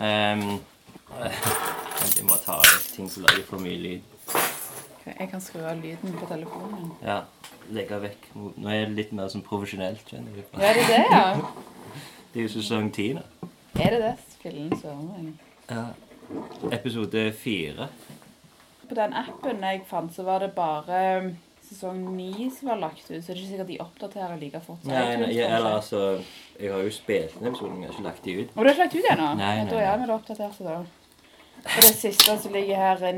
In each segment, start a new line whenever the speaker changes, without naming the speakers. Ehm, Vent, jeg må ta av ting som lager for mye lyd.
Jeg kan skru av lyden på telefonen.
Ja, legge vekk. mo- Nå er det litt mer sånn profesjonelt, kjenner jeg.
Ja, er det det, ja?
Det er jo sesong 10 nå.
Er det det? Fillen søren meg.
Ja. Episode fire.
På den appen jeg fant, så var det bare um, sesong 9 som var lagt ut, så det er ikke sikkert de oppdaterer like fort. som
Nei,
iTunes,
nei, jeg,
kanskje.
eller altså Jeg har jo spilt inn episoden, men jeg har ikke lagt de ut.
Og du har ikke lagt ut ennå?
Nei,
Ja,
nei,
Da
nei.
er vi da oppdaterte, da. Og det siste som ligger her, er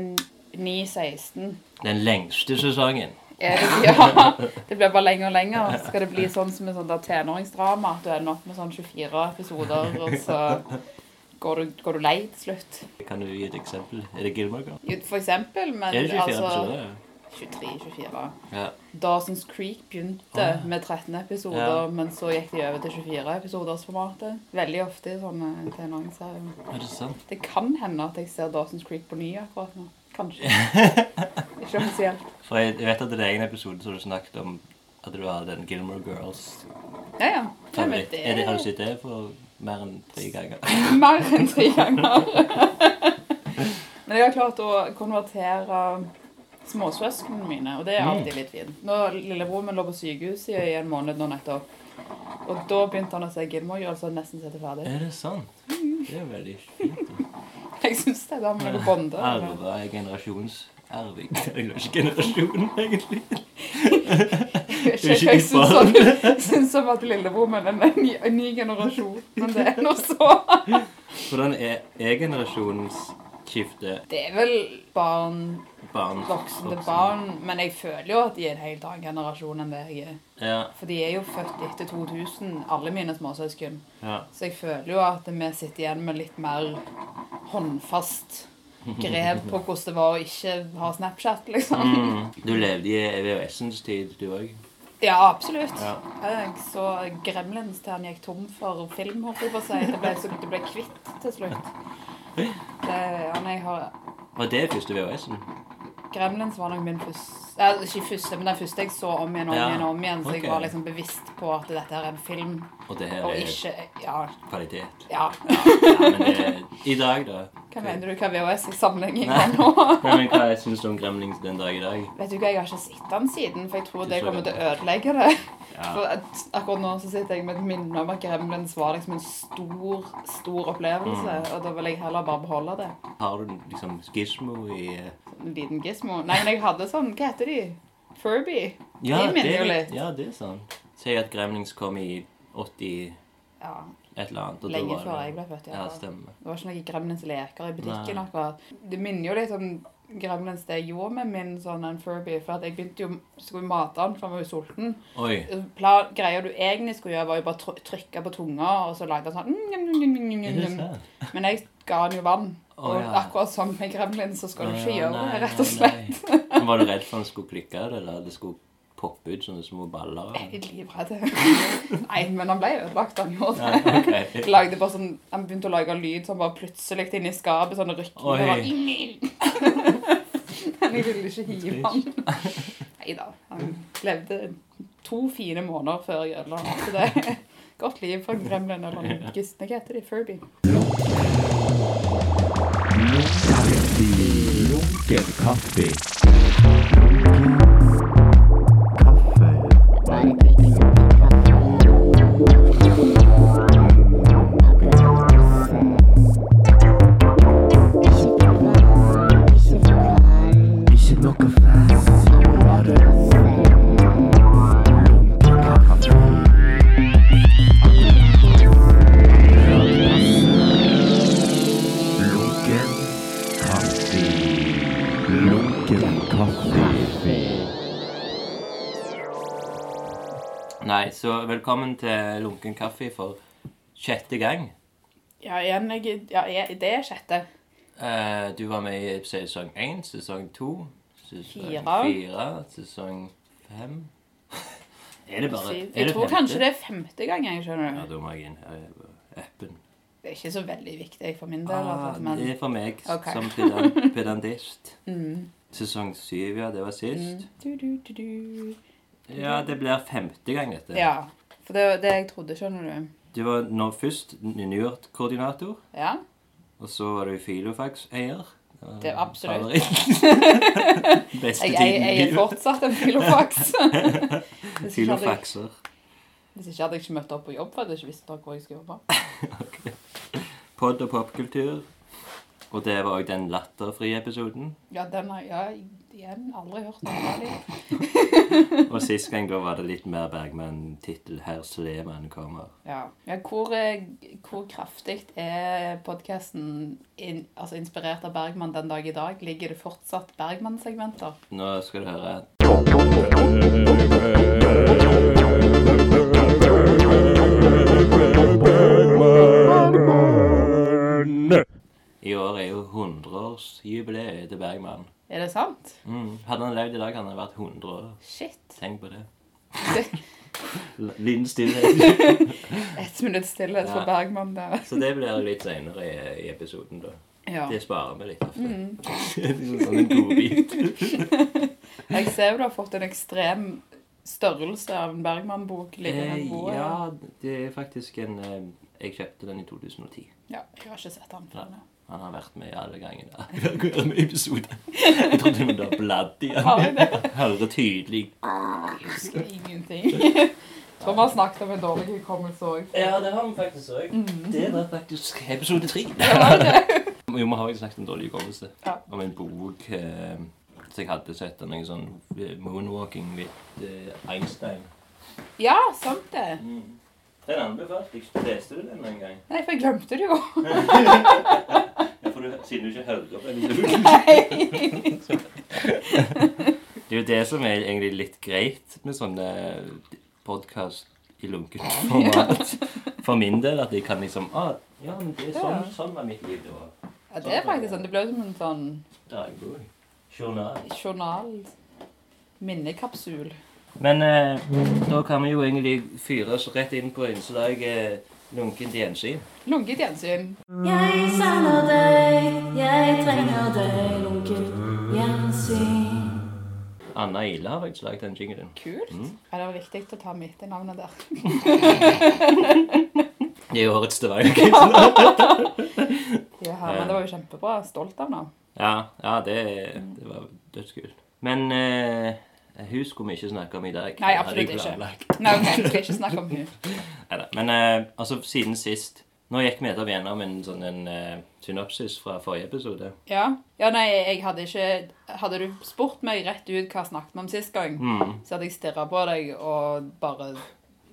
9.16.
Den lengste sesongen.
Er det, ja, det blir bare lenger og lenger. Skal det bli sånn som en sånn der tenåringsdrama, at du ender opp med sånn 24 episoder, og så går du, går du lei til slutt?
Kan du gi et eksempel? Er det Gilmore Girls?
Jo, For eksempel, men
Er det 24
altså
episoder?
23-24.
Ja.
Dawson's Creek begynte
Å, ja.
med 13 episoder,
Ah. Ja.
men så gikk de over til 24 episoders formatet. Veldig ofte i sånne tenåringsserier.
Er det sant?
Det kan hende at jeg ser Dawson's Creek på ny akkurat nå. Kanskje. Ikke offisielt.
For jeg jeg vet at det er en episode som du snakket om at du har den Gilmore Girls.
Ja, ja. Nei, men
favoritt. Er det, har du sett det for mer enn tre ganger?
Mer enn tre ganger. Men jeg har klart å konvertere småsøsknene mine, og det
Mm.
er alltid litt fint. Nå, Lillebroren min lå på sykehus i en måned nå nettopp, og da begynte han å se Gilmore Girls og nesten sette ferdig.
Er det sant? Det er veldig fint.
Jeg syns det. Da har vi noe bonde.
Arva er generasjonsarving. Det er jo ikke generasjon, egentlig.
Jeg,
det er ikke
jeg
ditt
syns
barn.
at- syns at lillebroren min er en ny, en ny generasjon, men det er nå så.
Hvordan er, er generasjonsskifte
Det er vel barn,
barn
voksen til barn, men jeg føler jo at de er en helt annen generasjon enn det jeg er.
Ja,
For de er jo født etter 2000, alle mine småsøsken.
ja.
Så jeg føler jo at vi sitter igjen med litt mer håndfast grep på hvordan det var å ikke ha Snapchat, liksom.
Mm. Du levde i VHS-ens tid, du òg.
Ja, absolutt.
Ja.
Jeg så Gremlins til han gikk tom for film, holdt jeg på å si. Det ble, så, det ble kvitt til slutt. Det, ja, nei, jeg har,
Var det første E VHS-en?
Gremlins var nok min første eh, Ikke første, men den første jeg så om igjen og om
Ja.
igjen. og om igjen Så
Ok.
jeg var liksom bevisst på at dette her er en film,
Og det her
og
er
ikke Ja.
kvalitet.
ja.
Ja, men det, I dag, da?
Hva mener du hva VHS i sammenligning
Nei.
med nå?
Nei, men Hva syns du om Gremlings den dag i dag?
Vet du hva, jeg har ikke sett den siden, for jeg tror
Du
det
så
kommer til
den.
å ødelegge det.
Ja.
For at, akkurat nå så sitter jeg med et minne om at Gremlins var liksom en stor, stor opplevelse,
Mm.
og da vil jeg heller bare beholde det. Sånn
Har du liksom skismo i eh,
En liten gizmo. Nei, men jeg hadde sånn, hva heter de? Furby?
ja,
De minner jo litt.
Ja, det er sånn. Si at Gremlings kom i 80
Ja,
et eller annet. og da
lenge
var
før
det-
jeg ble født,
Ja,
ja.
stemmer.
Det var ikke noen Gremlins leker i butikken
Nei.
akkurat. Det minner jo litt om Gremlins det jeg gjorde med min sånn en Furby, for at jeg begynte jo, skulle mate han, for han var jo sulten.
Oi.
Pla greia du egentlig skulle gjøre, var jo bare tr trykke på tunga, og så lagde han sånn mm, mm, mm, mm,
Er
mm,
det
mm.
sant?
Men jeg ga han jo vann.
Å,
og
ja.
akkurat som med gremlin, så skal du ikke
Å, ja,
gjøre
nei,
det, rett og
nei,
slett.
nei. Men Var du redd for han skulle klikke, eller at det skulle poppe ut sånne små baller? av
Jeg
han?
er livredd. Nei, men han ble ødelagt, han gjorde det.
Nei, ok.
Lagde bare sånn, han begynte å lage lyd sånn bare plutselig inni skapet, sånn rykkende.
Oi.
og bare, Men jeg ville ikke hive han. Nei da. Han levde to fine måneder før jeg ødela han. Så det er et godt liv for en gremlin eller en gistne. Hva heter de? Furby?
Lunken kaffe. Kaffe. Ikke noe fast. Bare lunken kaffe. Lunken kaffe. Lunken kaffe.
Nei, så velkommen til Lunken kaffe for sjette gang.
Ja, igjen, jeg, ja, jeg, det er sjette.
Eh, du var med i sesong én, sesong to, sesong
Fire.
fire, sesong fem Er det bare
Syv.
er
Jeg
det
tror
femte?
kanskje det er femte gang, jeg
Ja,
skjønner.
da må jeg inn her i appen.
Det er ikke så veldig viktig for min del.
Ah,
altså, men,
det er for meg
Ok. Mm.
som pedan- pedantist. Sesong syv, ja. Det var sist.
du, du, du, du.
Ja, det blir femte gang, dette.
Mm. Ja, for det var det jeg trodde, skjønner du.
Du var nå først New York-koordinator.
Ja,
Og så var du Filofax-eier.
Det er absolutt.
Favoritt. Beste
Jeg, jeg,
tiden i
jeg er
livet.
fortsatt en filofax. Hvis ikke hadde jeg-
Filofaxer.
hvis ikke hadde jeg ikke møtt opp på jobb, for jeg hadde ikke visst hvor jeg skulle jobbe.
Pod og popkultur. Og det var òg den latterfrie episoden.
Ja, den har jeg igjen aldri hørt noe om. det.
Og sist gang da var det litt mer Bergman-tittel. 'Herr Sleman kommer'.
Ja. Ja, hvor eh, hvor kraftig er podkasten in, altså inspirert av Bergman den dag i dag? Ligger det fortsatt Bergman-segmenter?
Nå skal du høre I år er jo 100-årsjubileet til Bergman.
Er det sant?
Mm. Hadde han levd i dag, hadde han vært 100 år.
Shit.
Tenk på det.
Det-
L- Liten stillhet.
Ett minutts stillhet for
Ja.
Bergman der.
Så det blir jo litt seinere i, i episoden, da.
Ja.
Det sparer vi litt ofte. Mm. sånn en godbit.
Jeg ser jo du har fått en ekstrem størrelse av en Bergman-bok liggende
Eh,
på bordet.
ja, det er faktisk en eh, Jeg kjøpte den i 2010.
Ja, jeg har ikke sett den før nå.
Han har vært med i alle gangene. Hver gang med episode. Jeg trodde hun hadde bladd i
Har
den.
vi det?
Hører tydelig.
Jeg husker ingenting. Thomas snakket om en dårlig hukommelse òg.
Ja, det har vi faktisk òg.
Mhm.
Det var faktisk episode tre. Jo, vi har jo snakket om dårlig hukommelse.
Ja.
Om en bok eh, som jeg hadde sett, av noen sånn eh, 'Moonwalking with eh, Einstein'.
Ja, sant det.
Mm. Den anbefalte jeg. Leste du den en gang?
Nei, for jeg glemte det jo.
Ja, for du, siden du ikke hører på episoden. Det er jo det som er egentlig litt greit med sånne podkast i lunken format. For min del at jeg kan liksom ah, Ja, men det er sånn,
Ja.
sånn var mitt liv da.
Ja, det er faktisk sånn. Det ble som en sånn
Dagbok. Journal.
journal... Minnekapsul.
Men eh, da kan vi jo egentlig fyre oss rett inn på innslag eh, lunkent gjensyn.
Lunket gjensyn.
Jeg savner deg, jeg trenger deg, lunken gjensyn.
Anna Ile har faktisk lagd den jinglen.
Kult. Ja, det var viktig å ta mitt i navnet der.
I årets Stavanger.
Ja, men det var jo kjempebra. Stolt av nå.
Ja, ja det, det var dødskult. Men eh, hun skulle vi ikke snakke om i dag.
Nei,
Det hadde jeg
absolutt ikke.
planlagt.
Nei, ok, vi skal ikke snakke om hun.
Neida. Men eh, altså, siden sist Nå gikk vi nettopp gjennom en sånn en, eh, synopsis fra forrige episode.
Ja. ja, nei, jeg hadde ikke Hadde du spurt meg rett ut hva snakket vi om sist gang, så hadde jeg stirra på deg og bare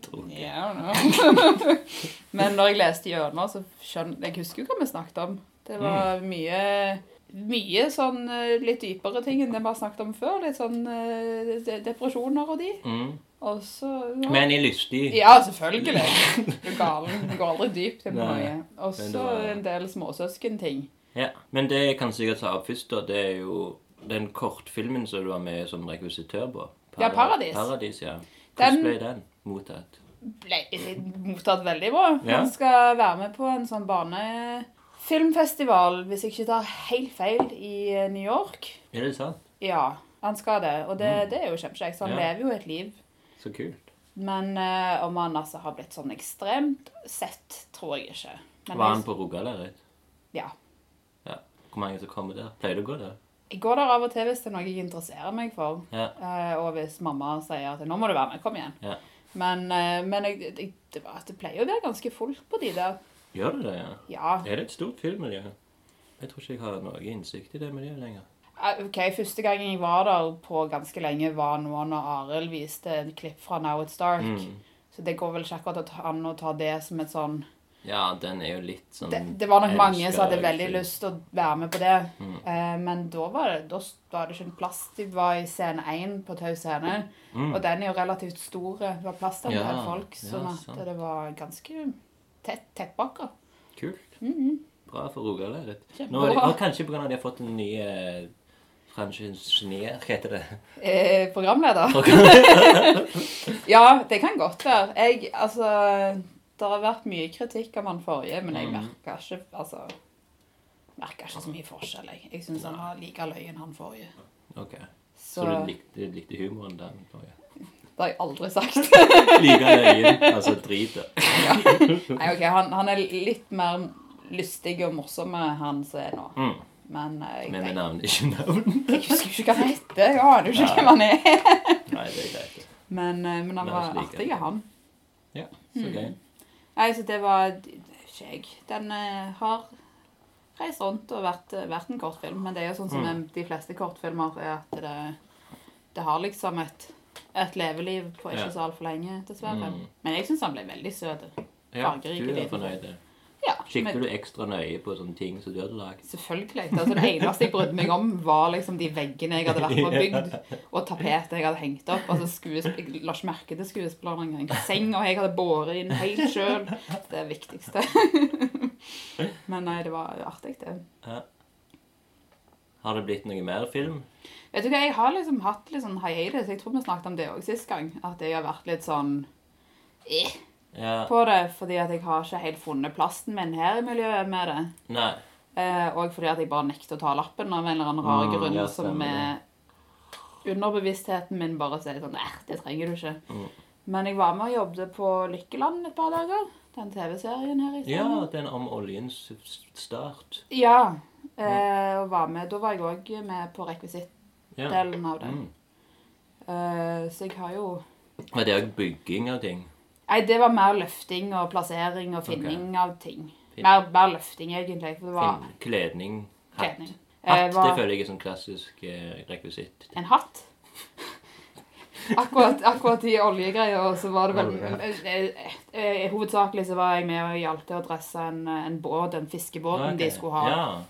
Tror jeg.
yeah, no. Men når jeg leste gjennom, så skjønner Jeg husker jo hva vi snakket om. Det var
Mm.
mye mye sånn eh, litt dypere ting enn det vi har snakket om før. Litt sånn eh, de- depresjoner og de.
Mm.
Og så ja.
Men i lystig
Ja, selvfølgelig. Du er galen. Du går aldri dypt inn på
Nei,
noe. Og
men det
så
var-
en del småsøskenting.
Ja, Men det jeg kan sikkert ta opp først, da, det er jo den kortfilmen som du var med som rekvisitør på.
Ja, Paradis.
Paradis, ja.
Den-
Hvordan ble den mottatt?
ble mottatt veldig bra.
Ja.
Han skal være med på en sånn barnefilmfestival, hvis jeg ikke tar helt feil, i eh, New York.
Er det sant?
Ja, han skal det, og det, det er jo kjempekjekt. så Han
Mm. Ja.
lever jo et liv.
Så kult.
Men eh, om han altså har blitt sånn ekstremt sett, tror jeg ikke. Men
Var han
jeg-
på Rogalæret?
Ja.
Ja. Hvor mange som kommer der? Pleier du å gå der?
Jeg går der av og til hvis det er noe jeg interesserer meg for.
Ja.
Eh, og hvis mamma sier at 'nå må du være med, kom igjen'.
Ja.
Men, eh, men jeg, jeg, det, var- det pleier å være ganske fullt på de der.
Gjør det det, ja?
Ja,
Er det et stort filmmiljø? Jeg tror ikke jeg har noe innsikt i det miljøet lenger.
Eh, Ok, Første gang jeg var der på ganske lenge, var nå når Arild viste en klipp fra Now It's Dark.
Mm.
Så det går vel ikke akkurat at- an å ta det som et sånn
Ja, den er jo litt sånn
Det, det var nok mange som hadde
elsker- Mm.
veldig lyst til å være med på det. Eh, men da var, det, da s- var det ikke en plass. De var i scene 1 på Tau scene. Og den er jo relativt stor. Det var plass til en
Mm. Ja,
del folk,
ja,
sånn at
sant.
det var ganske tett tettbakker.
Kult. Bra for Rogalæret. Nå
Mhm. Kjempebra.
er det, og kanskje pga. at de har fått en ny eh, franchisenier, heter det.
Eh, programleder? ja, det kan godt være. Jeg, altså, det har vært mye kritikk av han forrige, men
Mm.
jeg merka ikke altså, merket ikke så mye forskjell. Jeg, jeg syns han var like løy enn han forrige.
Ok. Så,
Så,
du likte, likte humoren der? Oh, ja.
det har jeg aldri sagt.
Like løyen, altså drit det.
Nei, ok, han, han er litt mer lystige og morsomme han som er nå.
Mm.
Men eh,
Men vi
jeg,
navner ikke navn.
jeg husker jo ikke hva han heter. Jeg aner jo ikke hvem han er.
Nei, det er greit.
Men, eh, men han
La oss
var
like
artig,
det.
han.
Ja, så
Mm.
gøy.
Nei, så det var det er ikke jeg. Den eh, har reist rundt og vært, eh, vært en kortfilm. Men det er jo
Mm.
sånn som eh, de fleste kortfilmer, er at det, det har liksom et, et leveliv på ikke
Ja.
så altfor lenge, dessverre.
Mm.
Men jeg syns han ble veldig søt.
Ja,
Fargerik
du er
liten.
fornøyd. ja.
Ja, men-
Kikket du ekstra nøye på sånne ting som du hadde lagd?
Selvfølgelig. Altså, det eneste jeg brydde meg om, var liksom de veggene jeg hadde vært på og bygd, og tapetet jeg hadde hengt opp. Altså, skuesp- jeg la ikke merke til skuespilleren engang. Senga jeg hadde båret inn helt sjøl. Det er det viktigste. Men nei, det var artig, det.
Har det blitt noe mer film?
Vet du hva, Jeg har liksom hatt litt sånn hiatus. Jeg tror vi snakket om det òg sist gang. At jeg har vært litt sånn eh,
Ja.
på det, fordi at jeg har ikke helt funnet plassen min her i miljøet med det.
Nei.
Eh, og fordi at jeg bare nekter å ta lappen av en eller annen rar
Mm,
grunn
ja,
som
stemmer
er underbevisstheten min bare sier sånn Eh, det trenger du ikke.
Mm.
Men jeg var med og jobbet på Lykkeland et par dager. Den TV-serien her i
Ja,
Stavanger.
den om oljens start.
Ja. Eh, og var med, Da var jeg òg med på rekvisittdelen
Ja.
av den.
Mm.
Eh, så jeg har jo
Og det er jo bygging av ting.
Nei, det var mer løfting og plassering og finning av ting.
Fin-
Mer, mer løfting, egentlig. For det var
Fin- Kledning. Hatt.
kledning. Eh,
Hatt, det
var-
føler jeg er sånn klassisk eh, rekvisitt.
en hatt. Akkurat, akkurat i oljegreier så var det vel
Oljehatt.
eh, eh, eh, Hovedsakelig så var jeg med og hjalp til å dresse en, en båt, den fiskebåten de
Ah, Ok.
skulle ha.
Ja.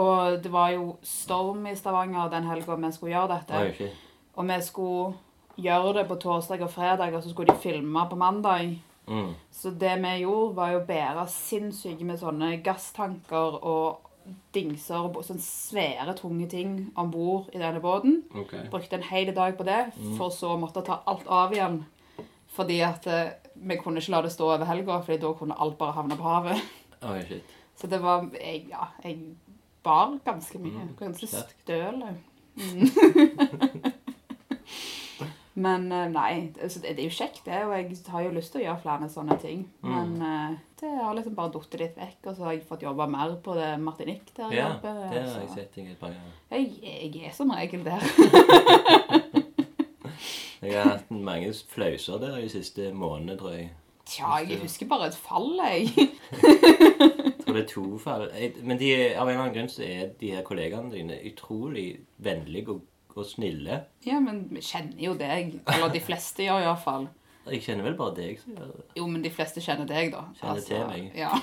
Og det var jo storm i Stavanger den helga vi skulle gjøre dette.
Oi, shit.
Og vi skulle gjøre det på torsdag og fredag, og så skulle de filme på mandag.
Mm.
Så det vi gjorde, var jo å bære sinnssyke med sånne gasstanker og dingser og bo- sånne svære, tunge ting om bord i denne båten.
Ok.
Brukte en hel dag på det,
Mm.
for så å måtte ta alt av igjen. Fordi at eh, vi kunne ikke la det stå over helga, fordi da kunne alt bare havne på havet.
Oi, shit.
Så det var jeg, Ja, jeg bar ganske
Mm.
mye. Ganske
sterkt.
støl. Mm. Men eh, nei, altså, det det er jo kjekt, det. Og jeg har jo lyst til å gjøre flere sånne ting.
Mm.
Men eh, det har liksom bare datt litt vekk. Og så har jeg fått jobba mer på det Martinique der. jeg
Ja, det
jobber,
har jeg
så-
sett deg et par ganger.
Jeg, jeg er som regel der.
Jeg har hatt mange flauser der de siste månedene, tror jeg.
Tja, jeg husker bare et fall, jeg.
Jeg tror det er to fall. Jeg- Men de, av en eller annen grunn så er de her kollegaene dine utrolig vennlige og, og snille.
Ja, men vi kjenner jo deg. Eller de fleste gjør iallfall.
Jeg kjenner vel bare deg som gjør det.
Jo, men de fleste kjenner deg, da. Altså,
Kjenner til meg.
Ja.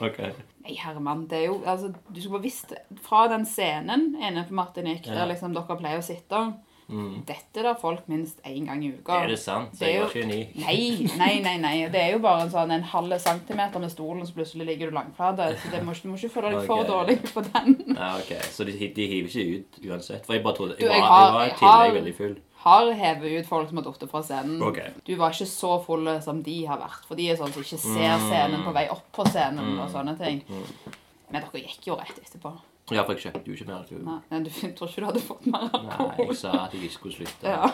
Ok.
Nei, Herman, det er jo altså, Du skulle bare visst det. Fra den scenen inne på Martinique
Ja. Mm.
der liksom dere pleier å sitte Dette der folk minst én gang i uka.
Er det sant? Så
Det er
jeg
jo-
var ikke unik.
Nei, nei, nei. nei. Det er jo bare en sånn en halv centimeter med stolen, så plutselig ligger du langflat. Så det må, ikke- du må ikke føle deg for
Ok.
dårlig på den.
Ja, ok. Så de, de hiver ikke ut uansett? For jeg bare trodde
Du,
Jeg var, jeg
jeg har-
var i
jeg
tillegg
har-
veldig full.
Har hevet ut folk som har falt fra scenen.
Ok.
Du var ikke så full som de har vært. For de er sånn som ikke ser
Mm.
scenen på vei opp på scenen og sånne ting. Men dere gikk jo rett etterpå.
Ja, for jeg kjøpte jo ikke mer alkohol.
Nei, men du jeg tror ikke du hadde fått mer
Nei,
alkohol?
jeg sa at jeg ikke skulle slutte.
Ja.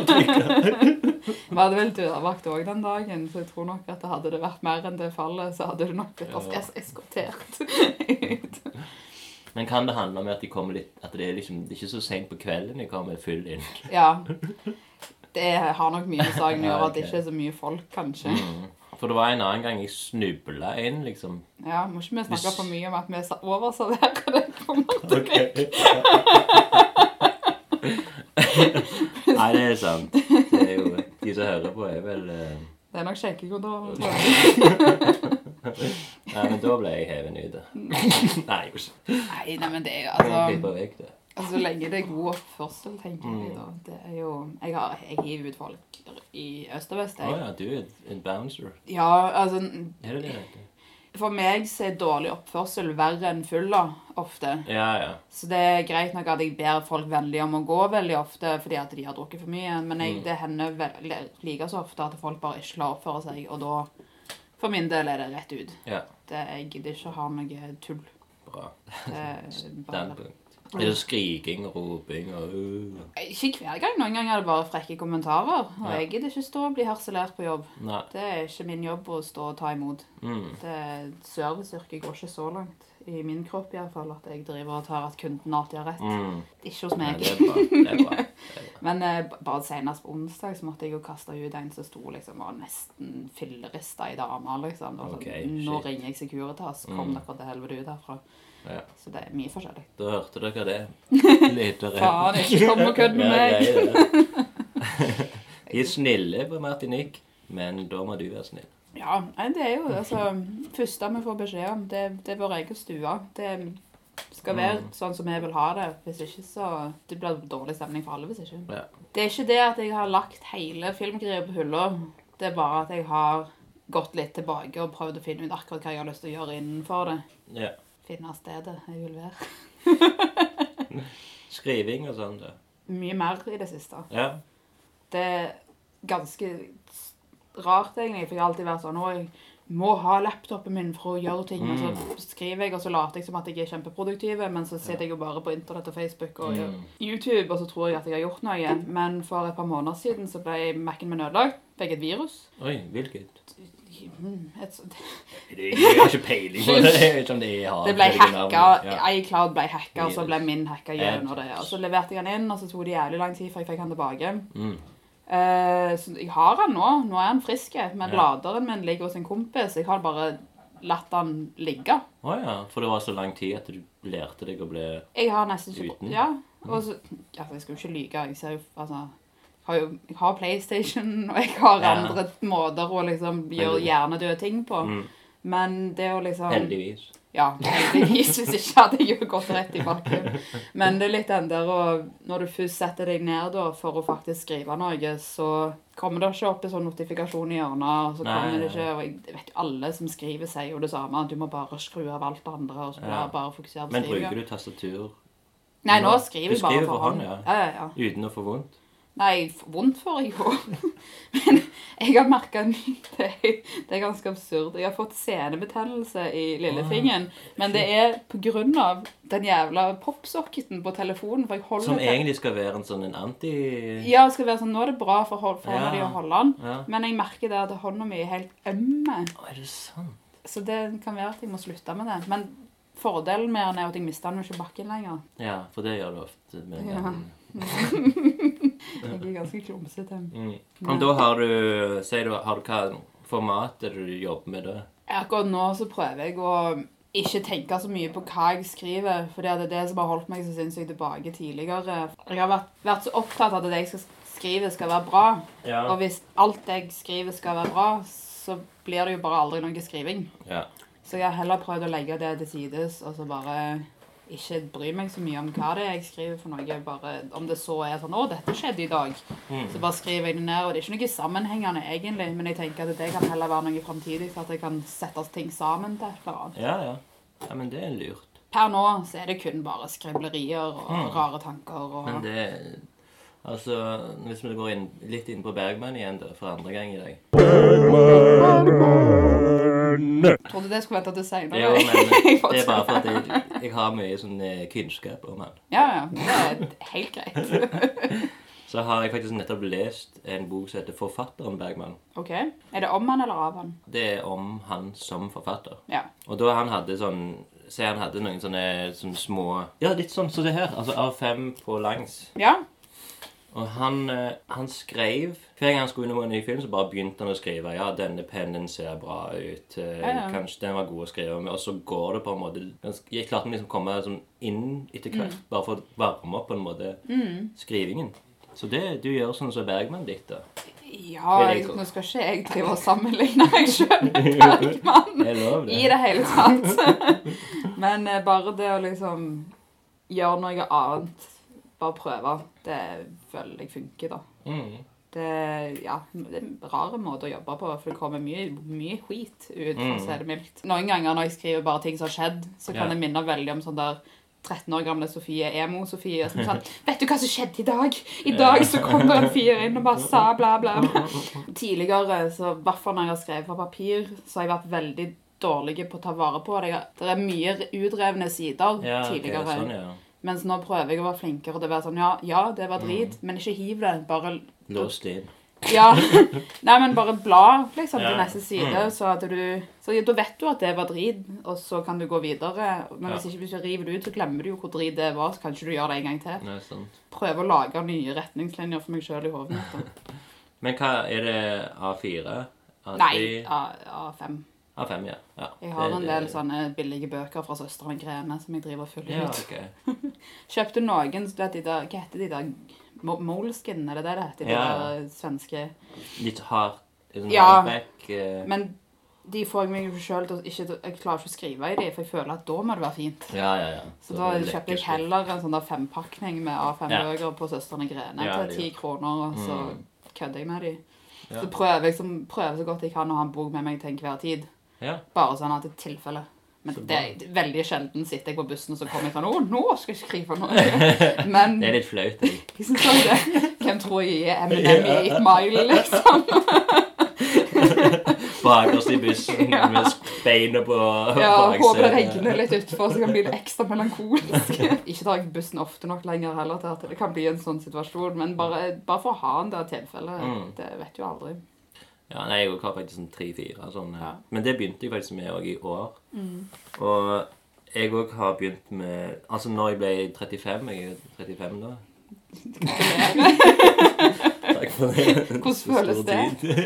Vi hadde vel dørvakt òg den dagen, så jeg tror nok at det hadde det vært mer enn det fallet, så hadde du nok blitt
Ja.
es- eskortert ut.
Men kan det handle om at de kommer litt At det er liksom Det er ikke så seint på kvelden de kommer full inn?
Ja. Det har nok mye med saken å gjøre at det
Ja, ok. Mm.
ikke er så mye folk, kanskje.
For det var en annen gang jeg snubla inn, liksom.
Ja, Må ikke vi snakke for mye om at vi sa- overserverer det på en måte?
Nei, det er sant. Det er jo De som hører på, er vel eh,
Det er nok skjenkekontrollen. tror jeg.
Nei, men da ble jeg hevet ut. da. Nei, jeg gjorde ikke det.
Nei, nei, men det er jo
Jeg
Mm. altså,
klipper vekk det.
altså Så lenge det er god oppførsel, tenker jeg
Mm.
da. Det er jo Jeg, har, jeg hiver ut folk i øst og vest,
Å
jeg.
ja, du er en bouncer.
Ja, altså
Er det det det heter?
For meg så er dårlig oppførsel verre enn fylla ofte.
Ja, ja.
Så det er greit nok at jeg ber folk veldig om å gå veldig ofte fordi at de har drukket for mye, men
Mm.
jeg, det hender vel- like så ofte at folk bare ikke klarer å oppføre seg, og da For min del er det rett ut.
Ja,
Det, jeg gidder ikke å ha noe tull.
bra.
Det er bare-
Standpunkt. Er det skriking og roping og øh.
Ikke hver gang. Noen ganger er det bare frekke kommentarer. Og
Ja.
jeg gidder ikke stå og bli harselert på jobb.
Nei.
Det er ikke min jobb å stå og ta imot.
Mm.
Det Serviceyrket går ikke så langt, i min kropp i hvert fall, at jeg driver og tar at kunden alltid har rett.
Mm.
Ikke hos
Nei,
meg.
det er bra. Det er bra.
Men eh, b- bare senest på onsdag så måtte jeg jo kaste ut en som sto liksom og nesten fillerista i dama, liksom. Det var
Ok,
sånn, Nå
shit.
ringer jeg Securitas,
Mm.
kom dere til helvete ut herfra.
Ja.
Så det er mye forskjellig.
Da hørte dere det. Lyttere.
Faen, ikke kom og kødd med
Ja,
meg!
ja, ja. De er snille på Martinique, men da må du være snill.
Ja, nei, det er jo altså første vi får beskjed om, det, det er vår egen stue. Det skal være sånn som vi vil ha det. Hvis ikke så Det blir dårlig stemning for alle hvis ikke.
Ja.
Det er ikke det at jeg har lagt hele filmgreia på hylla. Det er bare at jeg har gått litt tilbake og prøvd å finne ut akkurat hva jeg har lyst til å gjøre innenfor det.
Ja.
Finne stedet jeg vil være.
Skriving og sånn, da.
Mye mer i det siste.
Ja.
det er ganske rart, egentlig. For jeg har alltid vært sånn «Å, jeg må ha laptopen min for å gjøre ting. Og så skriver jeg, og så later jeg som at jeg er kjempeproduktiv, men så sitter jeg jo bare på internett og Facebook og
Mm.
YouTube, og så tror jeg at jeg har gjort noe. Men for et par måneder siden så ble Mac-en min ødelagt. Fikk et virus.
Oi, hvilket?
Mm, Et, sånt-
Jeg har ikke peiling på det. Jeg vet ikke om det er
Det ble hacka.
Ja.
iCloud ble hacka, og så
Virus.
ble min hacka gjennom det. Og så leverte jeg den inn, og så tok det jævlig lang tid før jeg fikk den tilbake.
Mm.
Eh, så jeg har den nå. Nå er den frisk. Men
Ja.
laderen min ligger hos en kompis. Jeg har bare latt den ligge.
Å ja, for det var så lang tid at du lærte deg å bli
Jeg har nesten ikke
Uten?
Ja. Og så ja, for Jeg skal jo ikke lyge. Jeg ser jo Altså jeg har jo, jeg har PlayStation, og jeg har
Ja.
andre måter å liksom gjøre hjernedøde ting på.
Mm.
Men det å liksom
Heldigvis.
Ja, heldigvis, hvis ikke hadde jeg jo gått rett i bakken. Men det er litt den der å Når du først setter deg ned da, for å faktisk skrive noe, så kommer det ikke opp en sånn notifikasjon i hjørnet. og så
Nei,
kommer det
nei,
ikke, og jeg vet jo Alle som skriver, sier jo det samme. at Du må bare skru av alt det andre. og så
Ja.
bare- bare fokusere på
Men
skrivinga.
bruker du tastatur
Nei, nå
nå?
skriver
Du
jeg bare
skriver
for
for
hånd.
hånd, ja.
Ja, ja, ja.
uten å få vondt?
Nei, f- vondt får jeg jo. Men jeg har merka en ny det, er- det er ganske absurd. Jeg har fått senebetennelse i lillefingeren. Men det er på grunn av den jævla popsocketen på telefonen. For jeg holder
Som
te-
egentlig skal være en sånn en anti...
Ja, det skal være sånn Nå er det bra for, hold, for hånda
Ja.
di å holde den.
Ja.
Men jeg merker det at hånda mi er helt ømme.
Å, er det sant?
Så det kan være at jeg må slutte med det. Men fordelen med den er at jeg mister den jo ikke i bakken lenger.
Ja, for det gjør du ofte med en
Ja.
gang.
Jeg er ganske klumsete.
Mm. Men da har du Sier du, har du hva format er det du jobber med da?
Akkurat nå så prøver jeg å ikke tenke så mye på hva jeg skriver, for det er det som har holdt meg så sinnssykt tilbake tidligere. Jeg har vært, vært så opptatt av at det jeg skal skrive, skal være bra. Og
Ja.
hvis alt jeg skriver, skal være bra, så blir det jo bare aldri noe skriving.
ja.
Så jeg har heller prøvd å legge det til sides, og så bare ikke bry meg så mye om hva det er jeg skriver for noe. Bare, om det så er sånn 'Å, dette skjedde i dag',
Mm.
så bare skriver jeg det ned. Og det er ikke noe sammenhengende egentlig, men jeg tenker at det kan heller være noe framtidig, så at jeg kan sette ting sammen til et eller annet.
Ja, ja. Ja, men det er lurt.
Per nå så er det kun bare skriblerier og rare tanker og
Mm. Men det Altså, hvis vi går inn, litt inn på Bergman igjen da, for andre gang i dag
Jeg trodde det skulle vente til seinere.
Jo, men det er bare for at jeg, jeg har mye sånn eh, kunnskap om han.
Ja, ja. Det er helt greit.
Så har jeg faktisk nettopp lest en bok som heter 'Forfatteren Bergman'.
OK. Er det om han eller av han?
Det er om han som forfatter.
Ja.
Og da han hadde sånn Se, han hadde noen sånne, sånne små Ja, litt sånn som det her. Altså A5 på langs.
Ja?
Og han, eh, han skrev Hver gang han skulle under en ny film, så bare begynte han å skrive. Ja, denne pennen ser bra ut. eh,
Ja, ja.
Kanskje den var god å skrive med. Og så går det på en måte ganske- Jeg klarte å liksom komme liksom inn etter hvert,
Mm.
bare for å varme opp på en måte skrivingen. Så det, du gjør sånn som Bergman ditt, da.
Ja,
Vil jeg
jeg,
tro.
nå skal ikke jeg drive og sammenligne meg sjøl med Bergman
Det er lov,
i
det.
det hele tatt. Men eh, bare det å liksom gjøre noe annet, bare prøve, det føler jeg funker, da.
Mm.
Det, eh, ja, det er en rar måte å jobbe på, for det kommer mye, mye skit ut. for å si det mildt. Noen ganger når jeg skriver bare ting som har skjedd, så kan
Mm. Ja.
det minne veldig om sånn der 13 år gamle Sofie Emo-Sofie. som sånn, 'Vet du hva som skjedde i dag?' I dag så kom det en fyr inn og bare sa bla, bla, bla. Tidligere, så i hvert fall når jeg har skrevet på papir, så har jeg vært veldig dårlig på å ta vare på det. Jeg har- Det er mye utrevne sider
Ja, ok,
tidligere.
sånn, ja.
Mens nå prøver jeg å være flinkere til å være sånn Ja, ja det var
Mm.
drit, men ikke hiv det. Bare
Låst inn.
Ja. Nei, men bare bla liksom, til
Ja. Mm.
neste side, så at du Så ja, da vet du at det var drit, og så kan du gå videre. Men hvis
Ja.
ikke hvis du river det ut, så glemmer du jo hvor drit det var. Så kan ikke du gjøre det en gang til.
Nei, sant.
Prøve å lage nye retningslinjer for meg sjøl i hodet mitt. da.
Men hva er det A4? A3?
Nei, A- A5.
A5, ja. ja.
Jeg har
Det-
en
det-
del sånne billige bøker fra søsteren Grene som jeg driver og fyller
Ja,
ut.
ok.
Kjøpte noen så du vet de der, Hva heter de der Mo- Moleskin, er det det det heter? De
Ja.
der eh, svenske
Litt hardt. Sånn
Ja.
hardback, eh,
Men de får jeg meg jo sjøl til å ikke Jeg klarer ikke å skrive i de, for jeg føler at da må det være fint.
Ja, ja, ja.
Så da
det
kjøper jeg
lekkert.
heller en sånn der fempakning med
Ja.
A5-bøker på Søstrene Grene
Ja, det Mm.
til ti kroner, og så kødder jeg med de.
Ja.
Så prøver jeg som, prøver så godt jeg kan å ha en bok med meg til enhver tid.
Ja.
Bare sånn at det er tilfelle. Men det er veldig sjelden sitter jeg på bussen og så kommer jeg sånn Å, nå skal jeg skrive noe! Men
Det er litt flaut. jeg.
jeg synes også det. Hvem tror jeg er Eminem i 8 Mile, liksom?
Bakerst i bussen
Ja.
med beina på
Ja,
baksetet.
Håper det regner litt utfor, så kan jeg bli litt ekstra melankolsk. Ikke tar jeg bussen ofte nok lenger heller til at det kan bli en sånn situasjon, men bare, bare for å ha en der tilfelle.
Mm.
Det vet jo aldri.
Ja, nei, jeg har faktisk sånn tre-fire. Sånn, eh.
Ja.
Men det begynte jeg faktisk med også i år.
Mm.
Og jeg òg har begynt med Altså når jeg ble 35 Jeg er 35 da. Takk for det.
Hvordan
Så stor
føles det?
tid.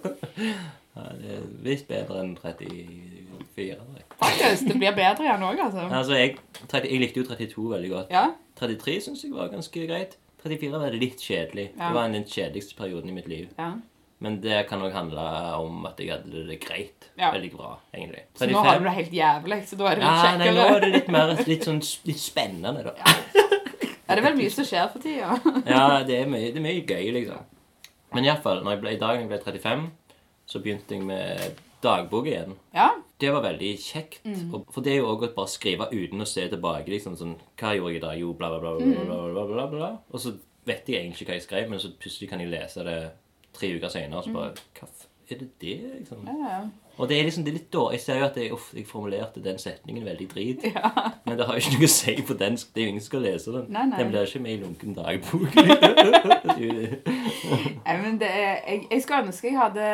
ja, det er litt bedre enn 34. da.
Faktisk, det blir bedre igjen òg, altså.
Altså, jeg, 30, jeg likte jo 32 veldig godt.
Ja.
33 syns jeg var ganske greit. 34 var litt kjedelig.
Ja.
Det var den kjedeligste perioden i mitt liv.
ja.
Men det kan òg handle om at jeg hadde det greit.
Ja.
Veldig bra, egentlig.
Så nå har du det helt jævlig, så da er det
ja,
litt
nei, nå er
kjekkere.
det litt mer litt sånn s- litt spennende, da. Ja,
Ja, det er vel mye som skjer for tida.
det, er mye, det er mye gøy, liksom. Men iallfall, i dag da jeg ble 35, så begynte jeg med dagbok igjen.
Ja.
Det var veldig kjekt.
Mm.
Og, for det er jo også å bare skrive uten å se tilbake. liksom sånn, Hva gjorde jeg i dag? Jo, bla, bla, bla.
Mm.
bla, bla, bla, bla, bla. Og så vet jeg egentlig ikke hva jeg skrev, men så plutselig kan jeg lese det tre uker senere. Og så bare Hva f- er det det? liksom?
Mm. Ja, ja.
Og det er liksom det er litt dårlig. Jeg ser jo at jeg, uff, jeg formulerte den setningen veldig drit. Men det har jo ikke noe å si på den. Det er jo ingen som skal lese den.
Nei, nei.
Den blir ikke med i lunken dagbok.
Nei, men det er, jeg, jeg skulle ønske jeg hadde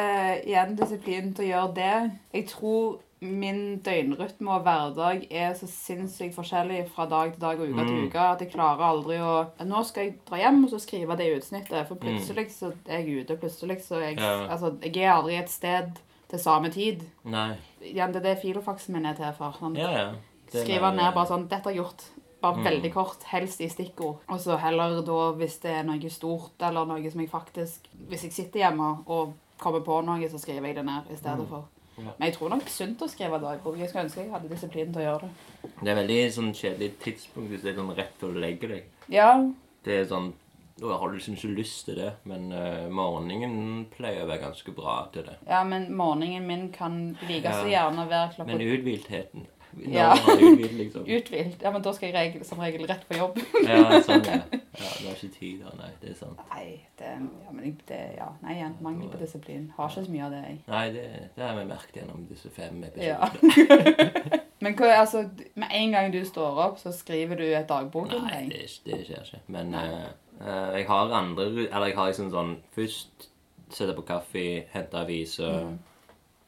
igjen disiplin til å gjøre det. Jeg tror min døgnrytme og hverdag er så sinnssykt forskjellig fra dag til dag og uke til uke at jeg klarer aldri å Nå skal jeg dra hjem og så skrive det utsnittet, for plutselig så er jeg ute. Plutselig så er jeg
Ja.
Altså, jeg er aldri et sted til samme tid.
nei.
Igjen, det er det filofaksen min er til for. Sånn.
Ja, ja. Det er Mm.
Skrive
mer-
ned bare sånn 'Dette har jeg gjort.' Bare veldig kort, helst i stikkord. Og så heller da, hvis det er noe stort eller noe som jeg faktisk Hvis jeg sitter hjemme og kommer på noe, så skriver jeg det ned i stedet for.
Mm. Ja.
Men jeg tror nok sunt å skrive dagbok. Jeg skulle ønske jeg hadde disiplin til å gjøre det.
Det er veldig sånn kjedelig tidspunkt hvis det er sånn rett før du legger deg.
Ja,
Det er sånn Nå har du liksom ikke lyst til det, men eh, morgenen pleier å være ganske bra til det.
ja men morgenen min kan like så
Ja.
gjerne være klokka
Men uthviltheten Når
Ja.
man er uthvilt, liksom.
uthvilt. Ja, men da skal jeg regel, som regel rett på jobb.
Ja, sånn, ja. ja. Du har ikke tid da, nei. Det er sant.
Nei, det, ja, men jeg- det, ja. Nei, igjen, mangel på disiplin. Har ikke så mye av det, jeg.
Nei, det, det har vi merket gjennom disse fem
Ja.
episodene.
Men hva, altså, med en gang du står opp, så skriver du et dagbok om
Nei,
deg?
det, det skjer ikke. Men eh, eh, jeg har andre ru- Eller jeg har liksom sånn Først sette på kaffe, hente aviser,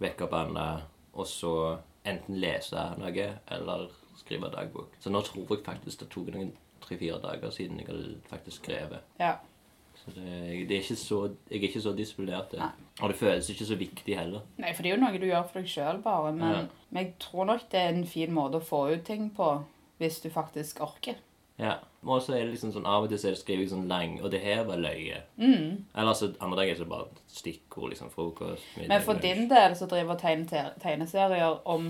vekke opp Anna, og så enten lese noe eller skrive dagbok. Så nå tror jeg faktisk det tok noen tre-fire dager siden jeg hadde faktisk skrevet.
Ja.
Så det, det er ikke så, jeg er ikke så disiplinert. det.
Nei.
Og det føles ikke så viktig heller.
Nei, for det er jo noe du gjør for deg sjøl, bare. Men,
Ja.
men jeg tror nok det er en fin måte å få ut ting på, hvis du faktisk orker.
Ja. Og så er det liksom sånn av og til så er det skriver jeg sånn lang, og det her var løye.
Mm.
Eller altså andre dager er det bare stikkord, liksom frokost, middag
Men for
lunsj.
din del som driver og tegner te- tegneserier om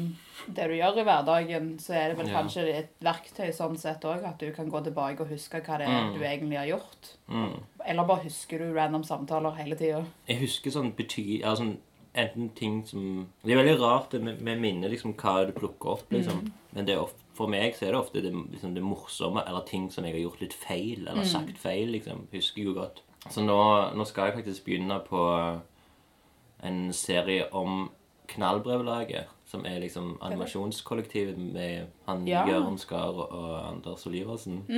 det du gjør i hverdagen, så er det vel
Ja.
kanskje et verktøy sånn sett òg, at du kan gå tilbake og huske hva det
Mm.
er du egentlig har gjort. Eller bare husker du random samtaler hele tida.
Jeg husker sånn bety... Altså, enten ting som Det er veldig rart det med, med minne, liksom, hva du plukker opp, liksom. Men det er ofte, for meg så er det ofte det, liksom, det morsomme, eller ting som jeg har gjort litt feil, eller sagt feil, liksom. Husker jeg jo godt. Så nå, nå skal jeg faktisk begynne på en serie om Knallbrevlaget, som er liksom animasjonskollektivet med han
Ja.
Gøran Skar og- og Anders Oliversen.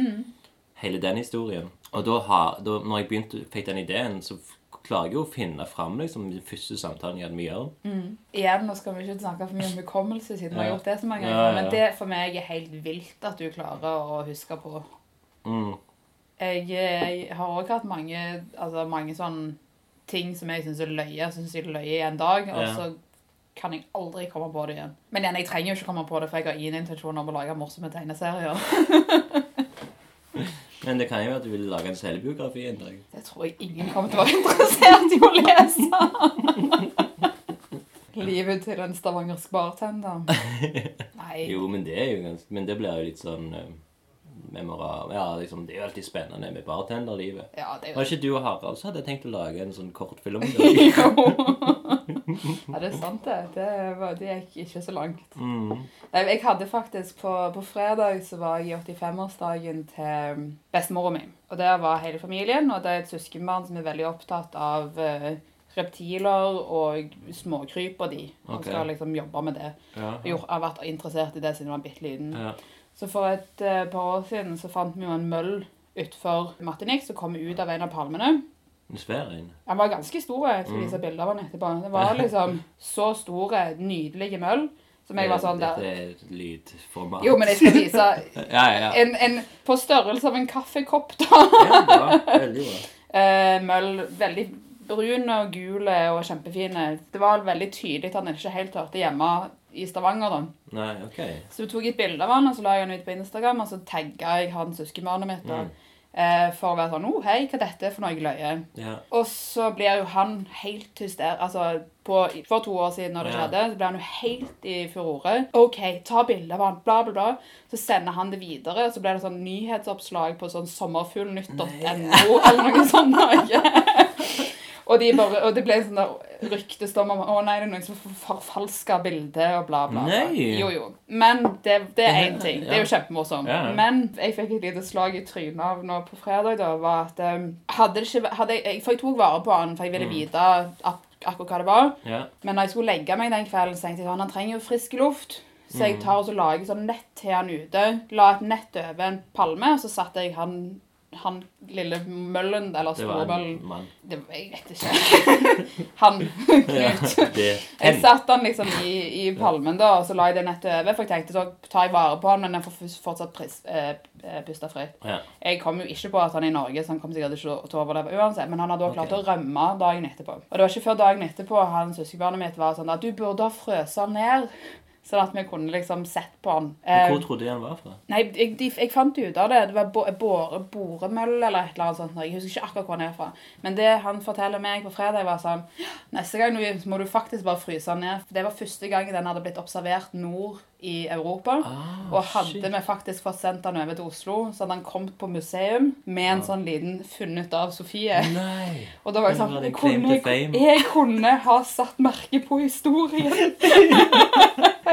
Hele den historien. Og da, har, da når jeg begynte, fikk den ideen, så f- klarer jeg jo å finne fram liksom, den første samtalen jeg hadde med Jørn.
Igjen, nå skal vi ikke snakke for mye om hukommelse, siden vi har
Ja.
gjort det så mange
Ja,
ganger,
ja, ja.
men det for meg er helt vilt at du klarer å huske på.
Mm.
Jeg, jeg har også hatt mange, altså, mange sånne ting som jeg syns er løye. Jeg syns jeg er løye i en dag, og
Ja.
så kan jeg aldri komme på det igjen. Men igjen, jeg trenger jo ikke komme på det, for jeg har ingen intensjon om å lage morsomme tegneserier.
Men det kan jo være at du vil lage en selvbiografi en dag.
Det tror jeg ingen kommer til å være interessert i å lese. Livet til en stavangersk bartender. Nei.
Jo, men det er jo ganske Men det blir jo litt sånn uh, memorabel Ja, liksom, det er jo alltid spennende med bartenderlivet.
Ja, det er
Var
jo
ikke du og Harald som hadde tenkt å lage en sånn kortfilm? om det?
Jo. Ja, det er sant, det. Det, var, det gikk ikke så langt.
Mm.
Nei, Jeg hadde faktisk På, på fredag så var jeg i 85-årsdagen til bestemora mi. Og der var hele familien, og det er et søskenbarn som er veldig opptatt av eh, reptiler og småkryp og de. Han
Ok.
skal liksom jobbe med det.
Ja.
Jeg har vært interessert i det siden jeg var bitte liten.
Ja.
Så for et eh, par år siden så fant vi jo en møll utenfor Martinique som kom ut av en av palmene.
En svær en.
Den var ganske stor. Jeg
Mm.
skal vise bilder av den etterpå. Det var liksom så store, nydelige møll som jeg var sånn der
Dette er et lydformat.
Jo, men jeg skal vise
Ja, ja. ja.
en, en på størrelse av en kaffekopp, da.
ja bra. Veldig bra.
Eh, møll. Veldig brune og gule og kjempefine. Det var veldig tydelig at den ikke helt hørte hjemme i Stavanger, da.
Nei, OK.
Så jeg tok et bilde av han, og så la jeg han ut på Instagram, og så tagga jeg han søskenbarnet mitt da,
Mm.
eh, for å være sånn 'Å, hei, hva er dette for noe løye?'
Ja.
Og så blir jo han helt hyster... Altså, på, for to år siden når det
Ja.
skjedde, så ble han jo helt i furore. 'OK, ta bilde av han', bla, bla, bla. Så sender han det videre, og så blir det sånn nyhetsoppslag på sånn sommerfuglnytt.no eller noe sånt. Noe. Og, de bare, og det ble en sånn der ryktestorm om å nei, det er noen som forfalsker bildet og bla, bla. bla.
Nei.
Jo, jo. Men det, det er én ting. Det
Ja.
er jo kjempemorsomt.
Ja.
Men jeg fikk et lite slag i trynet av nå på fredag, da, var at um, hadde det ikke vært- hadde jeg, For jeg tok vare på han, for jeg
Mm.
ville vite ak akkurat hva det var.
Ja.
Men når jeg skulle legge meg den kvelden, så tenkte jeg sånn, han trenger jo frisk luft. Så
Mm.
jeg tar og så lager sånn nett til han ute. La et nett over en palme, og så satte jeg han, han lille møllen, eller
Det var en
storbøllen
mann.
det, Jeg vet ikke. han
Ja,
Knut.
det
Jeg
hen.
satte han liksom i, i palmen, da, og så la jeg det nettet over. For jeg tenkte så tar jeg vare på han, men han får fus- fortsatt pris, eh, eh, puste fritt.
Ja.
Jeg kom jo ikke på at han er i Norge, så han kom sikkert ikke til å overleve uansett. Men han hadde også klart
Ok.
å rømme dagen etterpå. Og det var ikke før dagen etterpå han søskenbarnet mitt var sånn at du burde ha frøst han ned. Sånn at vi kunne liksom sett på han.
Men
Eh,
Hvor trodde jeg han var fra?
Nei, jeg, de, jeg fant ut av det. Det var bo- bore, boremøll eller et eller annet sånt. Jeg husker ikke akkurat hvor han er fra. Men det han forteller meg på fredag, var sånn Neste gang du- må du faktisk bare fryse han ned. For det var første gang den hadde blitt observert nord i Europa.
Ah,
Og hadde
shit.
vi faktisk fått sendt han over til Oslo, så hadde han kommet på museum med
Ah.
en sånn liten 'funnet av Sofie'.
Nei.
Og da var jeg
Det
sånn
var
jeg
din claim
kunne,
to fame.
jeg kunne ha satt merke på historien.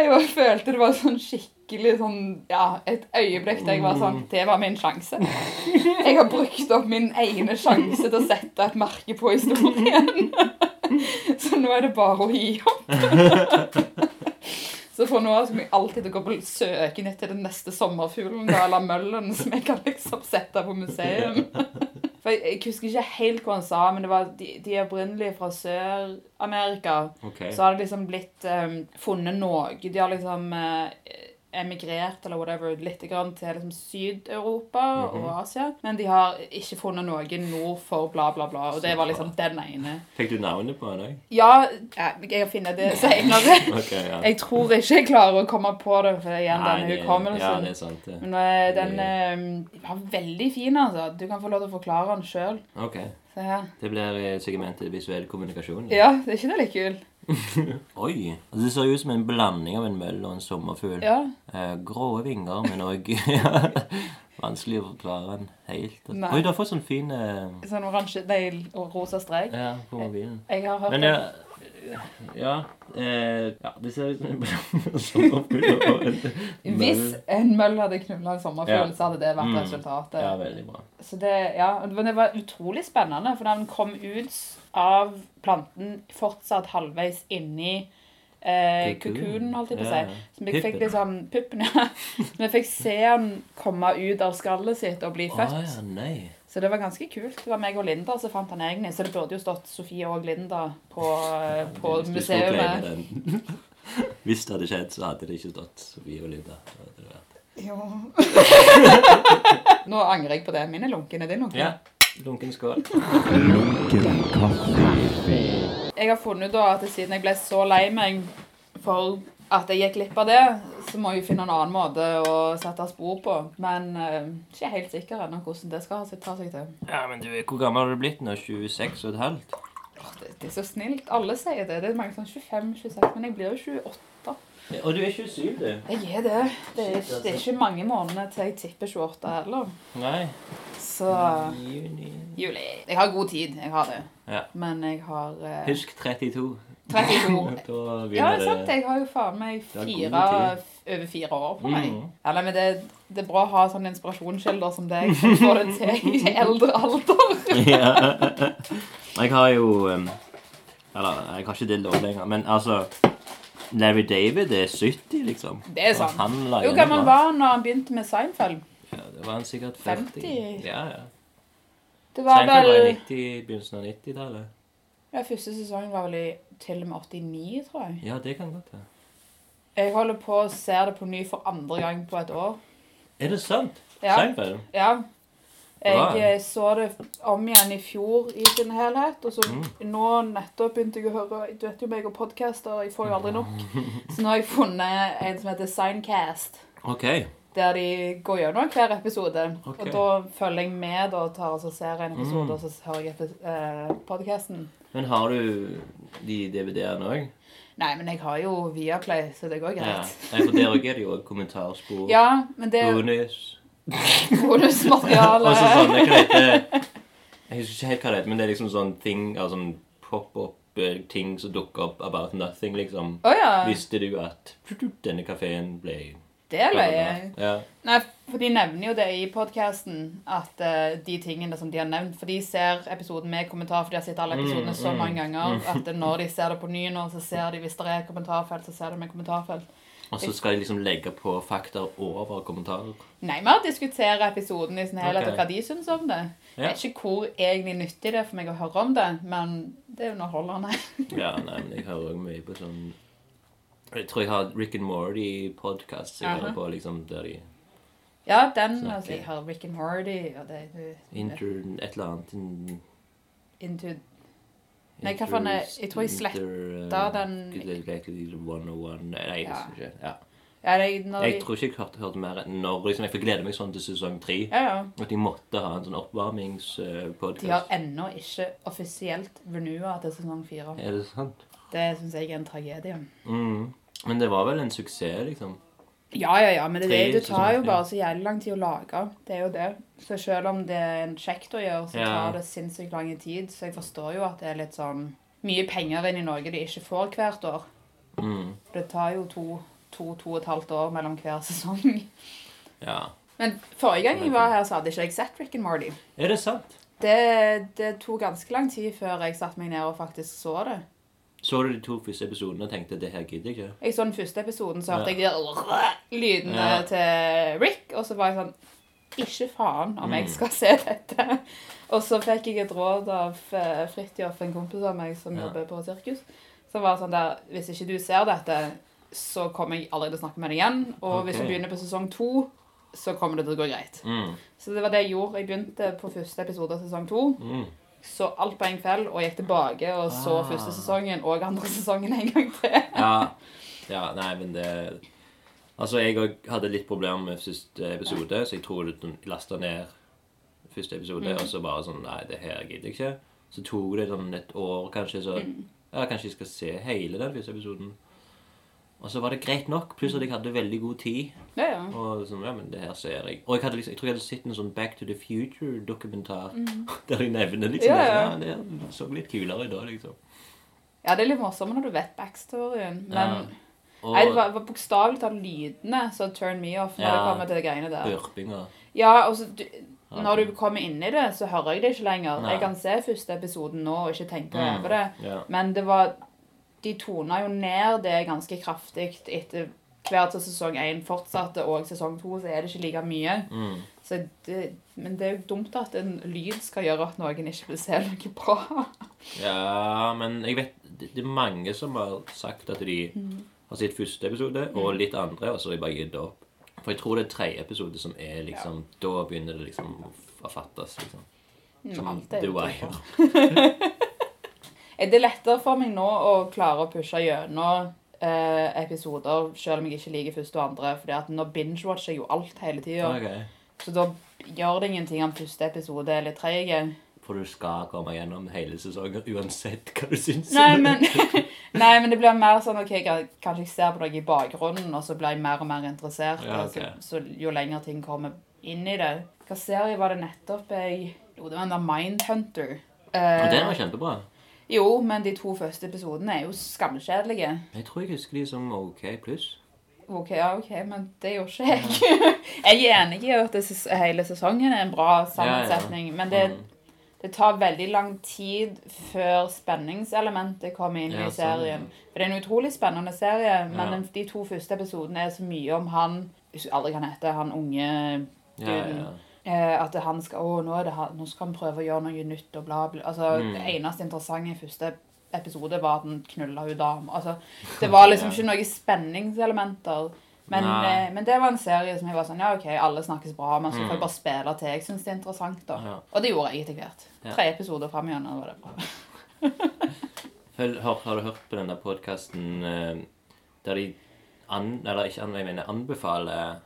jeg bare følte det var sånn skikkelig sånn Ja, et øyeblikk der jeg var sånn Det var min sjanse. Jeg har brukt opp min ene sjanse til å sette et merke på historien. Så nå er det bare å gi opp. Så for nå av så kommer jeg alltid til å gå på søken etter den neste sommerfuglen da, eller møllen som jeg kan liksom sette på museum. For jeg, jeg husker ikke helt hva han sa, men det var de, de opprinnelige fra Sør-Amerika.
OK.
Så har det liksom blitt eh, funnet noe. De har liksom eh, emigrert eller whatever litt grann til liksom Syd-Europa
Mhm.
og Asia. Men de har ikke funnet noe nord for bla, bla, bla. Og det var liksom den ene.
Fikk du navnet på han òg?
Ja, jeg, jeg finner det senere.
OK, ja.
Jeg tror ikke jeg klarer å komme på det, for igjen,
Nei,
denne
det-
hukommelsen.
Ja, det er sant, det.
Men eh, den eh, var veldig fin, altså. Du kan få lov til å forklare den sjøl.
OK.
Se her.
Det blir eh, segmentet visuell kommunikasjon.
Ja, det er ikke det litt kul?
Oi! Altså, det ser jo ut som en blanding av en møll og en sommerfugl.
Ja.
Eh, grå vinger, men òg Vanskelig å forklare den helt.
Nei.
Oi, du har fått sånn fin eh,
Sånn oransje Nei, og rosa strek.
Ja, på mobilen.
Jeg har hørt
Men ja Ja, eh, ja det ser ut som en blanding av sommerfugl og en
at hvis en møll hadde knulla en
Ja.
sommerfugl, så hadde det vært
Mm.
resultatet.
Ja, veldig bra.
Så det, ja, men det var utrolig spennende, for den kom ut av planten fortsatt halvveis inni eh,
Kukun.
kukunen, holdt jeg på å
Ja, ja.
si. Som jeg fikk
Puppen.
liksom Puppen, ja. Som jeg fikk se han komme ut av skallet sitt og bli
Å
født.
ja, nei.
Så det var ganske kult. Det var meg og Linda som fant han egentlig. Så det burde jo stått Sofie og Linda på, eh, på
Hvis du skulle claime
museet.
den. Hvis det hadde skjedd, så hadde det ikke stått Sofie og Linda. Det hadde det vært.
Jo. Nå angrer jeg på det. Min er lunken. Er din lunken?
Ja. Lunken skål.
Lunken kaffe.
Jeg har funnet ut da at siden jeg ble så lei meg for at jeg gikk glipp av det, så må jeg jo finne en annen måte å sette spor på. Men eh, ikke helt sikker ennå hvordan det skal ta seg til.
Ja, men du, Hvor gammel har du blitt nå? 26 og et halvt?
Åh, det, det er så snilt. Alle sier det. Det er mange sånn 25-26, men jeg blir jo 28.
Og du er 27, du.
Jeg er det. Det er, ikke- det er ikke mange månedene til jeg tipper 28 heller.
Nei.
Så
Juni.
juli. Jeg har god tid. Jeg har det.
Ja.
Men jeg har eh,
Husk 32.
32
Da
Ja,
begynner
det er sant. Jeg har jo faen meg
Det er god
fire,
tid.
over fire år på meg.
Mm.
Ja, nei, men det, det er bra å ha sånne inspirasjonskilder som deg, som får det til i eldre alder.
ja. Jeg har jo um, Eller, jeg har ikke det lov lenger, men altså Larry David er 70, liksom.
Det er
Og
sant.
Han la
Jo,
gjennom
gammel
alt.
var han når han begynte med Seinfeld?
Ja, det var han sikkert 40.
50?
Ja, ja.
Det var
Seinfeld var i
vel
90, begynnelsen av 90-tallet.
ja, Første sesongen var vel i til og med 89, tror jeg.
Ja, det kan godt være.
Jeg holder på å se det på ny for andre gang på et år.
Er det sant?
Ja.
Seinfeld?
Ja.
Bra.
Jeg eh, så det om igjen i fjor i sin helhet, og så
Mm.
nå nettopp begynte jeg å høre Du vet jo meg og podcaster, jeg får jo aldri nok. Så nå har jeg funnet en som heter Signcast,
OK.
der de går gjennom hver episode.
Ok. Mm.
Og da følger jeg med da, og tar og så ser jeg en episode, og så hører jeg epi- eh, podcasten.
Men har du de DVD-ene òg?
Nei, men jeg har jo Viaplay, så det går
Ja.
greit.
Nei, for der òg er det jo kommentarspor,
Ja, men det er
bonus
bonusmateriale.
Og så sånn Jeg heter Jeg husker ikke helt hva det heter, men det er liksom sånn ting altså, sånn pop-up-ting som dukker opp about nothing, liksom.
Å ja.
Visste du at denne kafeen ble
Det er løye.
Ja.
Nei, for de nevner jo det i podcasten, at eh, de tingene som de har nevnt, for de ser episoden med kommentar, for de har sett
Mm,
alle episodene så mange ganger, at når de ser det på ny nå, så ser de, hvis det er kommentarfelt, så ser de med kommentarfelt.
Og så skal jeg liksom legge på fakta over kommentarer.
Nei, vi har diskutert episoden i sin helhet,
Ok.
og hva de synes om det.
Ja.
Jeg vet ikke hvor egentlig nyttig det er for meg å høre om det, men det er underholdende.
Ja, nei, men jeg hører også mye på sånn Jeg tror jeg har Rick and Morty-podkast jeg hører
Aha.
på, liksom, der de
ja, den,
Snakker.
altså, jeg har Rick and Morty, og det er
Inter... Et eller annet in,
Into... Nei, hva faen er- jeg tror jeg
eh,
sletter den-
Exactly 101 Nei, jeg
Ja.
husker ikke. Ja.
Ja, det er når de...
Jeg tror ikke jeg hørte, hørte mer enn når liksom, Jeg får glede meg sånn til sesong tre.
Ja, ja.
At de måtte ha en sånn
De har
oppvarmingspodkast.
ennå ikke offisielt venua til sesong fire.
Er det sant?
Det syns jeg er en tragedie.
Mm. Men det var vel en suksess, liksom.
Ja, ja, ja, men det, er
Tre
det, det tar jo
sesong, ja.
bare så jævlig lang tid å lage. Det er jo det. Så selv om det er en kjekt å gjøre, så
Ja.
tar det sinnssykt lang tid. Så jeg forstår jo at det er litt sånn mye penger inn i Norge de ikke får hvert år.
Mm.
Det tar jo to, to, to og et halvt år mellom hver sesong.
Ja.
Men forrige gang jeg var her, så hadde ikke jeg sett Rick and Morty.
Er det sant?
Det, det tok ganske lang tid før jeg satte meg ned og faktisk så det.
Så du de to første episodene og tenkte det her gidder jeg ikke?
Jeg så den sånn første episoden, så
Ja.
hørte jeg de lydene
Ja.
til Rick, og så var jeg sånn Ikke faen om
Mm.
jeg skal se dette. Og så fikk jeg et råd av eh, Fridtjof, en kompis av meg som
Ja.
jobber på sirkus, som var sånn der Hvis ikke du ser dette, så kommer jeg aldri til å snakke med deg igjen. Og hvis
Ok.
du begynner på sesong to, så kommer det til å gå greit.
Mm.
Så det var det jeg gjorde. Jeg begynte på første episode av sesong to.
Mm.
Så alt på en kveld, og gikk tilbake og så
Ah.
første sesongen og andre sesongen en gang til.
Ja. ja. Nei, men det Altså, jeg òg hadde litt problemer med første episode, så jeg tror du lasta ned første episode,
Mm.
og så bare sånn Nei, det her gidder jeg ikke. Så tok det sånn et år, kanskje, så
Mm.
Ja, kanskje jeg skal se hele den første episoden. Og så var det greit nok, pluss at jeg hadde veldig god tid.
Ja, ja.
Og sånn, ja, men det her ser jeg. Og jeg, hadde liksom, jeg tror jeg hadde sett en sånn Back to the Future-dokumentar
Mm.
der jeg nevner liksom
Ja,
det.
ja.
Ja, det her så litt kulere da, liksom.
Ja, det er litt morsomt når du vet backstoryen, men
Ja. Og
Nei, det var, var bokstavelig talt lydene som turn me off når det
Ja.
kommer til de greiene der.
burpinga.
Ja, og så du,
Ja.
når du kommer inn i det, så hører jeg det ikke lenger.
Nei.
Jeg kan se første episoden nå og ikke tenke
Mm,
over det,
ja.
men det var de tona jo ned det ganske kraftig etter hver til sesong 1 fortsatte, og sesong 2 så er det ikke like mye.
Mm.
Så det, men det er jo dumt at en lyd skal gjøre at noen ikke vil se noe bra.
Ja, men jeg vet det, det er mange som har sagt at de har sett første episode
Mm.
og litt andre, og så har de bare gitt opp. For jeg tror det er tredje episode som er liksom Da begynner det liksom å f- å fattes, liksom. Som
Mm, Alt er
The
jo
Wire.
dumt. Er det lettere for meg nå å klare å pushe gjennom eh, episoder, selv om jeg ikke liker første og andre? Fordi at nå binge-watcher jeg jo alt hele tida.
Ok.
Så da gjør det ingenting om første episode er litt treig.
For du skal komme gjennom hele sesongen uansett hva du syns.
Nei, men, nei, men det blir mer sånn OK, jeg, kanskje jeg ser på noe i bakgrunnen, og så blir jeg mer og mer interessert.
Ja,
og
ok.
så, så jo lenger ting kommer inn i det. Hva serie var det nettopp jeg Jo, det var en der Mindhunter. Eh,
Og den var kjempebra.
jo, men de to første episodene er jo skamkjedelige.
Jeg tror jeg husker de som OK pluss.
Ok, ja, ok, men det gjorde ikke jeg. jeg er enig i at det, ses- hele sesongen er en bra sammensetning, men det,
Mm.
det tar veldig lang tid før spenningselementet kommer inn
Ja,
i
sånn, ja.
serien. For det er en utrolig spennende serie, men
Ja.
den- de to første episodene er så mye om han Jeg husker aldri hva han heter, han unge
Ja, ja.
eh, At det- han skal Å, nå, er det, han- nå skal han prøve å gjøre noe nytt, og bla, bla. Altså,
Mm.
Det eneste interessante i første episode var at han knulla hun dama. Altså, det var liksom
Ja.
ikke noen spenningselementer. Men,
Nei. Mm.
eh, men det var en serie som jeg var sånn Ja, OK, alle snakkes bra, men så får jeg bare spille til jeg syns det er interessant, da.
Ja.
Og det gjorde jeg etter hvert.
Ja.
Tre episoder fram igjennom var det bra.
Hør, hør, har du hørt på den der podkasten der de an, eller ikke an, jeg mener, anbefaler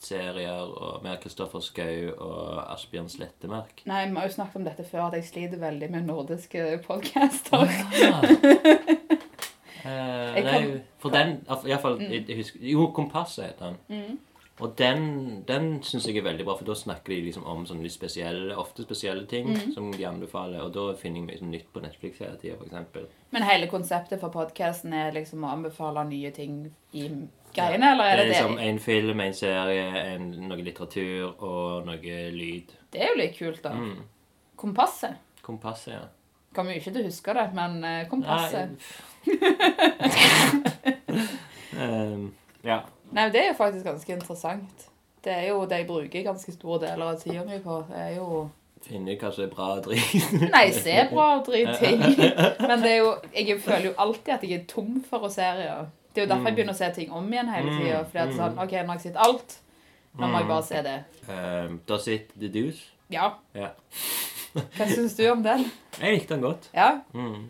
serier og, med Kristoffer Schou og Asbjørn Slettemark?
Nei, vi har jo snakket om dette før, at jeg sliter veldig med nordiske
Mm.
podcaster.
Ja. Eh,
Jeg
nei,
kan-
for den Iallfall jeg, jeg husker Jo, Kompasset heter den. Og den, den syns jeg er veldig bra, for da snakker de liksom om sånne litt spesielle, ofte spesielle ting som de anbefaler, og da finner jeg mye sånn nytt på Netflix hele tida, f.eks.
Men hele konseptet for podkasten er liksom å anbefale nye ting i greiene, eller
Det
er
er
det det?
liksom en film, en serie, en, noe litteratur og noe lyd.
Det er jo litt kult, da.
Mm.
Kompasset.
Kompasset, ja.
Kommer jo ikke til å huske det, men eh, kompasset.
Ehm, ja.
Nei, det er jo faktisk ganske interessant. Det er jo det jeg bruker ganske store deler av tida mi på. Det er jo
Finne ut hva som er bra og drit.
Nei, se bra og dritting. Men det er jo Jeg føler jo alltid at jeg er tom for å serier. Det er jo
Mm.
derfor jeg begynner å se ting om igjen hele tida. Fordi at sånn OK, nå har jeg sett alt. Nå
Mm.
må jeg bare se det.
Ehm, Does it the deuce?
Ja.
Ja.
Hva syns du om den?
Jeg likte den godt.
Ja?
Mm.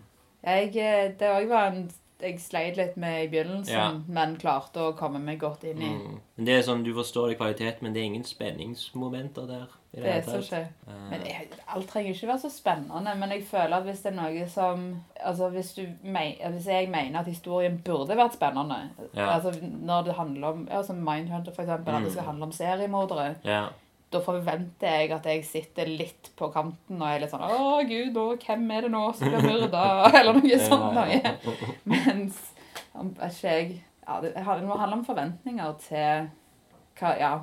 Jeg, eh, det òg var en jeg sleit litt med i begynnelsen,
Ja.
men klarte å komme meg godt inn i
Mm. Men det er sånn, Du forstår det i kvalitet, men det er ingen spenningsmomenter der. i
det
hele
som
tatt.
skjer.
Ehm,
Men jeg, alt trenger ikke være så spennende, men jeg føler at hvis det er noe som Altså hvis, du me- hvis jeg mener at historien burde vært spennende
Ja. Mm.
altså Når det handler om ja, som Mindhunter, for eksempel, at det skal handle om seriemordere,
ja.
da forventer jeg at jeg sitter litt på kanten og er litt sånn Å, gud, å, hvem er det nå som blir myrda? Eller noe sånt noe. Mens om ikke jeg ja, Det det må handle om forventninger til hva Ja,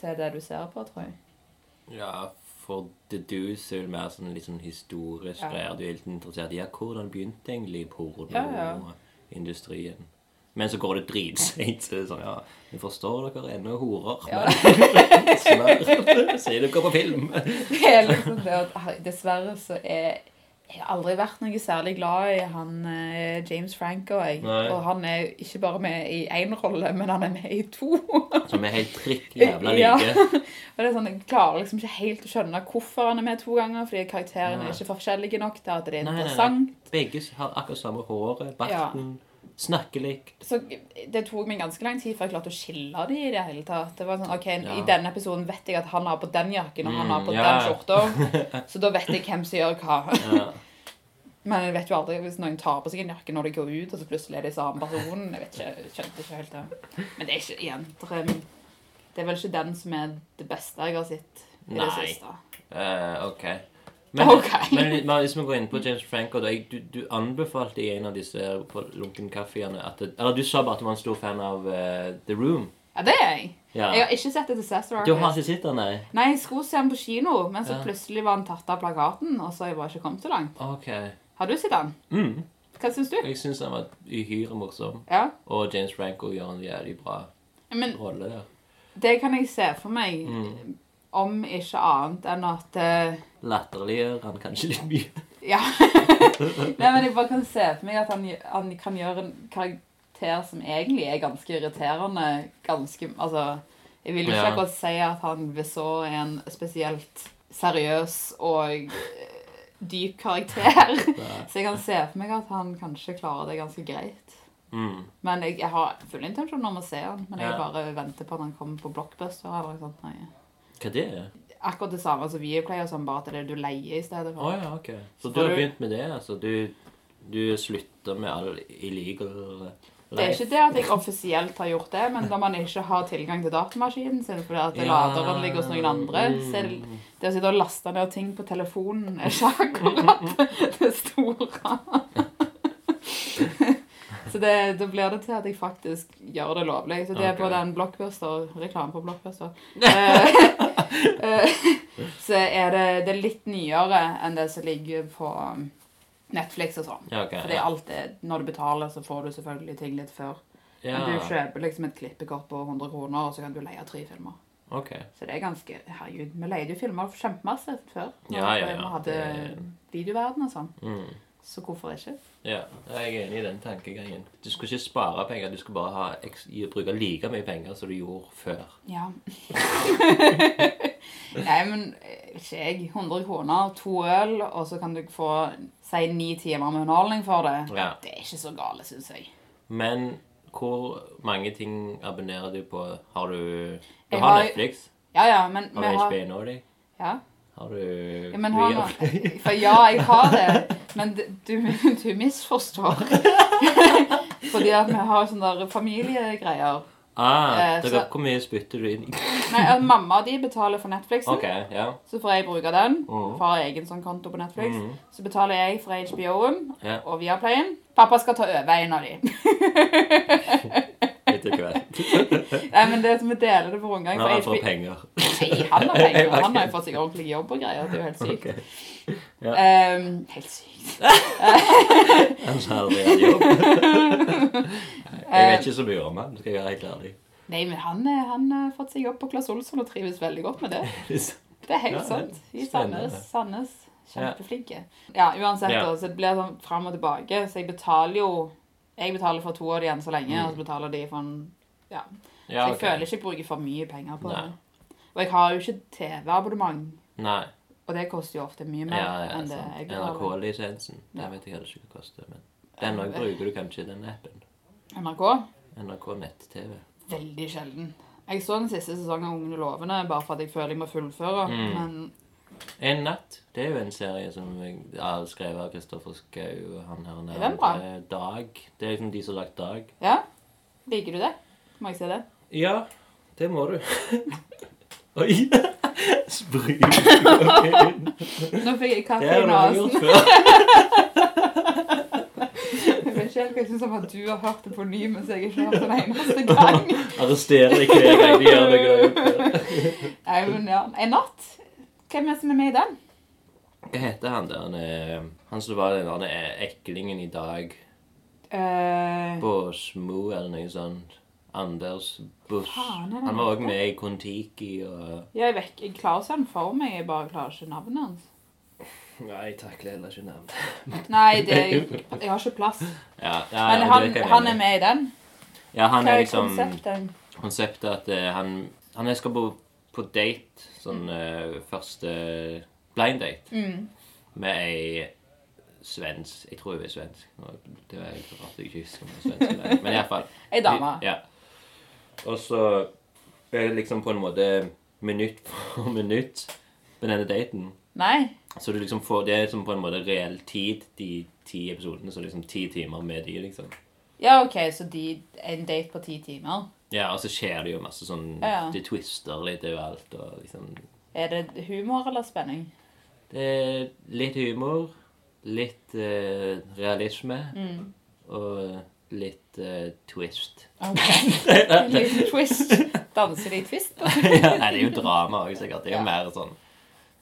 til det du ser på, tror jeg.
ja, for the deuce er vel mer sånn litt sånn historisk
Ja.
greier. Du er litt interessert i ja, hvordan begynte egentlig
Ja, ja.
pornoindustrien. Men så går det dritseint. Så det er sånn, ja, vi forstår dere ennå horer,
Ja.
men snart ser dere på film.
Det er liksom det at ah, dessverre så er jeg har aldri vært noe særlig glad i han eh, James Franco. Jeg.
Nei.
Og han er ikke bare med i én rolle, men han er med i to.
Som er helt prikk jævla
Ja.
like.
Og det er sånn, Jeg klarer liksom ikke helt å skjønne hvorfor han er med to ganger, fordi karakterene
Nei.
er ikke forskjellige nok til at det
Nei,
er
nei, nei.
interessant.
Begge har akkurat samme håret, barten, snakker likt.
Så Det tok meg ganske lang tid før jeg klarte å skille de i det hele tatt. Det var sånn, ok,
Ja.
I denne episoden vet jeg at han har på den jakken, og han
Mm,
har på
ja.
den skjorta. Så da vet jeg hvem som gjør hva.
Ja.
Men jeg vet jo aldri hvis noen tar på seg en jakke når de går ut, og så plutselig er de samme personen. Jeg vet ikke, jeg skjønte ikke helt det. Men det er ikke jenter. Det er vel ikke den som er det beste jeg har sett i det
Nei.
siste.
Eh, ok. Men,
Ok.
men, men hvis vi går inn på James Franco da, jeg, du, du anbefalte i en av disse på lunkenkaffeene at det, Eller du sa bare at du var en stor fan av eh, The Room.
Ja, det er jeg.
Ja.
Jeg har ikke sett et Disaster
Du har
Artist.
ikke sett den, nei?
Nei, jeg skulle se den på kino, men så
Ja.
plutselig var den tatt av plakaten, og så har jeg bare ikke kommet så langt.
Ok.
Har du sett den?
Mm.
Hva syns du?
Jeg syns han var uhyre morsom.
Ja.
Og James Franco gjør en jævlig bra
Men
rolle der.
det kan jeg se for meg,
Mm.
om ikke annet enn at eh,
Latterliggjør han kanskje litt mye.
Ja. Nei, men jeg bare kan se for meg at han, han kan gjøre en karakter som egentlig er ganske irriterende. Ganske Altså, jeg vil jo ikke
Ja.
akkurat si at han ved så er en spesielt seriøs og eh, dyp karakter.
Nei.
Så jeg kan se for meg at han kanskje klarer det ganske greit.
Mm.
Men jeg, jeg har full intensjon om å se han, men jeg
Ja.
bare venter på at han kommer på Blockbuster eller noe sånt. Nei.
Hva det er?
Akkurat det samme som Viaplay, og sånn, bare at det er det du leier i stedet
Å
for.
ja, ok. Så
Har
du har
du-
begynt med det, altså? Du, du slutter med all illegal
Det er ikke det at jeg offisielt har gjort det, men når man ikke har tilgang til datamaskinen sin fordi at laderen ligger hos noen andre,
Mm.
så er det, det å sitte og laste ned ting på telefonen er ikke akkurat det store. Så det, da blir det til at jeg faktisk gjør det lovlig. Så det er på
Ok.
den blockbuster, reklame på blockbuster, eh, eh, så er det, det er litt nyere enn det som ligger på Netflix og sånn.
Ja, ok.
Fordi alt er, når du betaler, så får du selvfølgelig ting litt før.
ja.
Men du kjøper liksom et klippekort på 100 kroner, og så kan du leie tre filmer.
Ok.
Så det er ganske Herregud, vi leide jo filmer for kjempemasse før. når
Ja, ja, ja.
Vi hadde
Det-
videoverden og sånn.
Mm.
Så hvorfor ikke?
Ja, jeg er enig i den tankegangen. Du skulle ikke spare penger, du skulle bare ha, eks- gi- bruke like mye penger som du gjorde før.
Ja. Nei, men eh, ikke jeg. 100 kroner, to øl, og så kan du få si ni timer med underholdning for det.
Ja.
Det er ikke så gale, syns jeg.
Men hvor mange ting abonnerer du på? Har du Du
Jeg
har
har-
Netflix?
Ja, ja, men
Har
vi
du
har
HBO nå? de?
Ja.
Har du
Ja, men har
Via-
man, for ja, jeg har det, men d- du, du misforstår. Fordi at vi har sånne der familiegreier.
Ah,
Eh,
dere,
så-
Hvor mye spytter du inn i?
Nei, at Mamma og de betaler for Netflixen,
OK, ja.
så får jeg bruke den.
Mhm.
Far har egen sånn konto på Netflix.
Mhm.
Så betaler jeg for HBO-en
Ja.
og Viaplayen. Pappa skal ta over en av de.
Etter hvert.
Nei, men det er som vi deler det for omgang.
Nå har
For
jeg fått
HBO
penger.
Nei, han har penger.
Ok.
Han har jo fått seg ordentlig jobb og greier. Det er jo helt sykt.
Ok. Ja.
Ehm, helt sykt.
Han sa aldri hadde jobb. Jeg
Eh,
vet ikke så mye om han, skal jeg være helt ærlig.
Nei, men han eh, han har fått seg jobb på Claes Olsson og trives veldig godt med det. Det er
Ja, det
helt
er
sant. I
spennende.
Sandnes. Sandnes. Kjempeflinke. Ja, uansett,
Ja.
da, så det blir sånn fram og tilbake. Så jeg betaler jo Jeg betaler for to av de enn så lenge,
Mm.
og så betaler de for en Ja. Så
Ja,
jeg
ok.
føler ikke jeg bruker for mye penger på
Nei.
det. Og jeg har jo ikke TV-abonnement,
Nei.
og det koster jo ofte mye mer
Ja, ja,
enn det jeg
sant.
betaler.
NRK-lisensen.
Ja.
Den vet jeg heller ikke hva koster, men den også bruker du kanskje, den appen.
NRK?
NRK nett-TV.
Veldig sjelden. Jeg så den siste sesongen av Ungene lovende bare for at jeg føler jeg må fullføre,
Mm.
men
En natt. Det er jo en serie som jeg har skrevet av Kristoffer Schou og han her
Er den bra?
andre, Dag. Det er liksom de som har lagt Dag.
ja. Liker du det? Må jeg se det?
Ja, det må du. Oi! Sprut.
Nå fikk jeg
Det
kaffe
har
i
du aldri
nesen.
gjort før.
Jeg vet ikke helt hva jeg synes om at du har hørt det på ny, mens jeg ikke har hørt det en eneste gang.
Arresterer deg hver gang de gjør noe du har gjort før.
Nei, men ja. En natt? Hvem er det som er med i den?
Hva heter han der? Han, eh, han som var den der eh, eklingen i dag
Eh,
på Smo eller noe sånt. Anders Busch.
Faen, er det
Han var òg
han
med i Kon-Tiki og
ja, jeg, vet, ikke. jeg klarer å se den for meg, jeg bare klarer ikke navnet hans.
Nei, takler heller ikke navn.
Nei, det, jeg har ikke plass.
Ja, ja,
Men
ja,
han,
det kan jeg
han
mene.
er med i den.
Ja, han
Hva
er
er
liksom
konseptet?
konseptet at eh, han, han er- skal bo på date, sånn eh, første blind date,
Mm.
med ei svensk Jeg tror hun er svensk. Nå, Det var jeg rart jeg ikke husker om hun er svensk eller ei, men iallfall.
Ei dame.
Ja. Og så er det liksom på en måte minutt for minutt med denne daten.
Nei?
Så du liksom får det som på en måte reell tid, de ti episodene, så liksom ti timer med de, liksom.
Ja, ok, så de, en date på ti timer.
Ja, og så skjer det jo masse sånn
Ja, ja.
De twister litt overalt og liksom
Er det humor eller spenning?
Det er litt humor, litt eh, realisme
Mm.
og litt eh, twist.
Ok. En liten twist. Danser de twist? da?
Nei, det er jo drama òg, sikkert. Det er jo
Ja.
mer sånn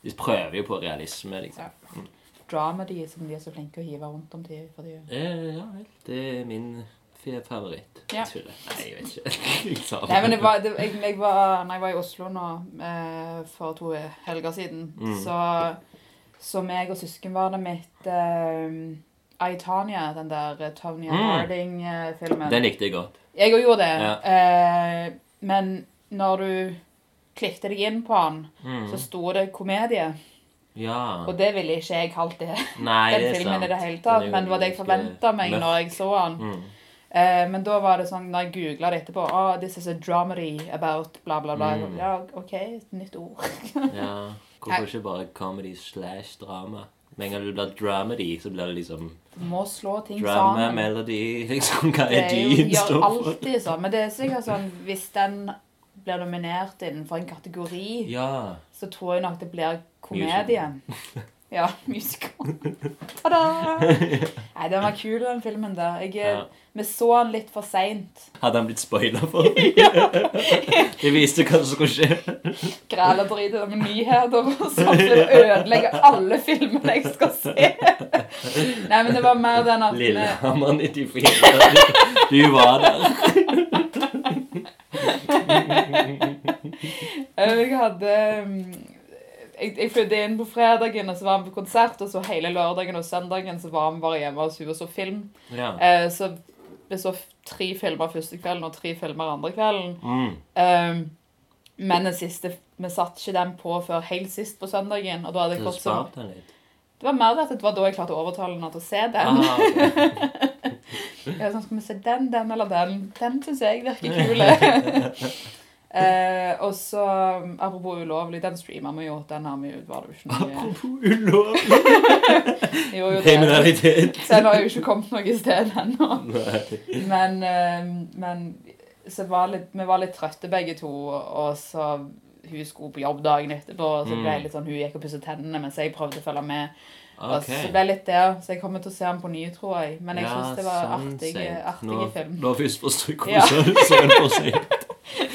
De prøver jo på realisme, liksom.
dramedy som de er så flinke å hive rundt om til for tiden.
Eh, ja vel. Det er min fe- favoritt.
Ja.
Jeg tuller. Nei, jeg vet ikke. jeg sa
Nei, men det var, det, jeg, jeg var, når jeg var i Oslo nå eh, for to helger siden,
Mm.
så, så meg og søskenbarnet mitt eh, I, Tanya, den der eh, Tonya
Mm.
Harding-filmen
Den likte jeg godt.
Jeg òg gjorde det.
Ja.
Eh, men når du klikket deg inn på den,
Mm.
så sto det komedie.
Ja.
Og det ville ikke jeg kalt det,
Nei,
den
det er
filmen
sant.
i det hele
Den
tatt.
er jo
Men det var det jeg
ganske
forventa meg
mørk.
når jeg så den.
Mm.
Eh, men da var det sånn, når jeg googla det etterpå oh, This is a dramedy about bla, bla, bla.
Mm.
Ja, OK, et nytt ord.
Ja. Hvorfor ikke bare comedy slash drama? Med en gang du blir dramedy, så blir det liksom
Du må slå ting
drama,
sammen.
melody liksom Hva
Det
er
er jo,
G-en
gjør
står for?
alltid sånn. Men det er sikkert sånn hvis den blir nominert innenfor en kategori,
Ja.
så tror jeg nok det blir komedien. Ja, musical. Ta-da! Nei, den var kul, den filmen der. Jeg,
Ja.
Vi så den litt for seint.
Hadde han blitt spoila for? Det viste hva som skulle skje.
Græledriter med nyheter og sånn. så det Ødelegger alle filmene jeg skal se. Nei, men det var mer den at vi-
Lillehammer 94. Du, du var der.
eh, Jeg hadde mm, jeg, jeg flydde inn på fredagen, og så var vi på konsert, og så hele lørdagen og søndagen så var vi bare hjemme hos henne og så film.
Ja.
Eh, så vi så f- tre filmer første kvelden og tre filmer andre kvelden.
Mm.
Eh, men den siste Vi satte ikke den på før helt sist på søndagen. Og da hadde jeg
Så
fått sånn
spart han litt.
Det var mer det at det var da jeg klarte å overtale henne til å se den.
Ah, ok.
Jeg var sånn, Skal vi se den, den eller den? Den syns jeg virker kul. Eh, og så, apropos ulovlig, den streamer vi jo. Den har vi jo var det jo
Ah,
ikke noe
Apropos ulovlig
Jo, jo, det.
kriminalitet.
Så den har jo ikke kommet noe sted ennå.
Nei.
Men, eh, men så var litt, vi var litt trøtte begge to, og så hun skulle på jobb dagen etterpå, og så ble
Mm.
jeg litt sånn, hun gikk og pusset tennene mens jeg prøvde å følge med. Og
Ok.
så ble jeg litt der, så jeg kommer til å se den på ny, tror jeg. Men jeg
Ja,
synes det var
sånn
artig,
sett.
artig
Nå-
film.
Nå først forstår jeg
Ja.
hvordan det er for seg.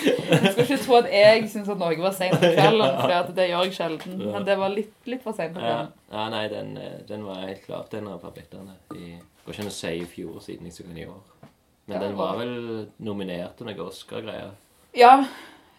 Jeg skal ikke tro at jeg synes at Norge var sent på kvelden, for det gjør jeg sjelden.
Ja.
Men det var litt, litt for sent på
Ja,
kvelden.
ja, nei, den, eh, den var helt klart den av favorittene. De går ikke an å si i fjor siden jeg så den i år. Men
Ja,
den
det
var
var-
vel nominert til noen Oscar-greier.
Ja,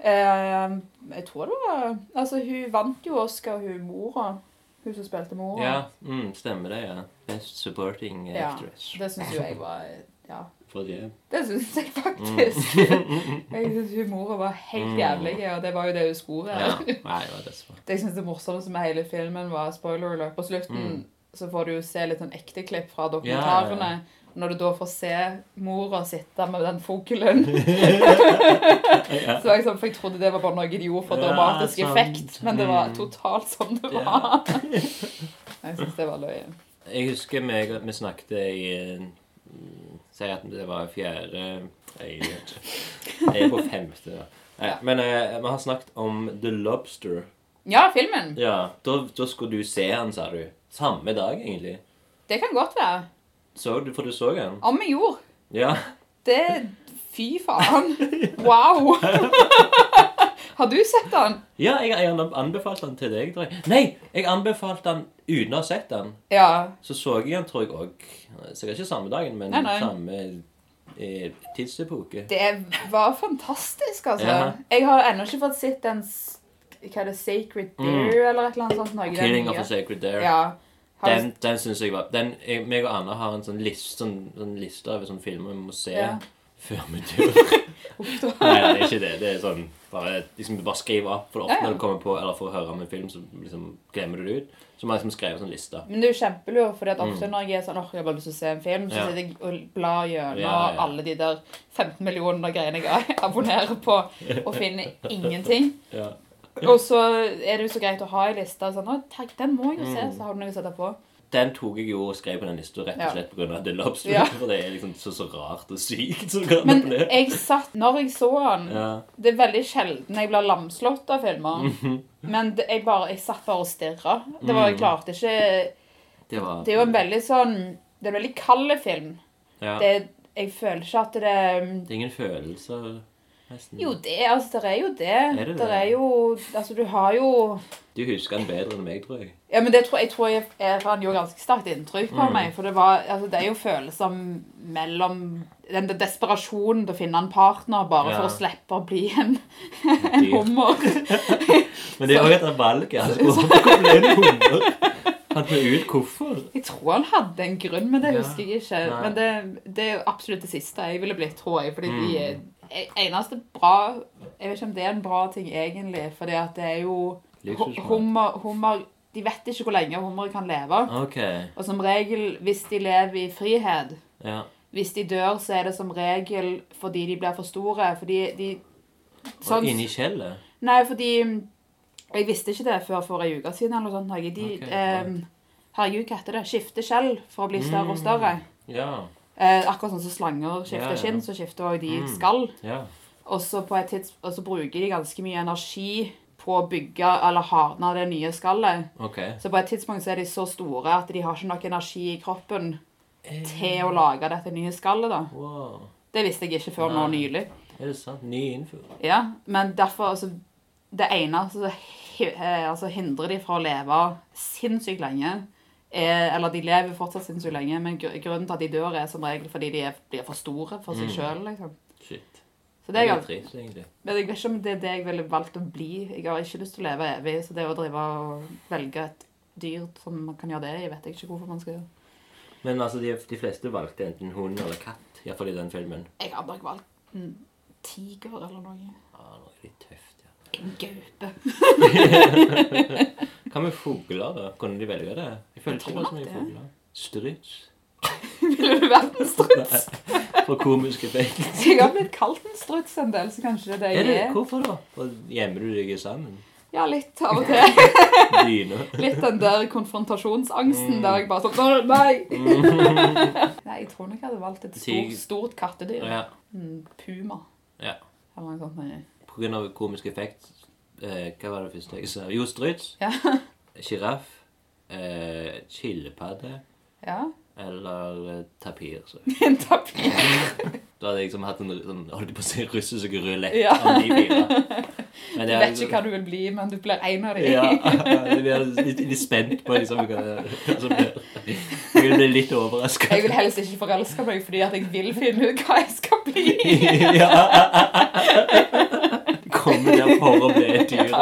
eh, jeg tror det var... Altså, hun vant jo Oscar, hun mora. Hun som spilte mora.
Ja, mm, stemmer det, ja. Best supporting
Ja,
actress.
Det synes jo jeg var... Ja.
For det.
Det syns
Mm.
jeg faktisk. jeg syns humoret var helt jævlig, og det var jo det hun skulle være.
Ja. Nei, det var dessverre.
Det jeg synes det morsomste med hele filmen, var spoiler alert. På slutten
Mm.
så får du jo se litt sånn ekte klipp fra
Ja, ja,
dokumentarene. Når du da får se mora sitte med den fuglen Så var jeg sånn, For jeg trodde det var bare noe de gjorde for
Ja,
dramatisk
sant.
effekt, men det var
Mm.
totalt som det
Ja.
var. jeg syns det var løye.
Jeg husker meg, vi snakket i eh, mm, Si at det var fjerde Jeg vet ikke. Jeg er på femte. da. Nei,
Ja.
Men eh, vi har snakket om The Lobster.
Ja, filmen.
Ja, Da, da skulle du se han, sa du. Samme dag, egentlig.
Det kan godt være.
Så du, For du så han?
Om vi gjorde.
Ja.
Det Fy faen. Wow. Har du sett den?
ja jeg, jeg anbefalte han til deg, tror jeg. Nei! Jeg anbefalte han uten å ha sett han.
Ja.
Så så jeg han, tror jeg òg. Sikkert ikke samme dagen, men
Nei, nei.
samme eh, tidsepoke.
Det var fantastisk, altså.
Ja.
Jeg har ennå ikke fått sett den s- Hva er det, Sacred Deer eller et eller annet sånt? Norge, den
Mm. Killing of
nye.
a Sacred Dare.
Ja. Har du-
Den, den syns jeg var den, jeg, meg og Anna har en sånn liste sånn, sånn liste over sånne filmer vi må se
Ja.
før vi dør.
Uff, da.
Nei, nei, det er ikke det. Det er sånn bare, liksom, bare skriv opp. For ofte
Ja, ja.
når du kommer på eller får høre om en film, så liksom, glemmer du det ut. Så man liksom skrevet sånn liste.
Men det er jo kjempelurt, for ofte når jeg er sånn, åh, jeg har bare lyst til å se en film, så
Mm. Ja.
sitter jeg og blar gjennom
Ja, ja.
alle de der 15 millioner greiene jeg abonnerer på, og finner ingenting.
Ja.
Og så er det jo så greit å ha ei liste. Sånn, «Å, takk, den må jeg jo
Mm.
se, så har du noe å sette på.
Den tok jeg jo og skrev på den lista rett
Ja.
og slett pga. The Lobster.
Ja.
For det er liksom så, så rart og sykt som kan
Men
oppleve.
jeg satt Når jeg så den
Ja.
Det er veldig sjelden jeg blir lamslått av filmer.
Mhm.
Men det, jeg, bare, jeg satt bare og stirra. Det var, jeg klarte ikke
Det var
Det er jo en veldig sånn Det er en veldig kald film.
ja.
Det, jeg føler ikke at det
Det er ingen følelser Nesten.
Jo, det, altså, det er jo det.
det det?
det er jo Altså, du har jo
Du husker den bedre enn meg, tror jeg.
Ja, men det tror, jeg tror jeg, jeg han gjorde ganske sterkt inntrykk på
Mm.
meg. For det, var, altså, det er jo følelser mellom Den der desperasjonen til å finne en partner bare
Ja.
for å slippe å bli en, en
Dyr.
hummer.
Men det er jo et av valget. Altså, hvorfor ble du hummer? Fant du ut hvorfor?
Jeg tror han hadde en grunn, men det
Ja.
husker jeg ikke.
Nei.
Men det, det er jo absolutt det siste jeg ville blitt, tror jeg. Fordi
Mm.
de er- e-, eneste bra Jeg vet ikke om det er en bra ting egentlig, fordi at det er jo
Luksusmat.
hu- hummer, hummer De vet ikke hvor lenge hummer kan leve.
OK.
Og som regel, hvis de lever i frihet
Ja.
Hvis de dør, så er det som regel fordi de blir for store. Fordi de
Og
Sånn-
inni skjellet?
Nei, fordi mm, Jeg visste ikke det før for ei uke siden. eller noe sånt. Norge. De,
Ok, right.
ehm, herregud, hva heter det? Skifter skjell for å bli større og større.
Ja.
Eh, akkurat sånn som slanger skifter
Ja, ja.
skinn, så skifter også de
Mm.
skall.
ja.
Og så på et tids, og så bruker de ganske mye energi på å bygge eller hardne det nye skallet.
OK.
Så på et tidspunkt så er de så store at de har ikke nok energi i kroppen
Eh.
til å lage dette nye skallet. da.
Wow.
Det visste jeg ikke før nå
Nei.
nylig.
Er det sant? Ny info.
Ja, men derfor altså, Det ene som hi- eh, altså, hindrer de fra å leve sinnssykt lenge er, Eller de lever fortsatt sinnssykt lenge, men gr grunnen til at de dør, er som regel fordi de er, blir for store for seg
Mm.
sjøl. Liksom.
Shit.
Så det er
litt
galt.
trist, egentlig.
Men jeg vet ikke om det er det jeg ville valgt å bli. Jeg har ikke lyst til å leve evig, så det å drive og velge et dyr som man kan gjøre det i, vet jeg ikke hvorfor man skal gjøre.
Men altså, de, de fleste valgte enten hund eller katt. Iallfall i den filmen.
Jeg har bare valgt en tiger eller noe.
Ah, noe litt tøft, ja.
En gaupe.
Hva med fugler, da? Kunne de velge det? Jeg følte
Jeg
ikke det var så
tror
mye
nok
fugler. Struts.
Ville du vært en struts?
For komisk effekt.
Jeg har blitt kalt en struts en del, så kanskje det er
Er
det
det,
jeg er.
hvorfor da? Og gjemmer du deg i sanden?
Ja, litt av og til.
Dyne?
Litt den der
Mm.
konfrontasjonsangsten der jeg bare sånn Nei! Nei, jeg tror nok jeg hadde valgt et
Tig-
stort, stort kattedyr.
Mm. Ja.
Mm, Puma.
Ja.
Eller noe sånt. nei.
På grunn av komisk effekt eh, Hva var det første jeg sa? Jo, struts.
Ja.
Sjiraff. Eh, Skilpadde.
ja.
Eller eh, tapir. Så.
En tapir.
Da hadde jeg liksom hatt en sånn, holdt jeg på å si russisk rulett
Ja.
av de fire. Men liksom
Du
jeg-
vet ikke hva du vil bli, men du blir en av dem.
Ja, jeg blir litt, litt spent på liksom, hva hva som blir. Jeg vil bli litt overraska.
Jeg vil helst ikke forelske meg fordi at jeg vil finne ut hva jeg skal bli.
ja. Komme der for å bli et dyr.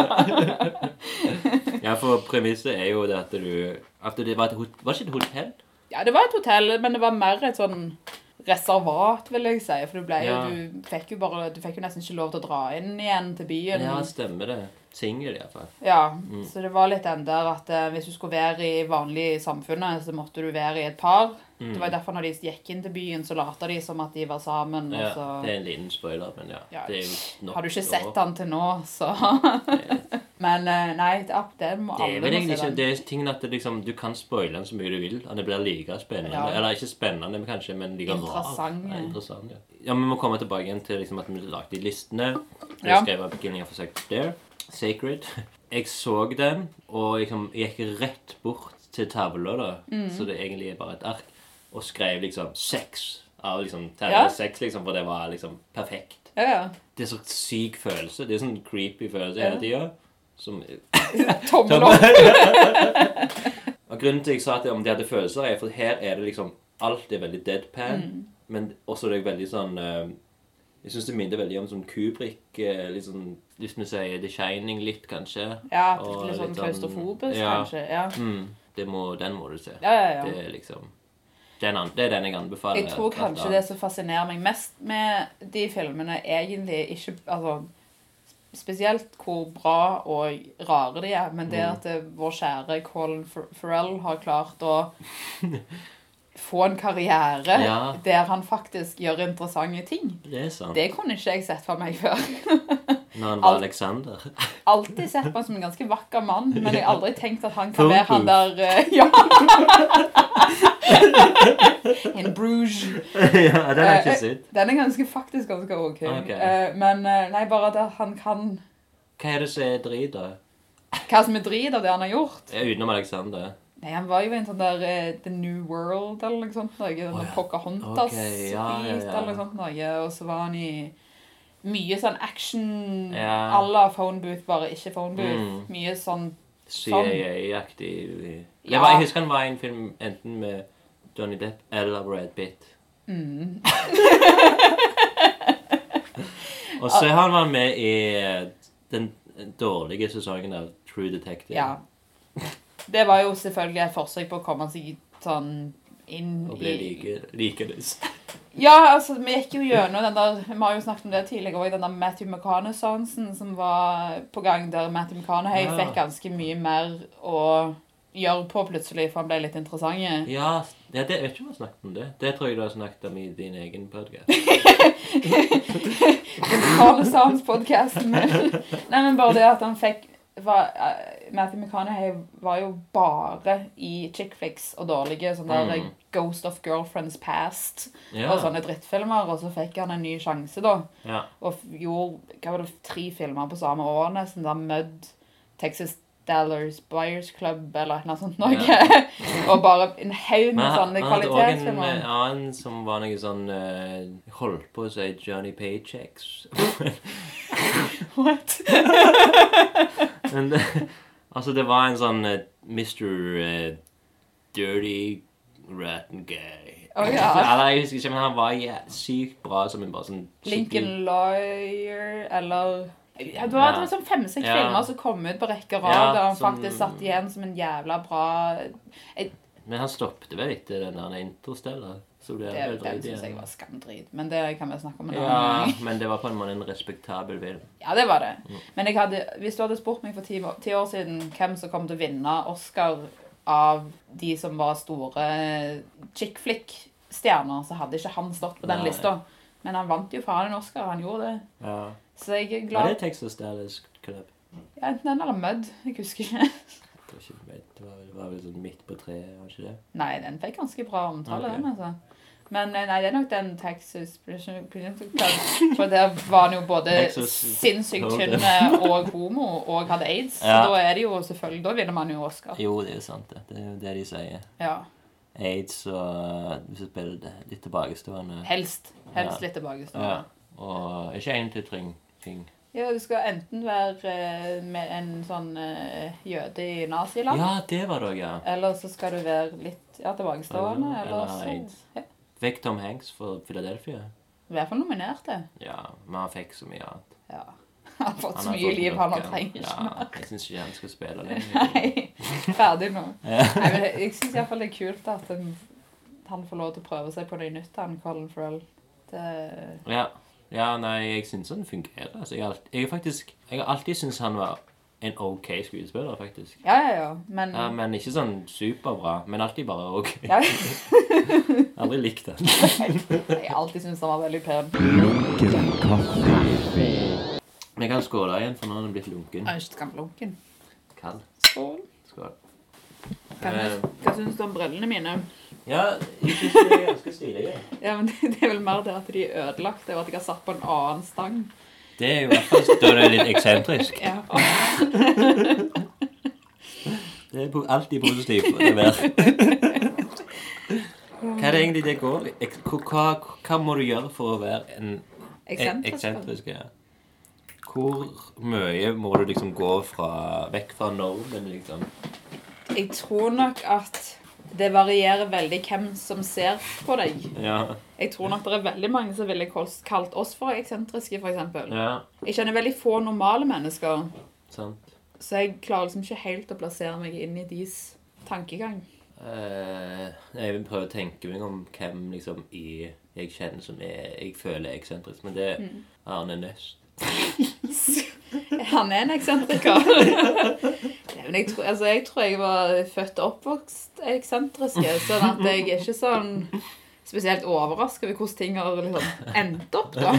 Ja, for premisset er jo det at du at det var, et, hot- var ikke et hotell?
Ja, det var et hotell, men det var mer et sånn reservat, vil jeg si. For du, ble, jo-
Ja.
du, fikk jo bare, du fikk jo nesten ikke lov til å dra inn igjen til byen.
Ja, Mm. stemmer det. Singel, iallfall.
Ja, så det var litt den der at eh, hvis du skulle være i vanlig samfunnet, så måtte du være i et par.
Mm.
Det var jo derfor når de gikk inn til byen, så lata de som at de var sammen.
Ja,
og så...
det er en liten spoiler, men ja.
Mm. Altså- Ja.
Det er jo nok
Har du ikke
år.
sett den til nå, så Men eh, nei, det, det må
Det
alle
er vel
må
egentlig
se
ikke
den.
det er tingen at det liksom, du kan spoile den så mye du vil. At det blir like spennende.
Ja.
Eller ikke spennende, men kanskje men like rar.
Interessant,
Ja,
ja.
interessant ja. ja, Vi må komme tilbake igjen til liksom, at vi lagde de listene. Jeg
Ja.
skrev opp Gillian for Sacred Stair. Sacred. Jeg så den, og liksom, jeg gikk rett bort til tavla, da.
Mm.
Så det egentlig er bare et ark. Og skrev liksom sex. Av liksom terningen
Ja.
sex, liksom, for det var liksom perfekt.
Ja, ja.
Det er så syk følelse. Det er sånn creepy følelse
Ja.
hele tida. Som
Tommel opp.
og grunnen til at jeg sa at om de hadde følelser, er for her er det liksom Alt er veldig deadpan,
Mm.
men også det er veldig sånn eh, Jeg syns det minner veldig om sånn Kubrik eh, litt sånn, Hvis vi sier The Shining litt, kanskje.
Ja,
Og
litt sånn
litt sånn-
klaustrofobisk,
ja.
kanskje. Ja,
Mm, det må, den må du se.
ja, ja. ja.
Det er liksom den an, Det er den jeg anbefaler.
Jeg tror
alt
kanskje det
annet.
som fascinerer meg mest med de filmene, egentlig ikke altså, Spesielt hvor bra og rare de er, men det
Mm.
at eh, vår kjære Colin Fer- Farrell har klart å få en karriere
Ja.
der han faktisk gjør interessante ting.
Det er sant.
Det kunne ikke jeg sett for meg før.
Når han var
alt-
Alexander.
Alltid sett på han som en ganske vakker mann, men jeg har aldri tenkt at han kan
Foolproof.
være han der eh, Ja! In Bruges.
ja, den har jeg ikke
Eh,
sett.
Den er ganske, faktisk ganske ok.
Ah, Ok.
Eh, men eh, nei, bare at han kan
Hva er det som er drit, da?
hva som er drit av det han har gjort.
Ja, Utenom Alexander.
Nei, Han var jo i en sånn der eh, The New World eller noe sånt. Noe, den
Å,
der
ja.
Pocahontas
Ok, ja, ja, ja.
eller noe sånt. Noe. Og så var han i mye sånn action
Ja.
à la phone booth, bare ikke phone booth.
Mm.
Mye sånn
CIA-aktig
Ja.
Det var- Jeg husker han var i en film enten med Johnny Depp eller Brad Pitt.
Mm.
Og så har han vært med i eh, den dårlige sesongen av True Detective.
Ja. Det var jo selvfølgelig et forsøk på å komme seg sånn inn
Og ble
i
like, likedes.
Ja, altså, vi gikk jo gjennom den der Vi har jo snakket om det tidligere òg, den der Matthew McConaughey-sansen som var på gang, der Matthew McConaughey
Ja.
fikk ganske mye mer å gjøre på plutselig, for han ble litt interessant.
Ja, ja det, jeg vet ikke om jeg har snakket om det. Det tror jeg du har snakket om i din egen podcast.
Karlesans-podkasten. Nei, men bare det at han fikk var, eh, Matthew McConaughey var jo bare i chick flicks og dårlige sånne der
Mm.
Ghost of Girlfriends Past
Ja.
og sånn. sånne drittfilmer, og så fikk han en ny sjanse, da.
ja.
Og f- gjorde hva var det, tre filmer på samme år, nesten. da Mud, Texas Dallars Buyers Club eller noe sånt noe. og bare en haug
Men
med
han,
sånne
han hadde også en eh,
kvalitetsfilmer.
annen som var noe sånn eh, Holdt på å si Johnny Paychecks.
What?
Men det, altså, det var en sånn eh, Mr. eh, dirty Rotten Guy.
Å, ja.
Eller jeg husker ikke, men han var ja, sykt bra som en bare sånn skikkelig-
Lincoln Lawyer eller ja, Det var, det var sånn fem-seks
Ja.
filmer som kom ut på rekke og rad,
Ja,
der han
som-
faktisk satt igjen som en jævla bra
Men han stoppet vel etter den der Interstellar. Så ble
Det
han
er
vel
jo den
dritt
syns jeg
igjen.
var skamdrit, men det kan vi snakke om en annen
Ja,
gang.
men det var på en måte en respektabel film.
Ja, det var
Mm.
det. Men jeg hadde, hvis du hadde spurt meg for ti, år- ti år siden hvem som kom til å vinne Oscar av de som var store chick flick-stjerner, så hadde ikke han stått på den
Nei.
lista. Men han vant jo faen en Oscar, han gjorde det.
Ja.
Så jeg
Var
er
det
glad.
Texas Dallas Club?
Ja, enten den eller Mud. Jeg husker ikke.
Det var, ikke, det var, vel, det var vel sånn midt på treet, var det ikke det?
Nei, den fikk ganske bra omtale,
Ok.
den, altså. Men eh, nei, det er nok den Texas Prison Prison Club. For der var han jo både
Texas
sinnssykt
Hold'em.
tynn og homo og hadde aids.
Ja.
Så da er det jo selvfølgelig Da vinner man jo Oscar.
Jo, det er jo sant, det. Det er jo det de sier.
Ja.
Aids og Hvis du spiller det litt tilbakestående
Helst. Helst
Ja.
litt tilbake.
ja.
Ja.
Og ikke én til ting. ting.
ja, du skal enten være eh, med en sånn eh, jøde i naziland,
Ja, det var det òg, ja.
eller så skal du være litt ja, tilbakestående,
Eller-
eller,
eller
så
AIDS.
ja.
Fikk Tom Hanks for Philadelphia?
I hvert fall nominerte.
Ja, men han fikk så mye annet.
Ja. Han har fått så
har
mye
fått
liv,
nok,
han, han
ja.
trenger
ja,
ikke mer.
Jeg syns ikke han skal spille lenger.
Nei, ferdig nå. Nei, men jeg syns iallfall det er kult at en, han får lov til å prøve seg på noe nytt, han Colin Farrell. Det,
Ja. ja, nei, jeg syns han fungerer. Altså, jeg, har alt- jeg, er faktisk, jeg har alltid syntes han var en OK skuespiller, faktisk.
ja, ja, ja, men
Ja, men ikke sånn superbra, men alltid bare OK.
Mm. ja,
Aldri likt han.
Jeg har alltid syntes han var veldig pen.
Lunken kaffe.
Vi kan skåle igjen, for nå har den blitt lunken.
Jeg er ikke skamlunken.
Kald.
Skål.
Skål.
Kan jeg- Hva syns du om brillene mine?
ja, jeg syns de er ganske stilige.
Ja, men Det det er vel mer det at de er ødelagt, det er jo at jeg har satt på en annen stang.
Det er jo i hvert fall da det er litt eksentrisk.
Ja.
Det er po- alltid positivt. Det der. Hva er det egentlig det går i? Ek- hva- Hva, hva må du gjøre for å være en e-
Eksentrisk,
eksentrisk? Ja. Hvor mye må du liksom gå fra, vekk fra normen, liksom?
Jeg tror nok at det varierer veldig hvem som ser på deg.
Ja.
Jeg tror nok det er veldig mange som ville kals- kalt oss for eksentriske, f.eks.
ja
Jeg kjenner veldig få normale mennesker,
sant.
så jeg klarer liksom ikke helt å plassere meg inn i deres tankegang.
Eh, jeg vil prøve å tenke meg om hvem liksom i jeg kjenner som er Jeg føler er eksentrisk, men det er
Mm.
Arne Nøst.
Han er en eksentriker. Nei, men jeg, tror, altså, jeg tror jeg var født og oppvokst eksentrisk, sånn at jeg er ikke sånn spesielt overraska over hvordan ting har liksom endt opp, da.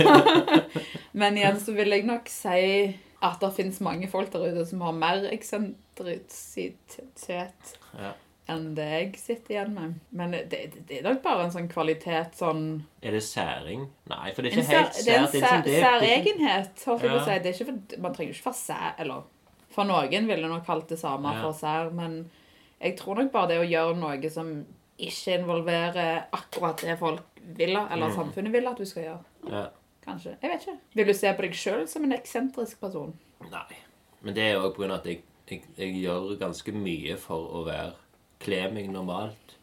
Men igjen så vil jeg nok si at det fins mange folk der ute som har mer eksentrisitet
Ja.
enn det jeg sitter igjen med. Men det, det, det er nok bare en sånn kvalitet sånn
Er det særing? Nei, for det er
en
ikke
sær,
helt
det er en
sært. Det er liksom det-
sær,
det er ikke-
særegenhet, holdt jeg på å
Ja.
si. Det er ikke for, man trenger ikke for sær, eller For noen ville nok kalt det samme
Ja.
for sær, men jeg tror nok bare det å gjøre noe som ikke involverer akkurat det folk vil, eller samfunnet vil at du skal gjøre.
Ja.
Kanskje. Jeg vet ikke. Vil du se på deg sjøl som en eksentrisk person?
Nei. Men det er òg pga. at jeg, jeg, jeg gjør ganske mye for å være Kle meg normalt.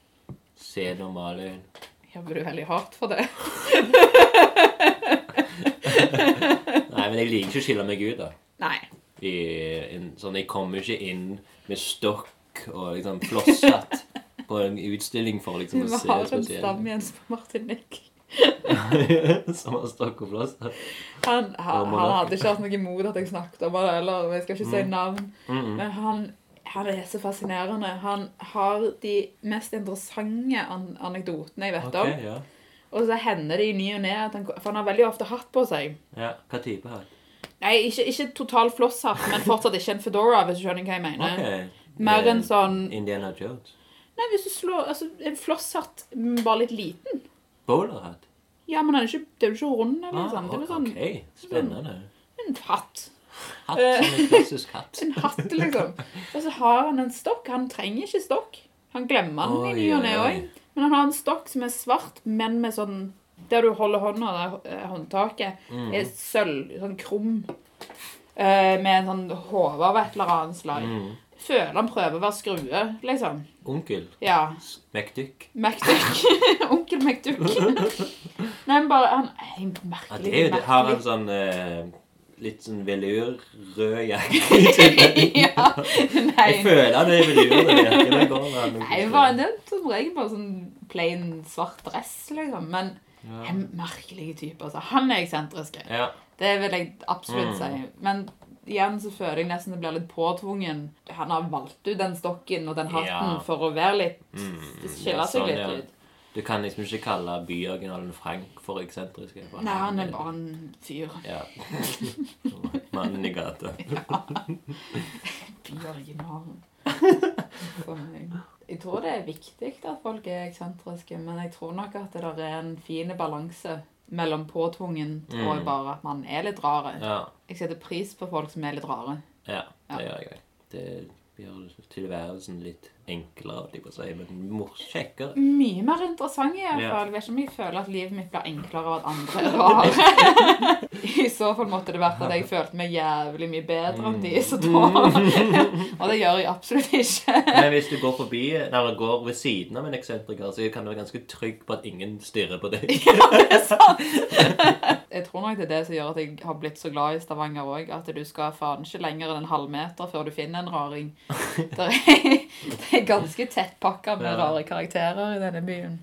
Se normal ut.
Jobber du veldig hardt for det?
Nei, men jeg liker ikke å skille meg ut, da.
Nei.
I, en, sånn, jeg kommer ikke inn med stokk og liksom flosshatt på en utstilling for
Du
liksom å se
har en
spesiell
stamme Jens på Martinique.
ut. Som har stokk og flosshatt.
Han, han,
Og
han
monark.
hadde ikke hatt noe imot at jeg snakket om det, eller jeg skal ikke
Mm.
si navn. Men han, han er så fascinerende. Han har de mest interessante an anekdotene jeg vet
Ok, ja.
om. Og så hender det i ny og ne at han For han har veldig ofte hatt på seg.
ja. Hva type her?
Nei, ikke, ikke total flosshatt, men fortsatt ikke en fedora, hvis du skjønner hva jeg mener.
Ok.
Mer en sånn
Indiana Jones.
Nei, hvis du slår Altså, en flosshatt, men bare litt liten.
Bowlerhatt.
Ja, men den er ikke, det er jo ikke rund, eller noe
Ah,
sånt. Det er jo sånn
ok, spennende.
en hatt.
Hatt som en klassisk hatt.
En hatt, liksom. Og så har han en stokk. Han trenger ikke stokk. Han glemmer den i ny
Oi,
og ne
oi, oi.
òg. Men han har en stokk som er svart, men med sånn Der du holder hånda, der eh, håndtaket,
Mm.
er sølv, sånn krum. eh, Med en sånn hode av et eller annet slag.
Mm.
Føler han prøver å være skrue, liksom.
Onkel.
Ja.
McDuck.
MacDuck. Onkel MacDuck. Nei, men bare Han er en
Ja,
merkelig,
det er jo det. Har en
merkelig
sånn eh, litt sånn velurrød jakke.
Ja. Nei.
Jeg føler han er velur. den jakken. Den går han nok
Nei,
ikke.
bare det er som regel bare sånn plain svart dress, liksom. Men en merkelig type, altså. Han er eksentrisk.
Ja. Mm.
Det vil jeg absolutt si. Men igjen så føler jeg nesten det blir litt påtvungen. Han har valgt ut den stokken og den hatten
Ja.
for å være litt Skille
ja,
seg
sånn,
litt
ja.
ut.
Du kan liksom ikke kalle byoriginalen Frank for eksentrisk. for
Nei, han er bare en fyr.
Ja. Mannen i gata.
Bjørgnaren. For meg. Jeg tror det er viktig at folk er eksentriske, men jeg tror nok at det der er en fin balanse mellom påtvungen og
Mm.
bare at man er litt rare.
Ja.
Jeg setter pris på folk som er litt rare.
ja,
Ja.
det gjør jeg òg. Det gjør tilværelsen litt enklere, holdt jeg på å si, men mor- kjekkere.
Mye mer interessant i hvert
Ja.
fall. Jeg vet ikke om jeg føler at livet mitt blir enklere av at andre er rare. I så fall måtte det vært at jeg følte meg jævlig mye bedre enn de, så
Mm.
da Og det gjør jeg absolutt ikke.
Men hvis du går forbi, eller går ved siden av en eksentriker, så kan du være ganske trygg på at ingen stirrer på deg.
Ja, det er sant! Jeg tror nok det er det som gjør at jeg har blitt så glad i Stavanger òg. At du skal faen ikke lenger enn en halvmeter før du finner en raring. Det er, det er ganske tettpakka med
Ja.
rare karakterer i denne byen.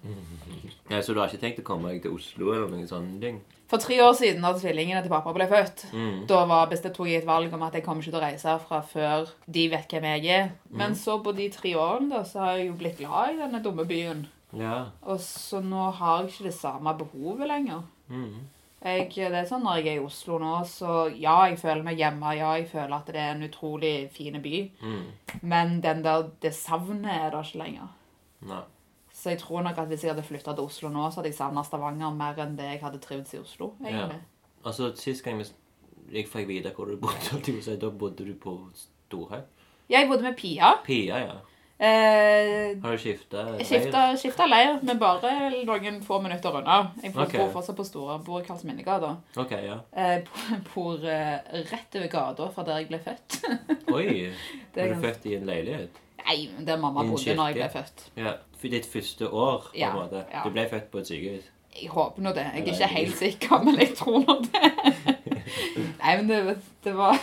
Ja, så du har ikke tenkt å komme deg til Oslo eller noen sånne ting?
For tre år siden, da tvillingene til pappa ble født,
Mm.
da var bestemt tok jeg et valg om at jeg kommer ikke til å reise herfra før de vet hvem jeg er. Men så på de tre årene da, så har jeg jo blitt glad i denne dumme byen.
Ja.
Og så nå har jeg ikke det samme behovet lenger.
Mm.
Jeg, det er sånn Når jeg er i Oslo nå, så ja, jeg føler meg hjemme. Ja, jeg føler at det er en utrolig fin by.
Mm.
Men den der, det savnet er der ikke lenger.
Nei.
Så jeg tror nok at hvis jeg hadde flytta til Oslo nå, så hadde jeg savna Stavanger mer enn det jeg hadde trivdes i Oslo. egentlig.
Altså, sist gang vi s- jeg fikk vite hvor du bodde, holdt jeg på å si, da bodde du på Storhaug?
Jeg bodde med Pia.
Pia, ja.
Eh,
Har du skifta
skifta, skifta leir, men bare noen få minutter unna. Jeg bor,
Ok.
bor fortsatt på Store, bor i Karlsminnegata.
Ok, ja.
Eh, bor- bor eh, rett over gata fra der jeg ble født.
Oi!
Det er
Var du
ganske-
født i en leilighet?
Nei, men der mamma
I en
bodde når jeg ble
kirke?
født.
Ja. For ditt første år, på
Ja,
en måte.
ja.
Du ble født på et sykehus.
Jeg håper nå det. Jeg er
Eller-
ikke helt sikker, men jeg tror nå det. Nei, men det, det var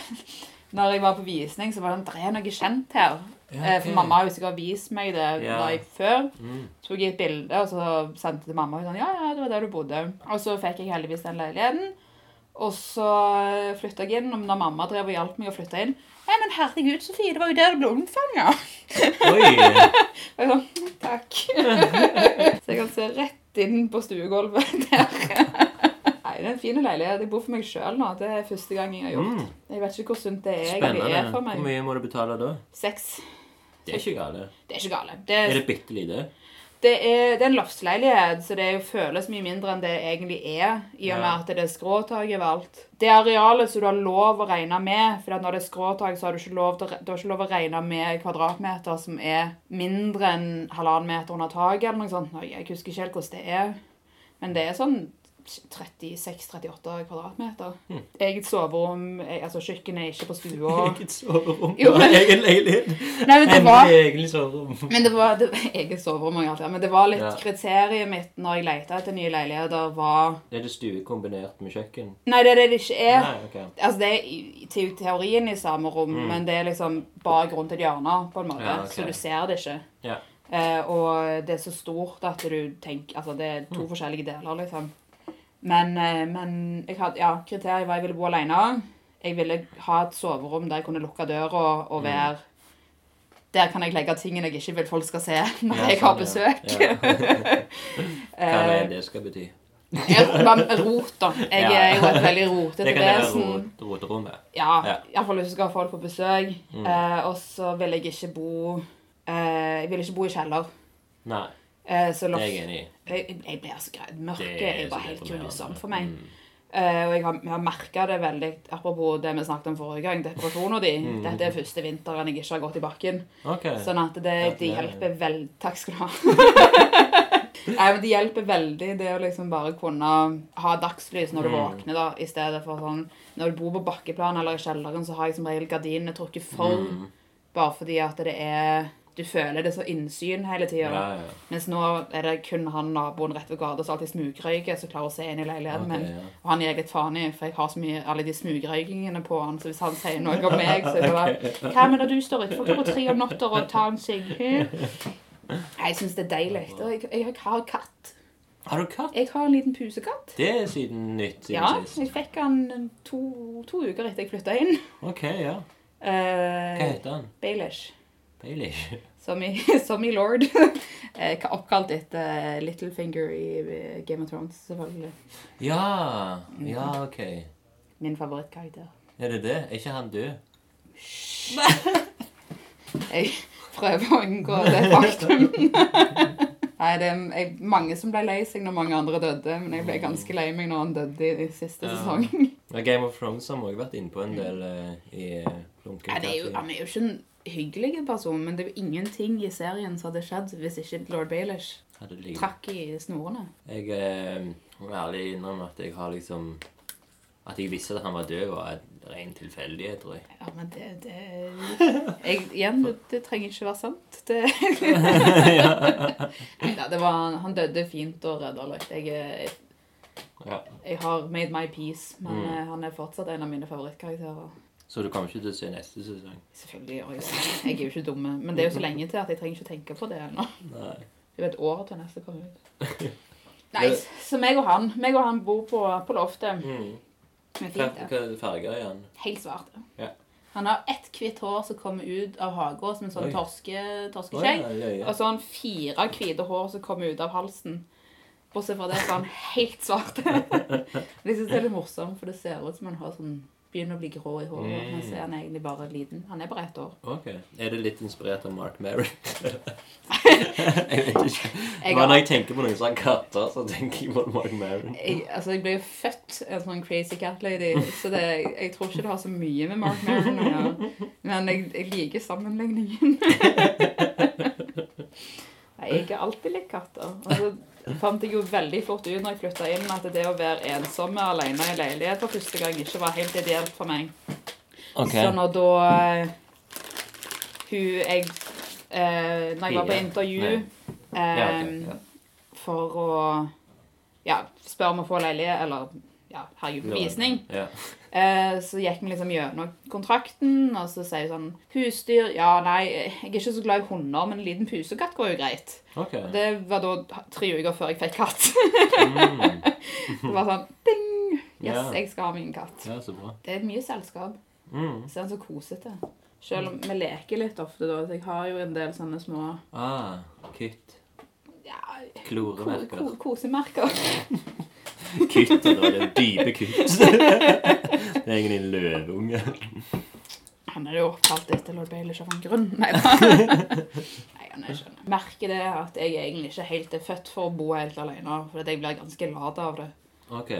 Når jeg var på visning, så var det det er noe kjent her. Eh, For mamma har jo sikkert vist meg det
Ja.
da jeg før.
Mm.
Så tok jeg et bilde og så sendte det til mamma. Og hun sånn, ja, ja, det var der du bodde. Og så fikk jeg heldigvis den leiligheten. Og så flytta jeg inn, og da mamma drev og hjalp meg å flytte inn Nei, men herregud, Sofie, det var jo der du ble unnfanga!
Oi!
Og jeg sånn, takk. Så jeg kan se rett inn på stuegulvet der. Nei, det er en fin leilighet. Jeg bor for meg sjøl nå. Det er første gang jeg har gjort.
Mm.
Jeg vet ikke hvor sunt det egentlig
Spennende.
er
Hvor
for meg.
mye må du betale da?
Seks.
Det er ikke gale.
Det er ikke gale. Det
Er
er,
det bitte lite?
det er, det er en loftsleilighet, så det er jo føles mye mindre enn det egentlig er, i og med
Ja.
at det er skråtak overalt. Det arealet som du har lov å regne med, for når det er skråtak, så har du ikke lov til, å re- du har ikke lov å regne med kvadratmeter som er mindre enn halvannen meter under taket, eller noe sånt. Nå, Jeg husker ikke helt hvordan det er. Men det er sånn 36-38 kvadratmeter. Eget soverom, eh, altså kjøkkenet er ikke på stua.
Eget soverom.
Jo, men-
Egen leilighet.
Nei, men det var,
Endelig egen soverom.
men det var det, eget soverom og alt det, men det var litt
Ja.
kriteriet mitt når jeg lette etter nye leiligheter, var
Er det stue kombinert med kjøkken?
Nei, det er det det ikke er.
Nei, ok.
Altså, det er i te teorien i samme rom, men det er liksom bak rundt et hjørne, på en måte.
Ja, ok.
Så du ser det ikke.
Ja.
Eh, og det er så stort at du tenker Altså, det er to
Mm.
forskjellige deler, liksom. Men, eh, men jeg hadde, ja, kriteriet var jeg ville bo alene. Jeg ville ha et soverom der jeg kunne lukke døra
Mm.
og være Der kan jeg legge tingene jeg ikke vil folk skal se når
Ja,
jeg har
sånn, ja.
besøk. Eh,
Hva er det det skal bety?
Jeg- Rot, da. Jeg er jo et veldig
Det
rotete
kan være
vesen.
rot- roterommet.
Ja,
Ja. Mm.
iallfall hvis du skal ha folk på besøk. Eh, og så vil jeg ikke bo eh, Jeg vil ikke bo i kjeller.
Nei,
Eh, så
det er
loft
jeg enig i.
Jeg, jeg blir så grei. Mørket
Det er
er jo bare
så
helt
deprimerende. Mm.
grusomt for meg. Eh, og jeg har, jeg har merka det veldig, apropos det vi snakket om forrige gang, depresjonen din.
Mm.
Dette er første vinteren jeg ikke har gått i bakken.
Ok.
Sånn at det, det
Gratulerer.
hjelper veldig Takk skal du ha. Nei, men Det hjelper veldig det å liksom bare kunne ha dagslys når du
Mm.
våkner, da, i stedet for sånn Når du bor på bakkeplan eller i kjelleren, så har jeg som regel gardinene trukket for,
Mm.
bare fordi at det er Du føler det så innsyn hele tida.
Ja, ja.
Mens nå er det kun han naboen rett ved gata som alltid smugrøyker, som klarer å se inn i leiligheten
Ok,
min.
ja.
Og han gir jeg litt faen i, for jeg har så mye alle de smugrøykingene på han. Så hvis han sier noe om meg, så er det bare Hva med når du står utenfor klokka tre om natta og tar en sigg? hm?» Nei, Jeg syns det er deilig. Og jeg, jeg har katt.
Har du katt?
Jeg har en liten pusekatt.
Det er siden nytt siden
Ja,
sist.
jeg fikk han to, to uker etter jeg flytta inn.
Ok, ja. Hva
Uh,
heter han?
Baelish.
Bailey?
Som i, som i Lord. Eh, Oppkalt etter Littlefinger i eh, Game of Thrones, selvfølgelig.
Ja, ja, ok.
Min favorittkarakter.
Er det det? Er ikke han død?
Jeg prøver å unngå det faktum. Nei, det er jeg, mange som ble lei seg når mange andre døde, men jeg ble ganske lei meg når han døde i, i siste
Ja.
sesong.
Ja, Game of Thrones har vi også vært inne på en del eh, i eh, Lunken
Nei, det er jo,
Kaffe.
han er jo ikke en hyggelig person, men det er jo ingenting i serien som hadde skjedd hvis ikke Lord Baelish
Hadde ligget.
trakk i snorene.
Jeg eh, må ærlig innrømme at jeg har liksom At jeg visste at han var død, var en ren tilfeldighet, tror jeg.
Ja, men det, det jeg, Igjen, det, det trenger ikke være sant. Det, Neida, det var, han døde fint og rødderløkt. Jeg, jeg,
Ja.
jeg har made my peace, men
Mm.
eh, han er fortsatt en av mine favorittkarakterer.
Så du kommer ikke til å se neste sesong?
Selvfølgelig gjør jeg det. Jeg er jo ikke dumme. Men det er jo så lenge til at jeg trenger ikke tenke på det ennå.
Nei.
Det er jo et år til neste kommer ut. Nei, så meg og han meg og han bor på, på loftet.
Mm.
Det er
Hva,
fint, det.
hva farger er han?
Helt svart.
Ja.
Han har ett hvitt hår som kommer ut av hagen som en sånn
Oi.
torske,
Å,
torskeskjegg.
ja, ja, ja.
Og så har han fire hvite hår som kommer ut av halsen. Bortsett fra det så er han helt svart. Men jeg synes det er litt morsomt, for det ser ut som han har sånn, begynner å bli grå i håret.
Mm.
Men så er han egentlig bare liten. Han er bare ett år.
Ok. Er det litt inspirert av Mark Merrick? jeg vet ikke.
Jeg,
Men
har,
når jeg tenker på noen sånne katter, så tenker jeg på Mark Merrick.
jeg, altså, jeg ble jo født en sånn crazy cat lady, så det, jeg tror ikke det har så mye med Mark Maron å gjøre. Men jeg, jeg liker sammenligningen. Nei, Jeg har alltid likt katter. Og så fant jeg jo veldig fort ut når jeg flytta inn, at det å være ensomme alene i leilighet for første gang ikke var helt ideelt for meg. Så når da eh, hun jeg eh, Når jeg var på
Fire.
intervju
Nei. Ja,
eh,
ok, ja.
for å ja, spørre om å få leilighet, eller ja, herregud, på visning,
Ja.
eh, så gikk vi liksom gjennom kontrakten, og så sier hun sånn Husdyr Ja, nei, jeg er ikke så glad i hunder, men en liten pusekatt går jo greit.
Ok.
Det var da tre uker før jeg fikk katt.
Mm.
Det var sånn ding! Yes,
Ja.
jeg skal ha min katt.
Ja, så bra.
Det er mye selskap.
Mm.
Så er han så kosete. Selv om vi leker litt ofte, da. Så jeg har jo en del sånne små
Ah, kutt.
ja, ko
Kloremerker.
ko kosemerker.
Kutt, og da er det dype kutt. det er egentlig en løveunge.
Han er jo oppkalt etter Lord Bailey av en grunn. Nei da. Nei, han er ikke det. Merker det at jeg egentlig ikke helt er født for å bo helt alene. For at jeg blir ganske lat av det.
Ok.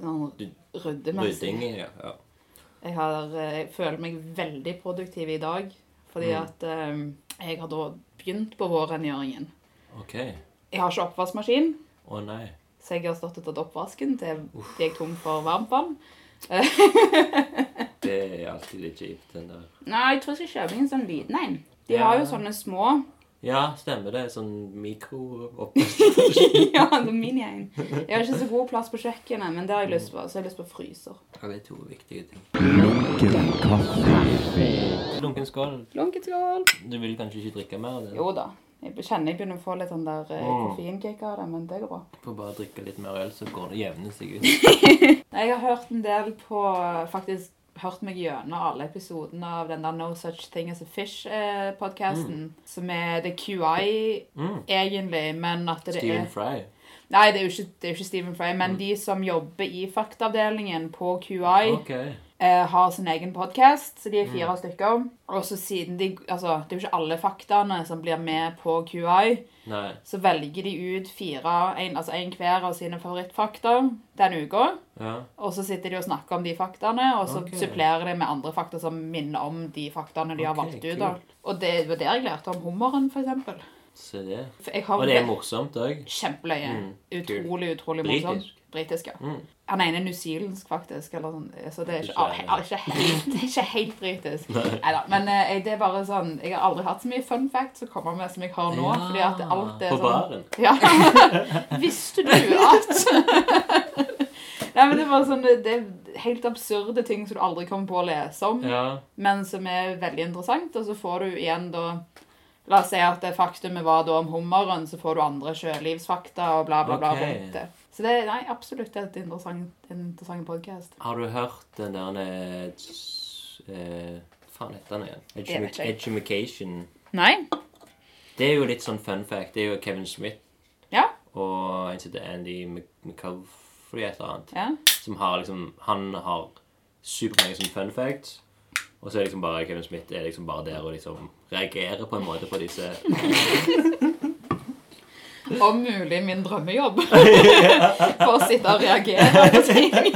Sånn ryddemessig.
Rydding, ja. ja.
Jeg, har, eh, jeg føler meg veldig produktiv i dag. Fordi
Mm.
at eh, jeg har da begynt på vårrengjøringen.
Ok. Å
Jeg har ikke oppvaskmaskin.
nei.
Så jeg har stått og tatt oppvasken til til jeg er tom for varmtvann.
Det er alltid litt kjipt, den der.
Nei, jeg tror jeg skal kjøpe meg en sånn liten en. De
Ja.
har jo sånne små.
Ja, stemmer det. Sånn mikro
ja, sånn mini-en. Jeg har ikke så god plass på kjøkkenet, men det har jeg lyst på. Så jeg har lyst på fryser.
Ja, det er to viktige ting.
Lunken kaffe.
Lunken skål.
Lunkeskål!
Du vil kanskje ikke drikke mer av det?
Jo da. Jeg kjenner jeg begynner å få litt den der eh,
Mm.
koffeinkick av det, men det går bra.
Får bare drikke litt mer øl, så går det jevner seg ut.
Nei, Jeg har hørt en del på Faktisk hørt meg gjennom alle episodene av den der No Such Thing As A Fish-podkasten. Som er det er QI,
Mm.
egentlig, men at det
Steven
er
Fry.
Nei, det er jo ikke, det er jo ikke Stephen Fry, men de som jobber i faktaavdelingen på QI,
Ok.
eh, har sin egen podkast, så de er
Mm.
fire stykker. Og så siden de Altså, det er jo ikke alle faktaene som blir med på QI,
Nei.
så velger de ut fire, en, altså en hver av sine favorittfakta den uka.
Ja.
Og så sitter de og snakker om de faktaene, og så
Ok.
supplerer de med andre fakta som minner om de faktaene de har
Ok,
valgt ut. da.
kult.
Og det var der jeg lærte om hummeren, for eksempel.
Se det.
For jeg har
Og det er morsomt òg.
kjempeløye.
Mm,
Utrolig, utrolig
Britisk.
morsomt. Britisk, ja.
Mm.
Han ene er newzealandsk, faktisk. Eller sånn. Så det er ikke,
Ikke-
ah, ikke, helt, det er ikke helt britisk. Neida, Men eh, det er bare sånn Jeg har aldri hatt så mye fun facts å komme med som jeg har nå.
Ja,
fordi at alt er
på
sånn
baren.
Ja. Visste du at Nei, men Det er bare sånn Det det er helt absurde ting som du aldri kommer på å lese om,
Ja.
men som er veldig interessant. Og så får du igjen da La oss si at det faktumet var da om hummeren, så får du andre sjølivsfakta og bla, bla, bla.
Ok.
rundt det. Så det er nei, absolutt et interessant, en interessant podkast.
Har du hørt den der eh, s- eh, Faen, heter den igjen?
Jeg vet
Edumic-
ikke.
Edumication.
Nei?
Det er jo litt sånn fun fact. Det er jo Kevin Smith
Ja.
og en som heter Andy Mc- McCaffrey et eller annet.
ja.
Som har liksom Han har supermange sånne fun facts. Og så er liksom bare Kevin Smith er liksom bare der og liksom reagerer på en måte på disse
Om mulig min drømmejobb. For å sitte og reagere på ting. Jeg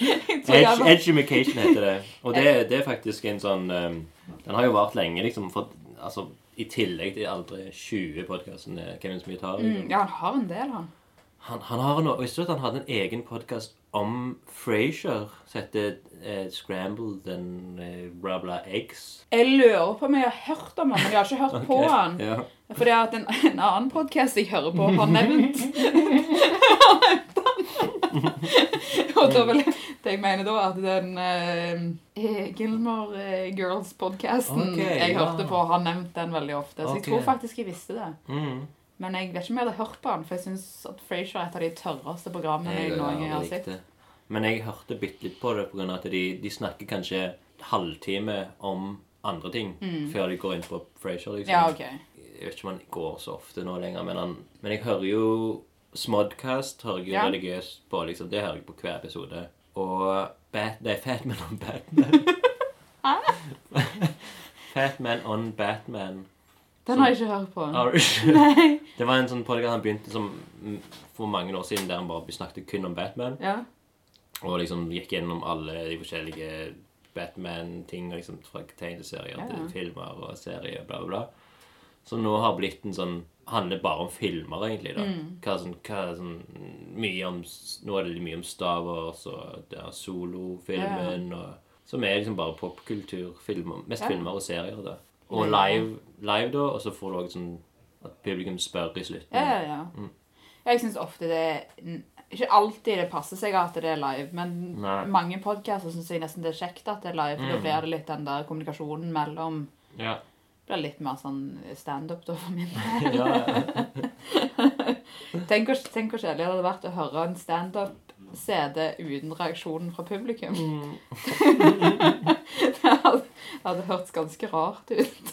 tror jeg
Edge,
hadde-
Edumication heter det. Og det, det er faktisk en sånn um, Den har jo vart lenge, liksom. For, altså, I tillegg til alle de 20 podkastene Kevin Smith har. liksom.
Mm, ja, han har en del, han.
Han, han har noe, Visste du at han hadde en egen podkast om Frasier som heter eh, Scrambled and eh, bla, bla eggs?
Jeg lurer på om jeg har hørt om han, men jeg har ikke hørt på
Ok,
han.
Ja.
Fordi at en, en annen podkast jeg hører på, har nevnt Har nevnt han. Og da vil jeg det jeg mener da, at den eh, Gilmore eh, Girls-podkasten
Ok,
jeg
ja.
hørte på, har nevnt den veldig ofte. Så jeg
Ok.
tror faktisk jeg visste det.
Mm.
Men jeg vet ikke om jeg hadde hørt på han, for jeg syns at Frasier er et av de tørreste programmene jeg, noen gang har
likt
sett.
det. Men jeg hørte bitte litt på det pga. at de, de snakker kanskje halvtime om andre ting før de går inn på Frasier. Liksom.
Mm. Ja, ok.
Jeg vet ikke om han går så ofte nå lenger, men, han, men jeg hører jo Smodcast hører jeg jo
Ja.
religiøst på. liksom, Det hører jeg på hver episode. Og Bat, det er Fatman on Batman. Fatman on Batman.
Den har jeg ikke hørt på.
Har du ikke? Det var en sånn podcast han begynte som mm, for mange år siden, der han bare snakket kun om Batman.
Ja.
Og liksom gikk gjennom alle de forskjellige Batman-ting liksom, fra tegneserier
Ja, ja.
til filmer og serier, bla, bla, bla. Som nå har blitt en sånn Handler bare om filmer, egentlig. da.
Mm.
Hva, sånn, hva sånn, mye om, s- Nå er det mye om Star Wars og det er solofilmen og Som er liksom bare popkultur. filmer- Mest
Ja.
filmer og serier, da. Og
Ja.
live, live da. Og så får du òg sånn at publikum spør i slutten.
Ja, ja,
Mm.
ja. Jeg syns ofte det Ikke alltid det passer seg at det er live, men
Nei. Mm.
mange podcaster syns jeg nesten det er kjekt at det er live, for da blir det litt den der kommunikasjonen mellom
Ja.
det blir litt mer sånn standup, da, for min del.
ja, ja.
Tenk hvor tenk hvor kjedelig det hadde vært å høre en standup-CD uten reaksjonen fra publikum.
Mm.
det hadde, hadde hørtes ganske rart ut.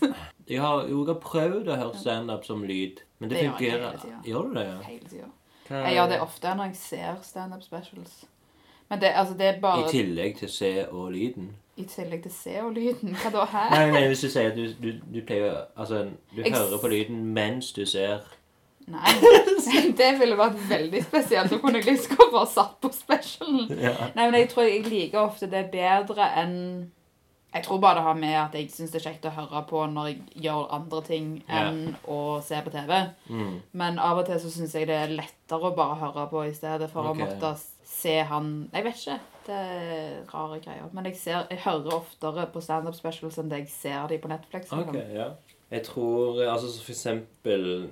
Jeg har jo jeg har prøvd å høre standup som lyd, men det,
Det gjør jeg hele
fungerer.
tiden.
Gjør du det? ja?
Hele tiden.
Hva-
Jeg gjør det ofte når jeg ser standup specials. Men det, altså, det er
I
bare
tillegg til se og lyden.
I tillegg til se og lyden. Hva da her?
Nei, nei, hvis du sier at du, du, du pleier å- Altså, du
Jeg s-
hører på lyden mens du ser.
Nei, det ville vært veldig spesielt. Da kunne jeg liksom godt bare satt på specialen. Nei, men jeg tror jeg liker ofte det bedre enn Jeg tror bare det har med at jeg syns det er kjekt å høre på når jeg gjør andre ting
Ja.
enn å se på TV.
Mm.
Men av og til så syns jeg det er lettere å bare høre på i stedet for
Ok.
å måtte se han Jeg vet ikke. Det er rare greier. Men jeg, ser, jeg hører oftere på standup specials enn det jeg ser de på Netflix. liksom.
Ok, ja. Jeg tror eh, altså så For eksempel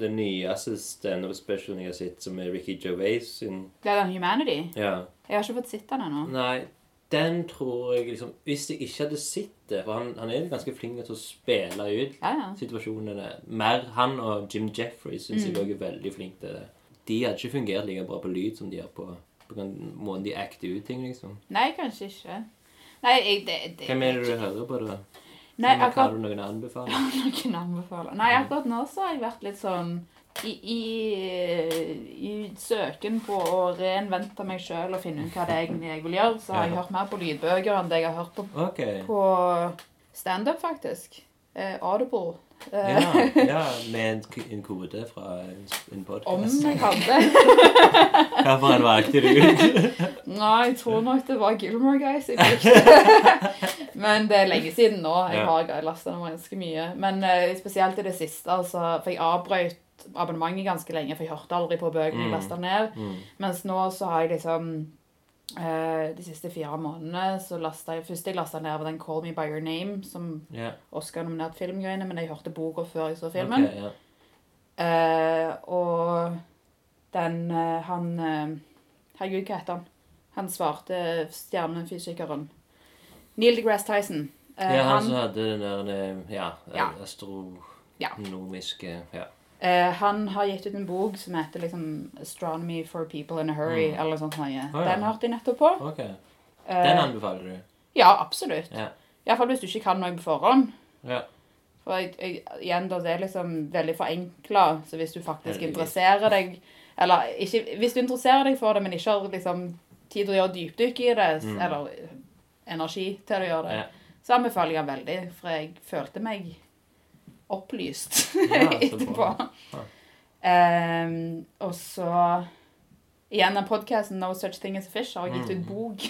den nyeste standup-specialen jeg har sett, som er Ricky Gervais sin
Det er den Humanity.
Ja.
Jeg har ikke fått sett den ennå.
Nei, den tror jeg liksom Hvis jeg ikke hadde sett det For han, han er jo ganske flink til å spille ut
Ja, ja.
situasjonene. Mer han og Jim Jefferies syns
Mm.
jeg også er veldig flink til det. De hadde ikke fungert like bra på lyd som de gjør på, på den måten de acter ut ting, liksom.
Nei, kanskje ikke. Nei, jeg, det, det,
Hvem er det du hører på, da?
Nei,
Har
akkurat
du noen anbefalinger?
Noen anbefaler. Nei, akkurat nå så har jeg vært litt sånn i, i, i søken på å reinvente meg sjøl og finne ut hva det er egentlig jeg vil gjøre, så har jeg
Ja.
hørt mer på lydbøker enn det jeg har hørt på,
OK.
på standup, faktisk. Eh, Audible. Eh,
Ja, ja, med en, k- en kode fra en, en
Om
podkast.
jeg hadde.
Hvorfor han valgte det ut?
Nei, jeg tror nok det var Gilmore Guys jeg brukte. Men det er lenge siden nå. Jeg
Ja.
har lasta den ganske mye. Men eh, spesielt i det siste, altså, for jeg avbrøt abonnementet ganske lenge, for jeg hørte aldri på bøkene jeg
Mm.
lasta ned.
Mm.
Mens nå så har jeg liksom eh, De siste fire månedene så lasta jeg Først jeg lasta ned av den 'Call Me By Your Name', som
Ja.
Oscar-nominert filmgreiene, men jeg hørte boka før jeg så filmen.
ok, ja.
Eh, og den eh, Han eh, Herregud, hva heter han? Han svarte stjernefysikeren. Neil deGrasse Tyson. Eh,
ja, han
han,
som hadde den der eh, ja,
Ja. Ja.
astronomiske ja.
eh, han har gitt ut en bok som heter liksom 'Astronomy for People in a Hurry',
Mm.
eller sånn sånt. noe.
Å, ja.
Den hørte jeg nettopp på.
OK. Den
Eh,
anbefaler du?
ja, absolutt.
Ja.
Iallfall hvis du ikke kan noe på forhånd.
Ja.
For jeg, jeg, igjen da, det er liksom veldig forenkla. Så hvis du faktisk
Heldigvis.
interesserer deg Eller ikke, hvis du interesserer deg for det, men ikke har liksom tid til å gjøre dypdykk i det, s-
Mm.
eller energi til å gjøre det,
Ja.
så anbefaler jeg den veldig. For jeg følte meg opplyst
Ja, så
etterpå.
bra. Ja.
Ehm, og så Igjen den podkasten No Such Thing As A Fish har jeg gitt ut
Mm.
bok.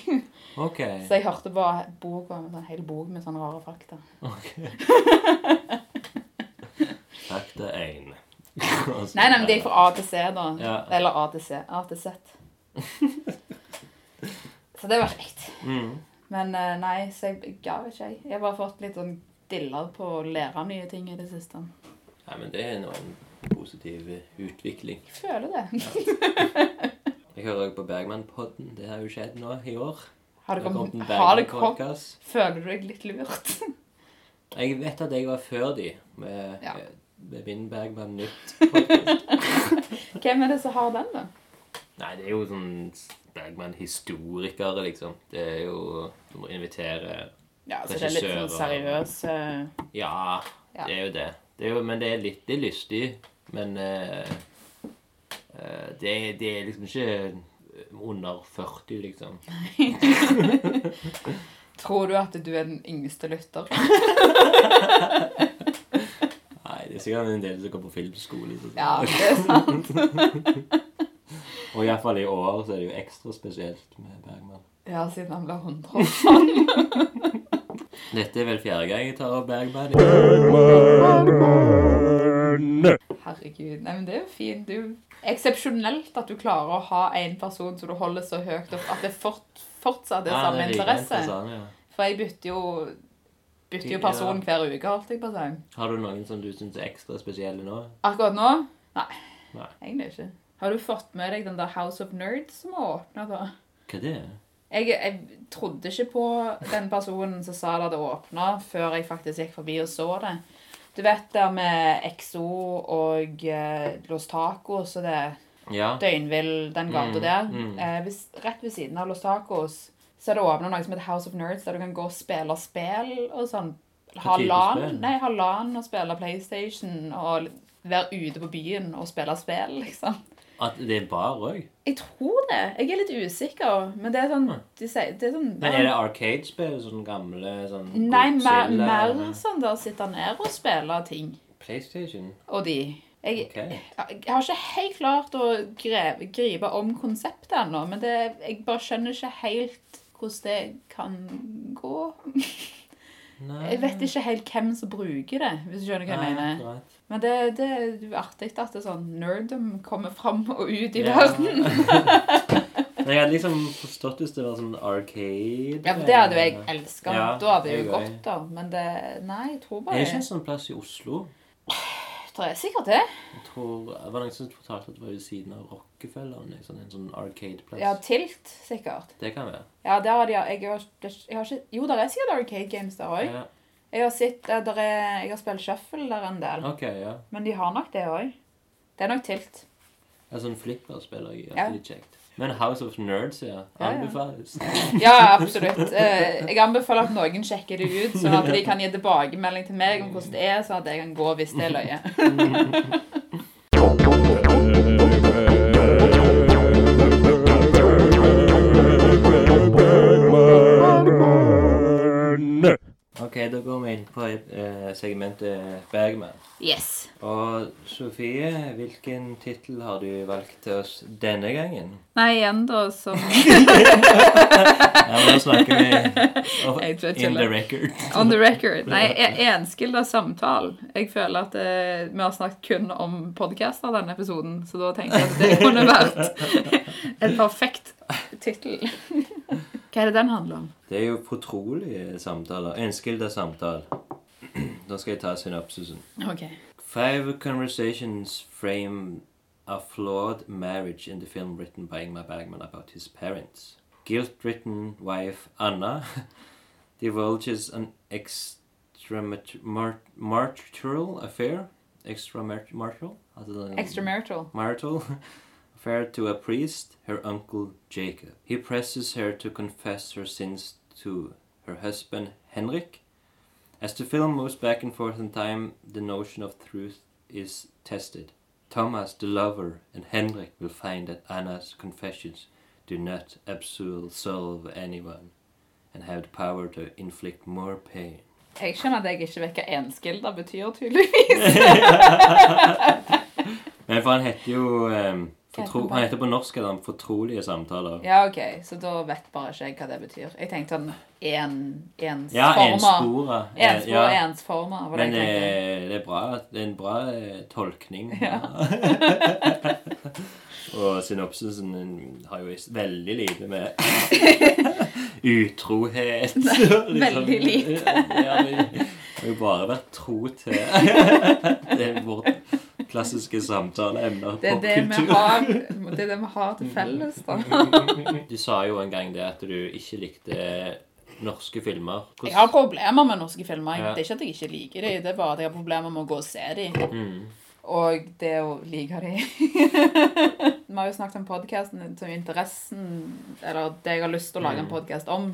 OK.
Så jeg hørte på boka, en hel bok med sånne rare fakta.
Fakta 1.
Nei, nei, men det er fra A til C, da.
Ja.
Eller A til C. A til Z. så det var kjekt.
mm.
Men eh, nei, så jeg ga ikke, jeg. Jeg har bare fått litt sånn diller på å lære nye ting i det siste.
Nei, men det er en annen positiv utvikling.
Jeg føler det.
Jeg hører også på Bergman-podden. Det har jo skjedd nå i år.
Har det
Det
kommet
en
Har det kommet
Bergman-podcast.
Føler du deg litt lurt?
Jeg vet at jeg var før de med,
Ja.
med min Bergman Nytt-podkast.
Hvem er det som har den, da?
Nei, det er jo sånn Bergman-historikere, liksom. Det er jo Du må invitere
Ja, altså, det er litt sånn seriøs eh,
Ja,
Ja.
det er jo det. det er jo, men det er litt det er lystig. Men eh, eh, det, det er liksom ikke eh, under 40, liksom.
Tror du at du er den yngste lytter?
Nei, det er sikkert en del som går på filmskole. Så.
Ja, det er sant.
Og iallfall i år så er det jo ekstra spesielt med Bergman.
Ja, siden han ble 100 år.
Dette er vel fjerde gang jeg tar opp Bergman.
Herregud. Nei, men det er jo fint. Det er jo eksepsjonelt at du klarer å ha en person som du holder så høyt opp at det fort, fortsatt er
Ja,
samme
like
interesse.
interessant, ja.
For jeg bytter jo, bytter
Ja.
jo person hver uke, holdt jeg på å si.
Har du noen som du syns er ekstra spesielle nå?
Akkurat nå? Nei.
Nei.
Egentlig ikke. Har du fått med deg den der House of Nerds som har åpna, da?
Hva er det?
Jeg, jeg trodde ikke på den personen som sa det hadde åpna, før jeg faktisk gikk forbi og så det. Du vet der med XO og eh, Los Tacos og det
Ja.
døgnvill den
Mm,
gata der.
mm.
Eh, hvis, rett ved siden av Los Tacos så er det åpnet noe som heter House of Nerds, der du kan gå og spille spill og sånn. Ha
type
LAN,
spill?
nei, ha LAN og spille PlayStation og l- være ute på byen og spille spill, liksom.
At det er bar òg?
Jeg tror det. Jeg er litt usikker, men det er sånn
Mm.
de sier, det er sånn
Men er det Arcade-spill? Sånn gamle sånn
Nei, mer,
Godzilla?
mer sånn der sitter ned og spiller ting.
PlayStation?
Og de. Jeg,
Ok.
jeg har ikke helt klart å gre- gripe om konseptet ennå, men det, jeg bare skjønner ikke helt hvordan det kan gå.
Nei.
Jeg vet ikke helt hvem som bruker det, hvis du skjønner hva jeg mener.
akkurat.
Men det, det er jo artig at det er sånn nerdom kommer fram og ut i
Ja.
verden.
Nei, jeg hadde liksom forstått hvis det var sånn arcade. eh,
Ja, for Det hadde jo jeg elska.
Ja,
da hadde jeg
jeg
jo
også.
gått der. Men det Nei, jeg tror
Er
bare
det ikke en sånn plass i Oslo?
Det er sikkert det.
Jeg tror, det var noen som fortalte at det var ved siden av Rockefeller. Liksom, en sånn arcade-plass.
Ja, Tilt, sikkert.
Det kan være.
Ja, der hadde jeg, jeg, har, det- jeg har ikke Jo, der er sikkert Arcade Games der òg.
Ja.
Jeg har sett eh, der er, Jeg har spilt shuffle der en del.
Ok, ja.
Men de har nok det òg. Det er nok Tilt.
Ja, sånn flipperspill er
Ja.
alltid kjekt. Men House of Nerds, ja.
Ja, ja.
Anbefales.
Ja, absolutt. Eh, Jeg anbefaler at noen sjekker det ut, sånn at de kan gi tilbakemelding til meg om hvordan det er, sånn at jeg kan gå hvis det er løye.
Ok, da går vi inn på eh, segmentet Bergman.
Yes.
Og Sofie, hvilken tittel har du valgt til oss denne gangen?
Nei, igjen, da, som
Ja, men Nå snakker vi oh,
Jeg tror jeg
in the
tuller.
record.
On the record. Nei, e- enskilde samtale. Jeg føler at eh, vi har snakket kun om podcaster denne episoden, så da tenkte jeg at det kunne vært en perfekt tittel. Hva er det den handler om?
Det er jo fortrolige samtaler. Enskilde samtaler. Da skal jeg ta synopsisen.
Ok.
Five conversations frame a flawed marriage in the film written by Ingmar Bergman about his parents. Guilt-ridden wife Anna divulges an extramarital affair. Extramarital?
Extramarital.
marital affair to a priest, her uncle Jacob. He presses her to confess her sins to her husband Henrik. As the film moves back and forth in time, the notion of truth is tested. Thomas, the lover, and Henrik will find that Anna's confessions do not absolve anyone and have the power to inflict more pain.
Jeg skjønner at jeg ikke vet hva enskilde betyr, tydeligvis.
Men for han heter jo ehm, fortro,
Kjempebra.
Han heter på norsk eller fortrolige samtaler.
Ja, ok, så da vet bare ikke jeg hva det betyr. Jeg tenkte sånn en,
Ja,
ensforma.
ensporet. Eh,
Enspor og
ja.
ensforma. var det
Men eh,
jeg
det,
tenkte.
det, er bra, at- det er en bra eh, tolkning.
Ja.
og synopsisen har jo is- veldig lite med utrohet Liksom.
veldig lite.
ja, det har jo bare vært tro til Det er vårt klassiske samtaleemne.
Det er det vi
popkultur.
har, det er det vi har til felles, da.
Du sa jo en gang det at du ikke likte norske filmer. Hvordan-
Jeg har problemer med norske filmer.
Ja.
Det er ikke at jeg ikke liker dem, det er bare at jeg har problemer med å gå og se dem.
Mm.
Og det å like dem. Vi har jo snakket om podkasten, så interessen Eller det jeg har lyst til å lage
Mm.
en podkast om,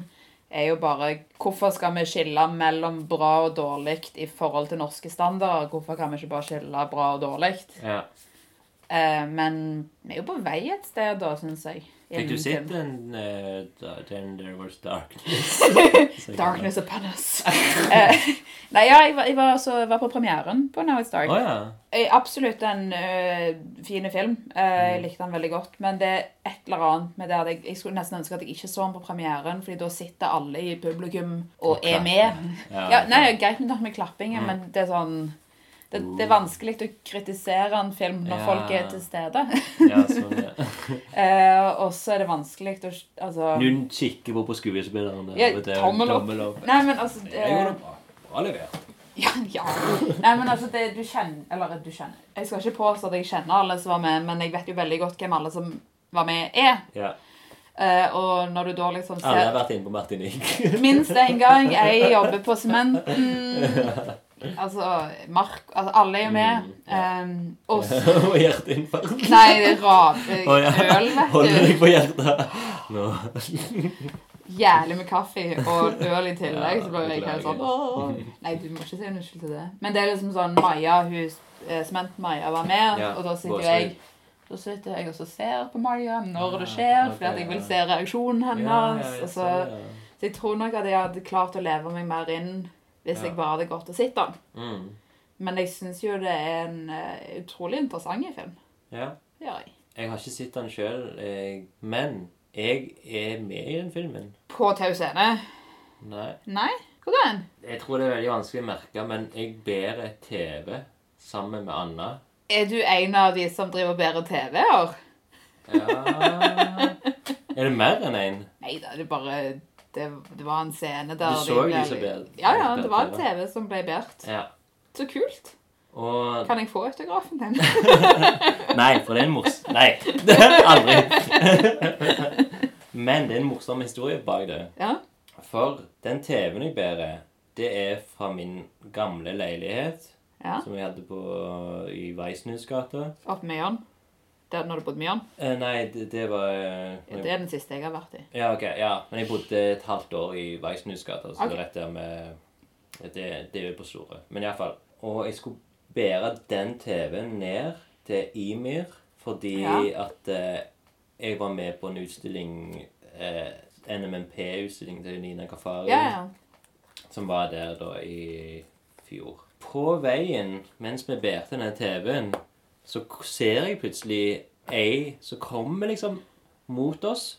er jo bare hvorfor skal vi skille mellom bra og dårlig i forhold til norske standarder? Hvorfor kan vi ikke bare skille bra og dårlig?
ja.
Eh, men vi er jo på vei et sted, da, syns jeg.
Fikk du
innen
sett
film.
den eh, da- den There Was Darkness?
Darkness upon us. Eh, Nei, ja, jeg var, jeg, var, så, jeg var på premieren på Now It's
Å
Dark.
ja.
Eh, Absolutt en uh, fin film. Eh,
Mm.
jeg likte den veldig godt. Men det er et eller annet med det at jeg, jeg skulle nesten ønske at jeg ikke så den på premieren, fordi da sitter alle i publikum
Og
og,
klapper.
er med.
ja,
Ja, nei,
ok.
Greit med, med
Mm.
klappingen,
Uh.
men det er sånn det, det er vanskelig å kritisere en film når
Ja.
folk er til stede.
ja, sånn, ja.
Eh, og så er det vanskelig å altså,
Nå kikker på på skuespilleren. der,
Ja,
og det er
tommel opp.
Tommel opp.
Nei, men altså
Jeg
eh,
gjorde det bra. Bra levert.
Ja, ja. Nei, men altså, det du kjenner Eller du kjenner Jeg skal ikke påstå at jeg kjenner alle som var med, men jeg vet jo veldig godt hvem alle som var med, er.
Ja.
Eh, og når du da liksom
Alle har
ser
vært inne på Martinique.
Minst én gang. Jeg jobber på Sementen. Altså Mark Altså, alle er jo med.
Mm,
Um, og så
Og hjerteinfarkt.
Nei, det er rad...
Å, ja.
Øl,
Holder
vet
deg på hjertet. Nå.
du. Jævlig med kaffe og øl i tillegg.
Ja,
Så ble jeg helt sånn
beklager.
«Åh». Nei, du må ikke si unnskyld til det. Men det er liksom sånn Maja, hun eh, Sement-Maja var med,
Ja,
og da sitter jo
Gåsøy.
jeg så sitter jeg og så ser på Maja når det
Ah,
skjer,
ok,
fordi at jeg vil
ja.
se reaksjonen hennes.
jeg
og så,
ser det, ja.
så jeg tror nok at jeg hadde klart å leve meg mer inn hvis
Ja.
jeg bare hadde gått og sett den.
Mm.
Men jeg syns jo det er en eh, utrolig interessant film.
ja.
Det gjør jeg.
Jeg har ikke sett den sjøl, men jeg er med i den filmen.
På tau scene?
Nei.
E? Nei? Hvordan?
Jeg tror det er veldig vanskelig å merke, men jeg bærer TV sammen med Anna.
Er du en av de som driver bedre TV-er?
Ja Er det mer enn én?
Nei da, det er bare det, det var en scene der
Du så jo
de ble-
de som ble-
Ja, ja. Det var en
bedre.
TV som ble båret.
Ja.
Så kult.
Og
Kan jeg få autografen din?
Nei, for det er en mors... Nei, aldri. Men det er en morsom historie bak det.
Ja.
For den TV-en jeg bærer, det er fra min gamle leilighet.
ja.
Som jeg hadde på, i Weissenhusgata.
Opp med Jørn. Der når du bodde med Jørn.
Eh, nei, det, det var eh,
Det er den siste jeg har vært i.
Ja, ok. ja. Men jeg bodde et halvt år i Weissenhusgata, så det
Ok.
er rett der med Det, det er jo på Store. Men iallfall. Og jeg skulle bære den TV-en ned til Imir fordi
Ja.
at eh, jeg var med på en utstilling eh, NMNP-utstilling til Nina Kafari,
Ja, ja.
som var der da i fjor. På veien, mens vi bærte denne TV-en, så k- ser jeg plutselig ei som kommer liksom mot oss,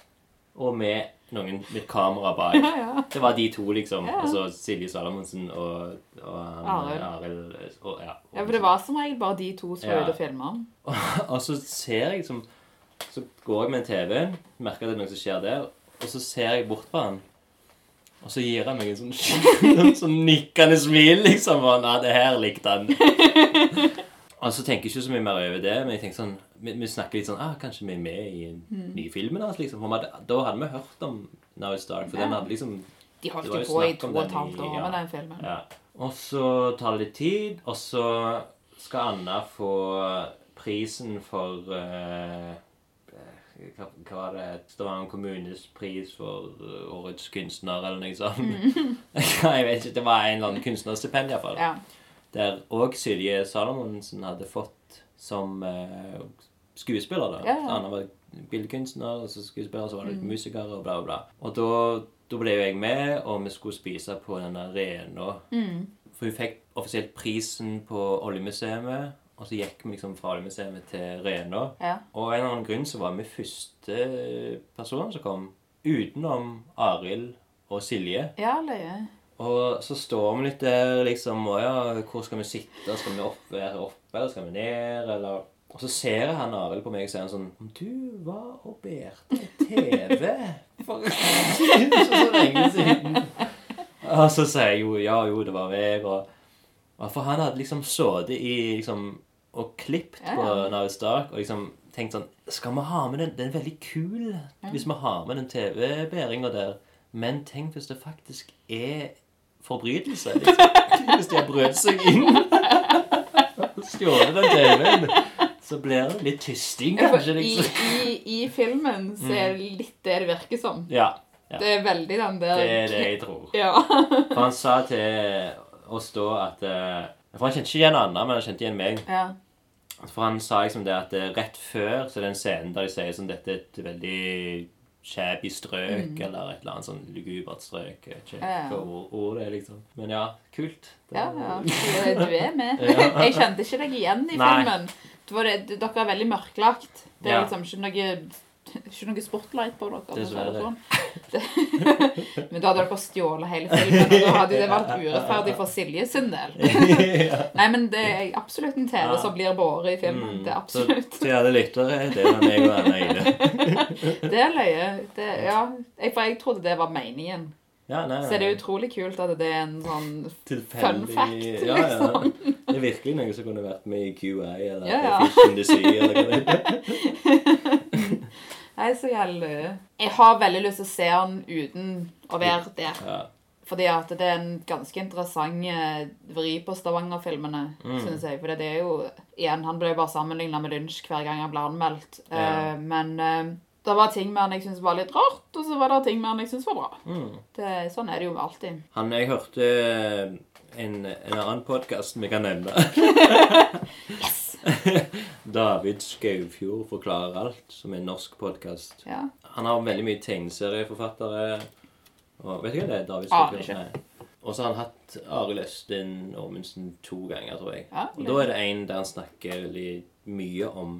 og med noen med kamera bak.
ja, ja.
Det var de to, liksom.
Ja.
Altså Silje Salomonsen og, og han,
Arild.
Arild og, ja, og,
ja for det var som regel bare de to som var
Ja.
ute og filma.
og så ser jeg liksom Så går jeg med en TV, merker at det er noe som skjer der, og så ser jeg bort på han. Og så gir han meg en sånn, skikkelig sånn nikkende smil, liksom. Og han, ja, det her likte han. Og så tenker jeg ikke så mye mer over det, men jeg tenker sånn, vi, vi snakker litt sånn ah, Kanskje vi er med i den nye filmen hans, liksom. For vi hadde, da hadde vi hørt om Now It's Dark, for den hadde liksom
De holdt
Det var
jo
jo
på i
snakk
to
om
og et
den i-
halvt år
ja.
med den filmen.
ja. Og så tar det litt tid, og så skal Anna få prisen for eh, hva, hva var det? Stavanger kommunes pris for eh, årets kunstner, eller noe sånt. jeg vet ikke, Det var en eller annen kunstnerstipend, iallfall.
Ja.
Der òg Silje Salomonsen hadde fått som eh, skuespiller. da.
Ja, ja. Mm.
Han var billedkunstner, og så skuespiller, så var det musiker og bla, bla. bla. Og da, da ble jo jeg med, og vi skulle spise på den arena.
Mm.
For hun fikk offisielt prisen på Oljemuseet, og så gikk vi liksom fra Oljemuseet til Rena.
ja.
Og av en eller annen grunn så var vi første personen som kom, utenom Arild og Silje.
Ja, løye.
Og så står vi litt der liksom og ja, Hvor skal vi sitte? Skal vi opp, være oppe, eller skal vi ned, eller Og så ser jeg han Arild på meg og sier han sånn Du var og bærte TV for så lenge siden. Og så sier jeg jo ja, jo, det var meg, og og For han hadde liksom sittet i liksom og klippet
Ja.
på Narvis Dark og liksom tenkt sånn Skal vi ha med den? Den er veldig kul hvis vi har med den TV-bæringa der. Men tenk hvis det faktisk er forbrytelse. Liksom. Hvis de har brøt seg inn og stjålet den TV-en, så blir det litt tysting,
Ja,
kanskje.
for I,
liksom.
i, I filmen så er det litt det det virker som.
Ja, ja.
Det er veldig den der
Det er det jeg tror.
Ja.
For han sa til oss da at eh, For han kjente ikke igjen Anna, men han kjente igjen meg.
ja.
For han sa liksom det at eh, rett før så er det en scene der de sier sånn dette er et veldig shabby strøk, eller et eller annet sånn lugubert strøk. Jeg vet ikke
Mm. Ja.
hva ord, ord det er, liksom. Men ja, kult. Det-
Ja, ja. Du- Du er med.
Ja.
Jeg kjente ikke deg igjen i
Nei.
filmen. Det var det, det- dere er veldig mørklagt. Det er
Ja.
liksom ikke noe ikke noe spotlight på dere. om jeg
Dessverre.
sier det sånn. Det- Men da hadde dere stjålet hele filmen, og da hadde det vært urettferdig for Silje sin del. Nei, men det er absolutt en TV som blir båret i filmen.
Mm,
Det er absolutt.
Så, så ja, det lyttere, det var meg og Anna Ine.
Det er løye. Det, ja. jeg, for jeg trodde det var meningen.
Ja, nei,
Så er det
nei.
utrolig kult at det er en sånn
Tilfeldig-
Fun fact, liksom?
ja, ja. Det er virkelig noe som kunne vært med i QI eller
Ja, ja.
Fish in the Sea. Eller hva det er.
Nei, så jævlig løye. Jeg har veldig lyst til å se han uten å være der.
Ja.
Fordi at det er en ganske interessant eh, vri på Stavanger-filmene,
Mm.
synes jeg. For det er jo Igjen, han ble jo bare sammenligna med Lynch hver gang han ble anmeldt. Eh,
Ja.
Men eh, det var ting med han jeg syntes var litt rart, og så var det ting med han jeg syntes var bra.
Mm.
Det, sånn er det jo alltid.
Han, jeg hørte eh, en, en annen podkast vi kan nevne. David Skaufjord forklarer alt, som er en norsk podkast.
Ja.
Han har veldig mye tegneserieforfattere. Og vet du hva det er? David
Aner
Skaufjord?
ikke.
Nei. Og så har han hatt Arild Østin Ormundsen to ganger, tror jeg.
Ja,
og da er det en der han snakker veldig mye om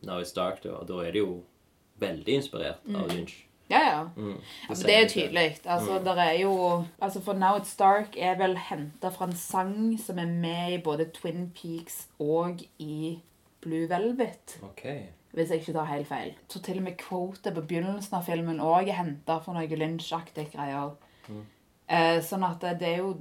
Now It's Dark, da, og da er det jo veldig inspirert av Lynch.
Ja, ja.
Mm.
Altså,
sier Mm.
det
seg
er
selv.
tydelig. Altså, der er jo altså, For Now It's Dark er vel henta fra en sang som er med i både Twin Peaks og i Blue Velvet.
Ok.
Hvis jeg ikke tar helt feil. Så til og med quotet på begynnelsen av filmen òg er henta fra noe lynsjaktig greier.
Mm.
Eh, sånn at det er jo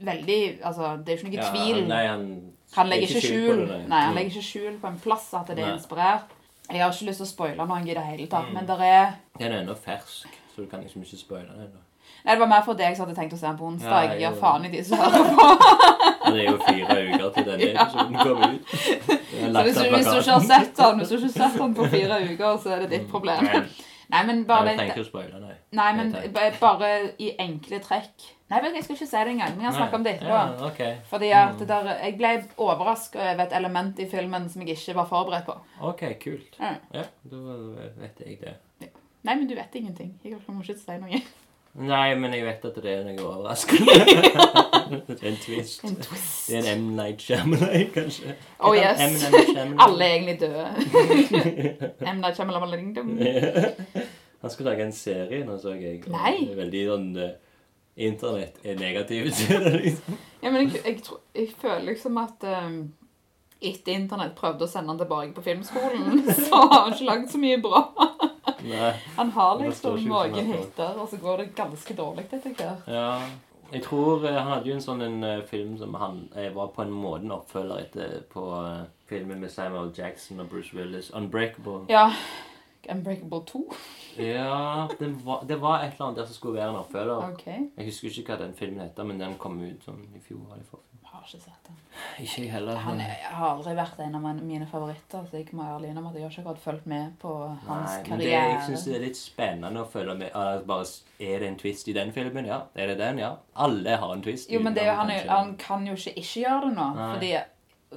veldig Altså, det er jo ikke noe
Ja,
tvil.
han- Nei, han,
Han legger ikke
på
skjul
det, nei. Mm.
Nei, han legger ikke skjul på en plass at det er
Nei. Mm.
inspirert. Jeg har ikke lyst til å spoile noe i det hele tatt, men der er
Den er ennå fersk, så du kan liksom ikke spoile den. ennå.
Nei, det var mer for deg som hadde tenkt å se den på onsdag.
Ja, jeg
Jeg gir
gjorde
faen i de som hører på.
Men Det er jo fire uker til denne
Ja.
episoden kommer ut. Jeg har
Så
lagt
hvis,
av
du- hvis du ikke
plakaten.
har sett den, hvis du ikke har sett den på fire uker, så er det ditt problem.
Men
Nei, men
Jeg
bare
trenger
litt
ikke å spoile, Mm. nei.
Nei, men
jeg
ba- bare i enkle trekk. Nei, vet du, jeg skal ikke si det engang. Vi kan snakke om det etterpå.
Ja, Mm. ok.
Fordi at det der, Jeg ble overraska over et element i filmen som jeg ikke var forberedt på.
Ok, kult.
Ja.
Ja, da vet jeg det.
Nei, men du vet ingenting. Jeg må ikke si noe.
Nei, men jeg vet at det er noe overraskende. det er en twist.
En twist.
Det er en M. Night Shyamalan, kanskje.
Oh
Heter
yes.
han M. Night Shyamalan?
Alle er egentlig døde. Emna kommer la meg ringe dem.
Han skulle lage en serie, nå så jeg. og
Nei.
det er Veldig sånn eh, Internett er negativ til det, liksom.
Ja, men jeg, jeg, tror- jeg føler liksom at um, etter internett prøvde å sende han tilbake på filmskolen, så har han ikke lagd så mye bra.
Nei.
Han har
Det står ikke ut
liksom
som
noen
han har.
hiter, og så går det ganske dårlig etter hvert.
Ja. Jeg tror eh, han hadde jo en sånn en, eh, film som han eh, var på en måte en oppfølger etter på eh, filmen med Samuel Jackson og Bruce Willis. 'Unbreakable'.
Ja. Unbreakable 2.
Ja, det var, det var et eller annet der som skulle være en oppfølger.
OK.
Jeg husker ikke hva den filmen heter, men den kom ut sånn i fjor. eller i forfjor.
Har ikke sett den.
Ikke jeg heller.
Han er, har aldri vært en av mine favoritter, så jeg må ærlig innrømme at jeg har ikke akkurat fulgt med på hans
Nei, men det,
karriere.
jeg syns det er litt spennende å følge med. Altså, bare, s- er det en twist i den filmen? Ja. Er det den? Ja. Alle har en twist.
Jo, men det, er jo-
utenom
han, er,
kanskje-
han kan jo ikke ikke gjøre det nå.
Nei.
Fordi,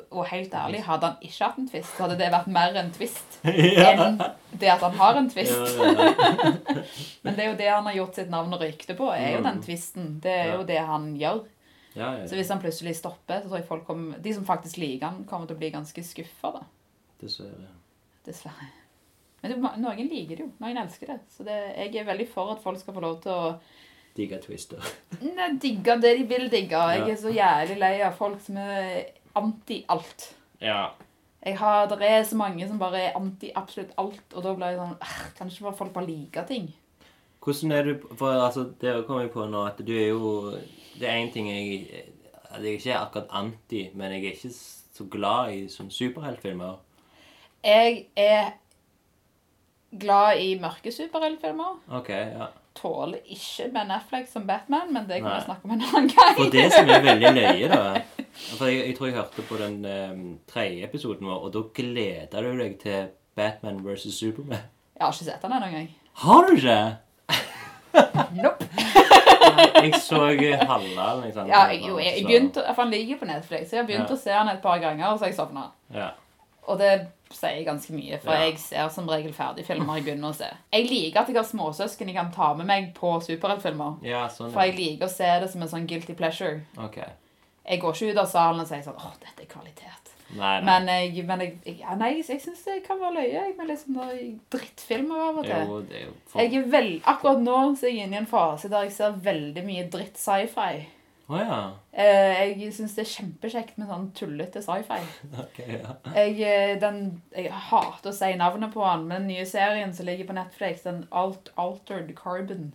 og helt ærlig, hadde han ikke hatt en twist, så hadde det vært mer en twist
ja.
enn det at han har en
Ja,
twist.
ja, ja.
Men det er jo det han har gjort sitt navn og rykte på, er jo
Mm.
den twisten. Det er jo det han gjør.
ja,
Så
ja, ja.
hvis han plutselig stopper, så tror jeg folk kommer, de som faktisk liker han, kommer til å bli ganske skuffa, da.
Dessverre.
Dessverre. Men det, noen liker det jo. Noen elsker det. Så det, jeg er veldig for at folk skal få lov til å
Digger twister.
Nei, digge det de vil digge. Jeg
Ja.
er så jævlig lei av folk som er anti alt.
Ja.
Jeg har, det er så mange som bare er anti absolutt alt, og da blir jeg sånn «Ah, Kan ikke bare folk bare like ting?
Hvordan er du For altså, det kom jeg på nå at du er jo Det er én ting jeg at Jeg ikke er akkurat anti, men jeg er ikke så glad i sånn superheltfilmer.
Jeg er glad i mørke superheltfilmer.
Ok, ja.
Tåler ikke Ben Affleck som Batman, men det kan
Nei.
vi snakke om en annen gang.
For det som er veldig løye, da For jeg, jeg tror jeg hørte på den eh, tredje episoden vår, og da gleder du deg til Batman versus Superman.
Jeg har ikke sett den ennå gang.
Har du ikke?
Nope.
Jeg så eh, halve eller noe sånt.
Ja, jeg, jo, jeg, jeg begynte, å- for han ligger på Netflix, så jeg har begynt
Ja.
å se han et par ganger, og så har jeg sovna.
Ja.
Og det sier ganske mye, for
Ja.
jeg ser som regel ferdig filmer jeg begynner å se. Jeg liker at jeg har småsøsken jeg kan ta med meg på superheltfilmer.
ja, sånn.
For jeg
Ja.
liker å se det som en sånn guilty pleasure.
Ok.
Jeg går ikke ut av salen og sier sånn åh, dette er kvalitet.
Nei, nei.
Men jeg, men jeg, jeg, ja, nei, jeg, jeg syns det kan være løye jeg, med litt sånn der drittfilmer av og til.
Jo, det er jo for...
Jeg er vel, akkurat nå så er jeg inne i en fase der jeg ser veldig mye dritt sci-fi.
Å ja.
Eh, Jeg syns det er kjempekjekt med sånn tullete sci-fi.
Ok, ja.
Jeg, eh, den, jeg hater å si navnet på han, men den nye serien som ligger på Netflix, den Alt, Altered Carbon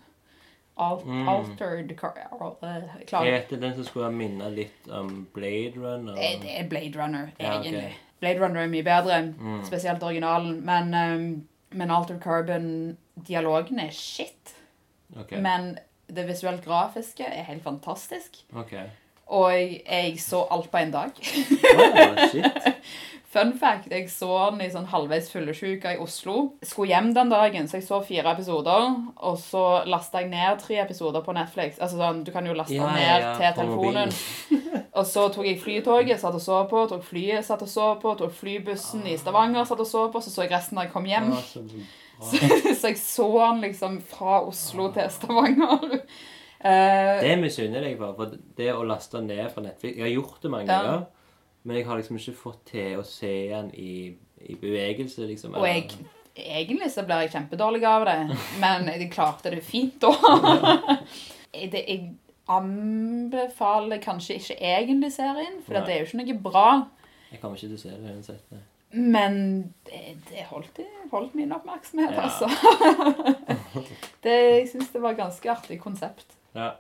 Alt,
Mm.
Altered Car... eh,
Jeg
Klager.
vet det, den som skulle minne litt om Blade Runner.
Eh, Det er Blade Runner,
Ja, ok.
egentlig. Blade Runner er mye bedre,
Mm.
spesielt originalen. Men, eh, men Altered Carbon-dialogen er shit.
Ok.
Men det visuelt grafiske er helt fantastisk.
Ok.
Og jeg, jeg så alt på en dag.
Å, shit.
Fun fact, jeg så den i sånn halvveis fullesjuka i Oslo. Skulle hjem den dagen, så jeg så fire episoder. Og så lasta jeg ned tre episoder på Netflix. Altså sånn, Du kan jo laste
Ja, ja,
ned
ja,
til
på mobilen.
telefonen. Og så tok jeg flytoget, satt og så på. Tok flyet, satt og så på. Tok flybussen i Stavanger, satt og så på. Så så jeg resten da jeg kom hjem.
Å, så bra.
Så, så jeg så den liksom fra Oslo til Stavanger. Eh,
Det misunner jeg deg bare, for det å laste ned fra Netflix Jeg har gjort det mange
Ja.
ganger, men jeg har liksom ikke fått til å se den i, i bevegelse, liksom.
og jeg Egentlig så blir jeg kjempedårlig av det, men jeg klarte det fint da. det, jeg anbefaler kanskje ikke egentlig serien, for
Nei.
det er jo ikke noe bra.
Jeg kommer ikke til å se det uansett. nei.
Men det, det holdt, i- holdt min oppmerksomhet,
Ja.
altså. det, jeg syns det var et ganske artig konsept.
Ja.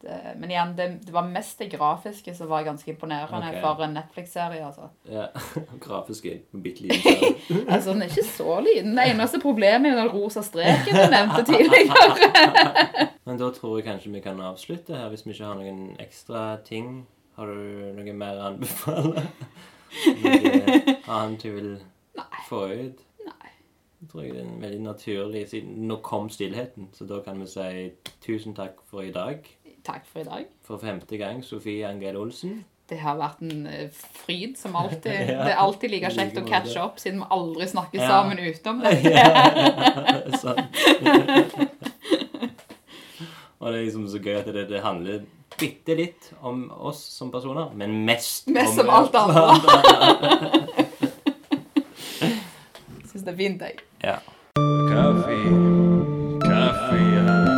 Det, men igjen, det, det var mest det grafiske som var ganske imponerende
Ok.
for en Netflix-serie. altså.
ja. Grafisk er bitte liten.
Altså, Den er ikke så liten. Det eneste problemet er jo den rosa streken du nevnte tidligere.
Men da tror jeg kanskje vi kan avslutte her, hvis vi ikke har noen ekstra ting. Har du noe mer å anbefale? Noe annet du vil få ut?
Nei.
Jeg tror jeg det er en veldig naturlig siden Nå kom stillheten, så da kan vi si tusen takk for i dag.
Takk for i dag.
For femte gang Sofie Angel Olsen.
Det har vært en eh, fryd som alltid.
Ja.
Det er alltid
I
like
like
kjekt å
måte.
catche opp, siden vi aldri snakker
Ja.
sammen utenom det.
Ja, sant. Og det er liksom så gøy at det, det handler bitte litt om oss som personer, men mest,
Mest om alt annet. Syns det er fint, jeg.
Ja. uh,
Coffee. Coffee.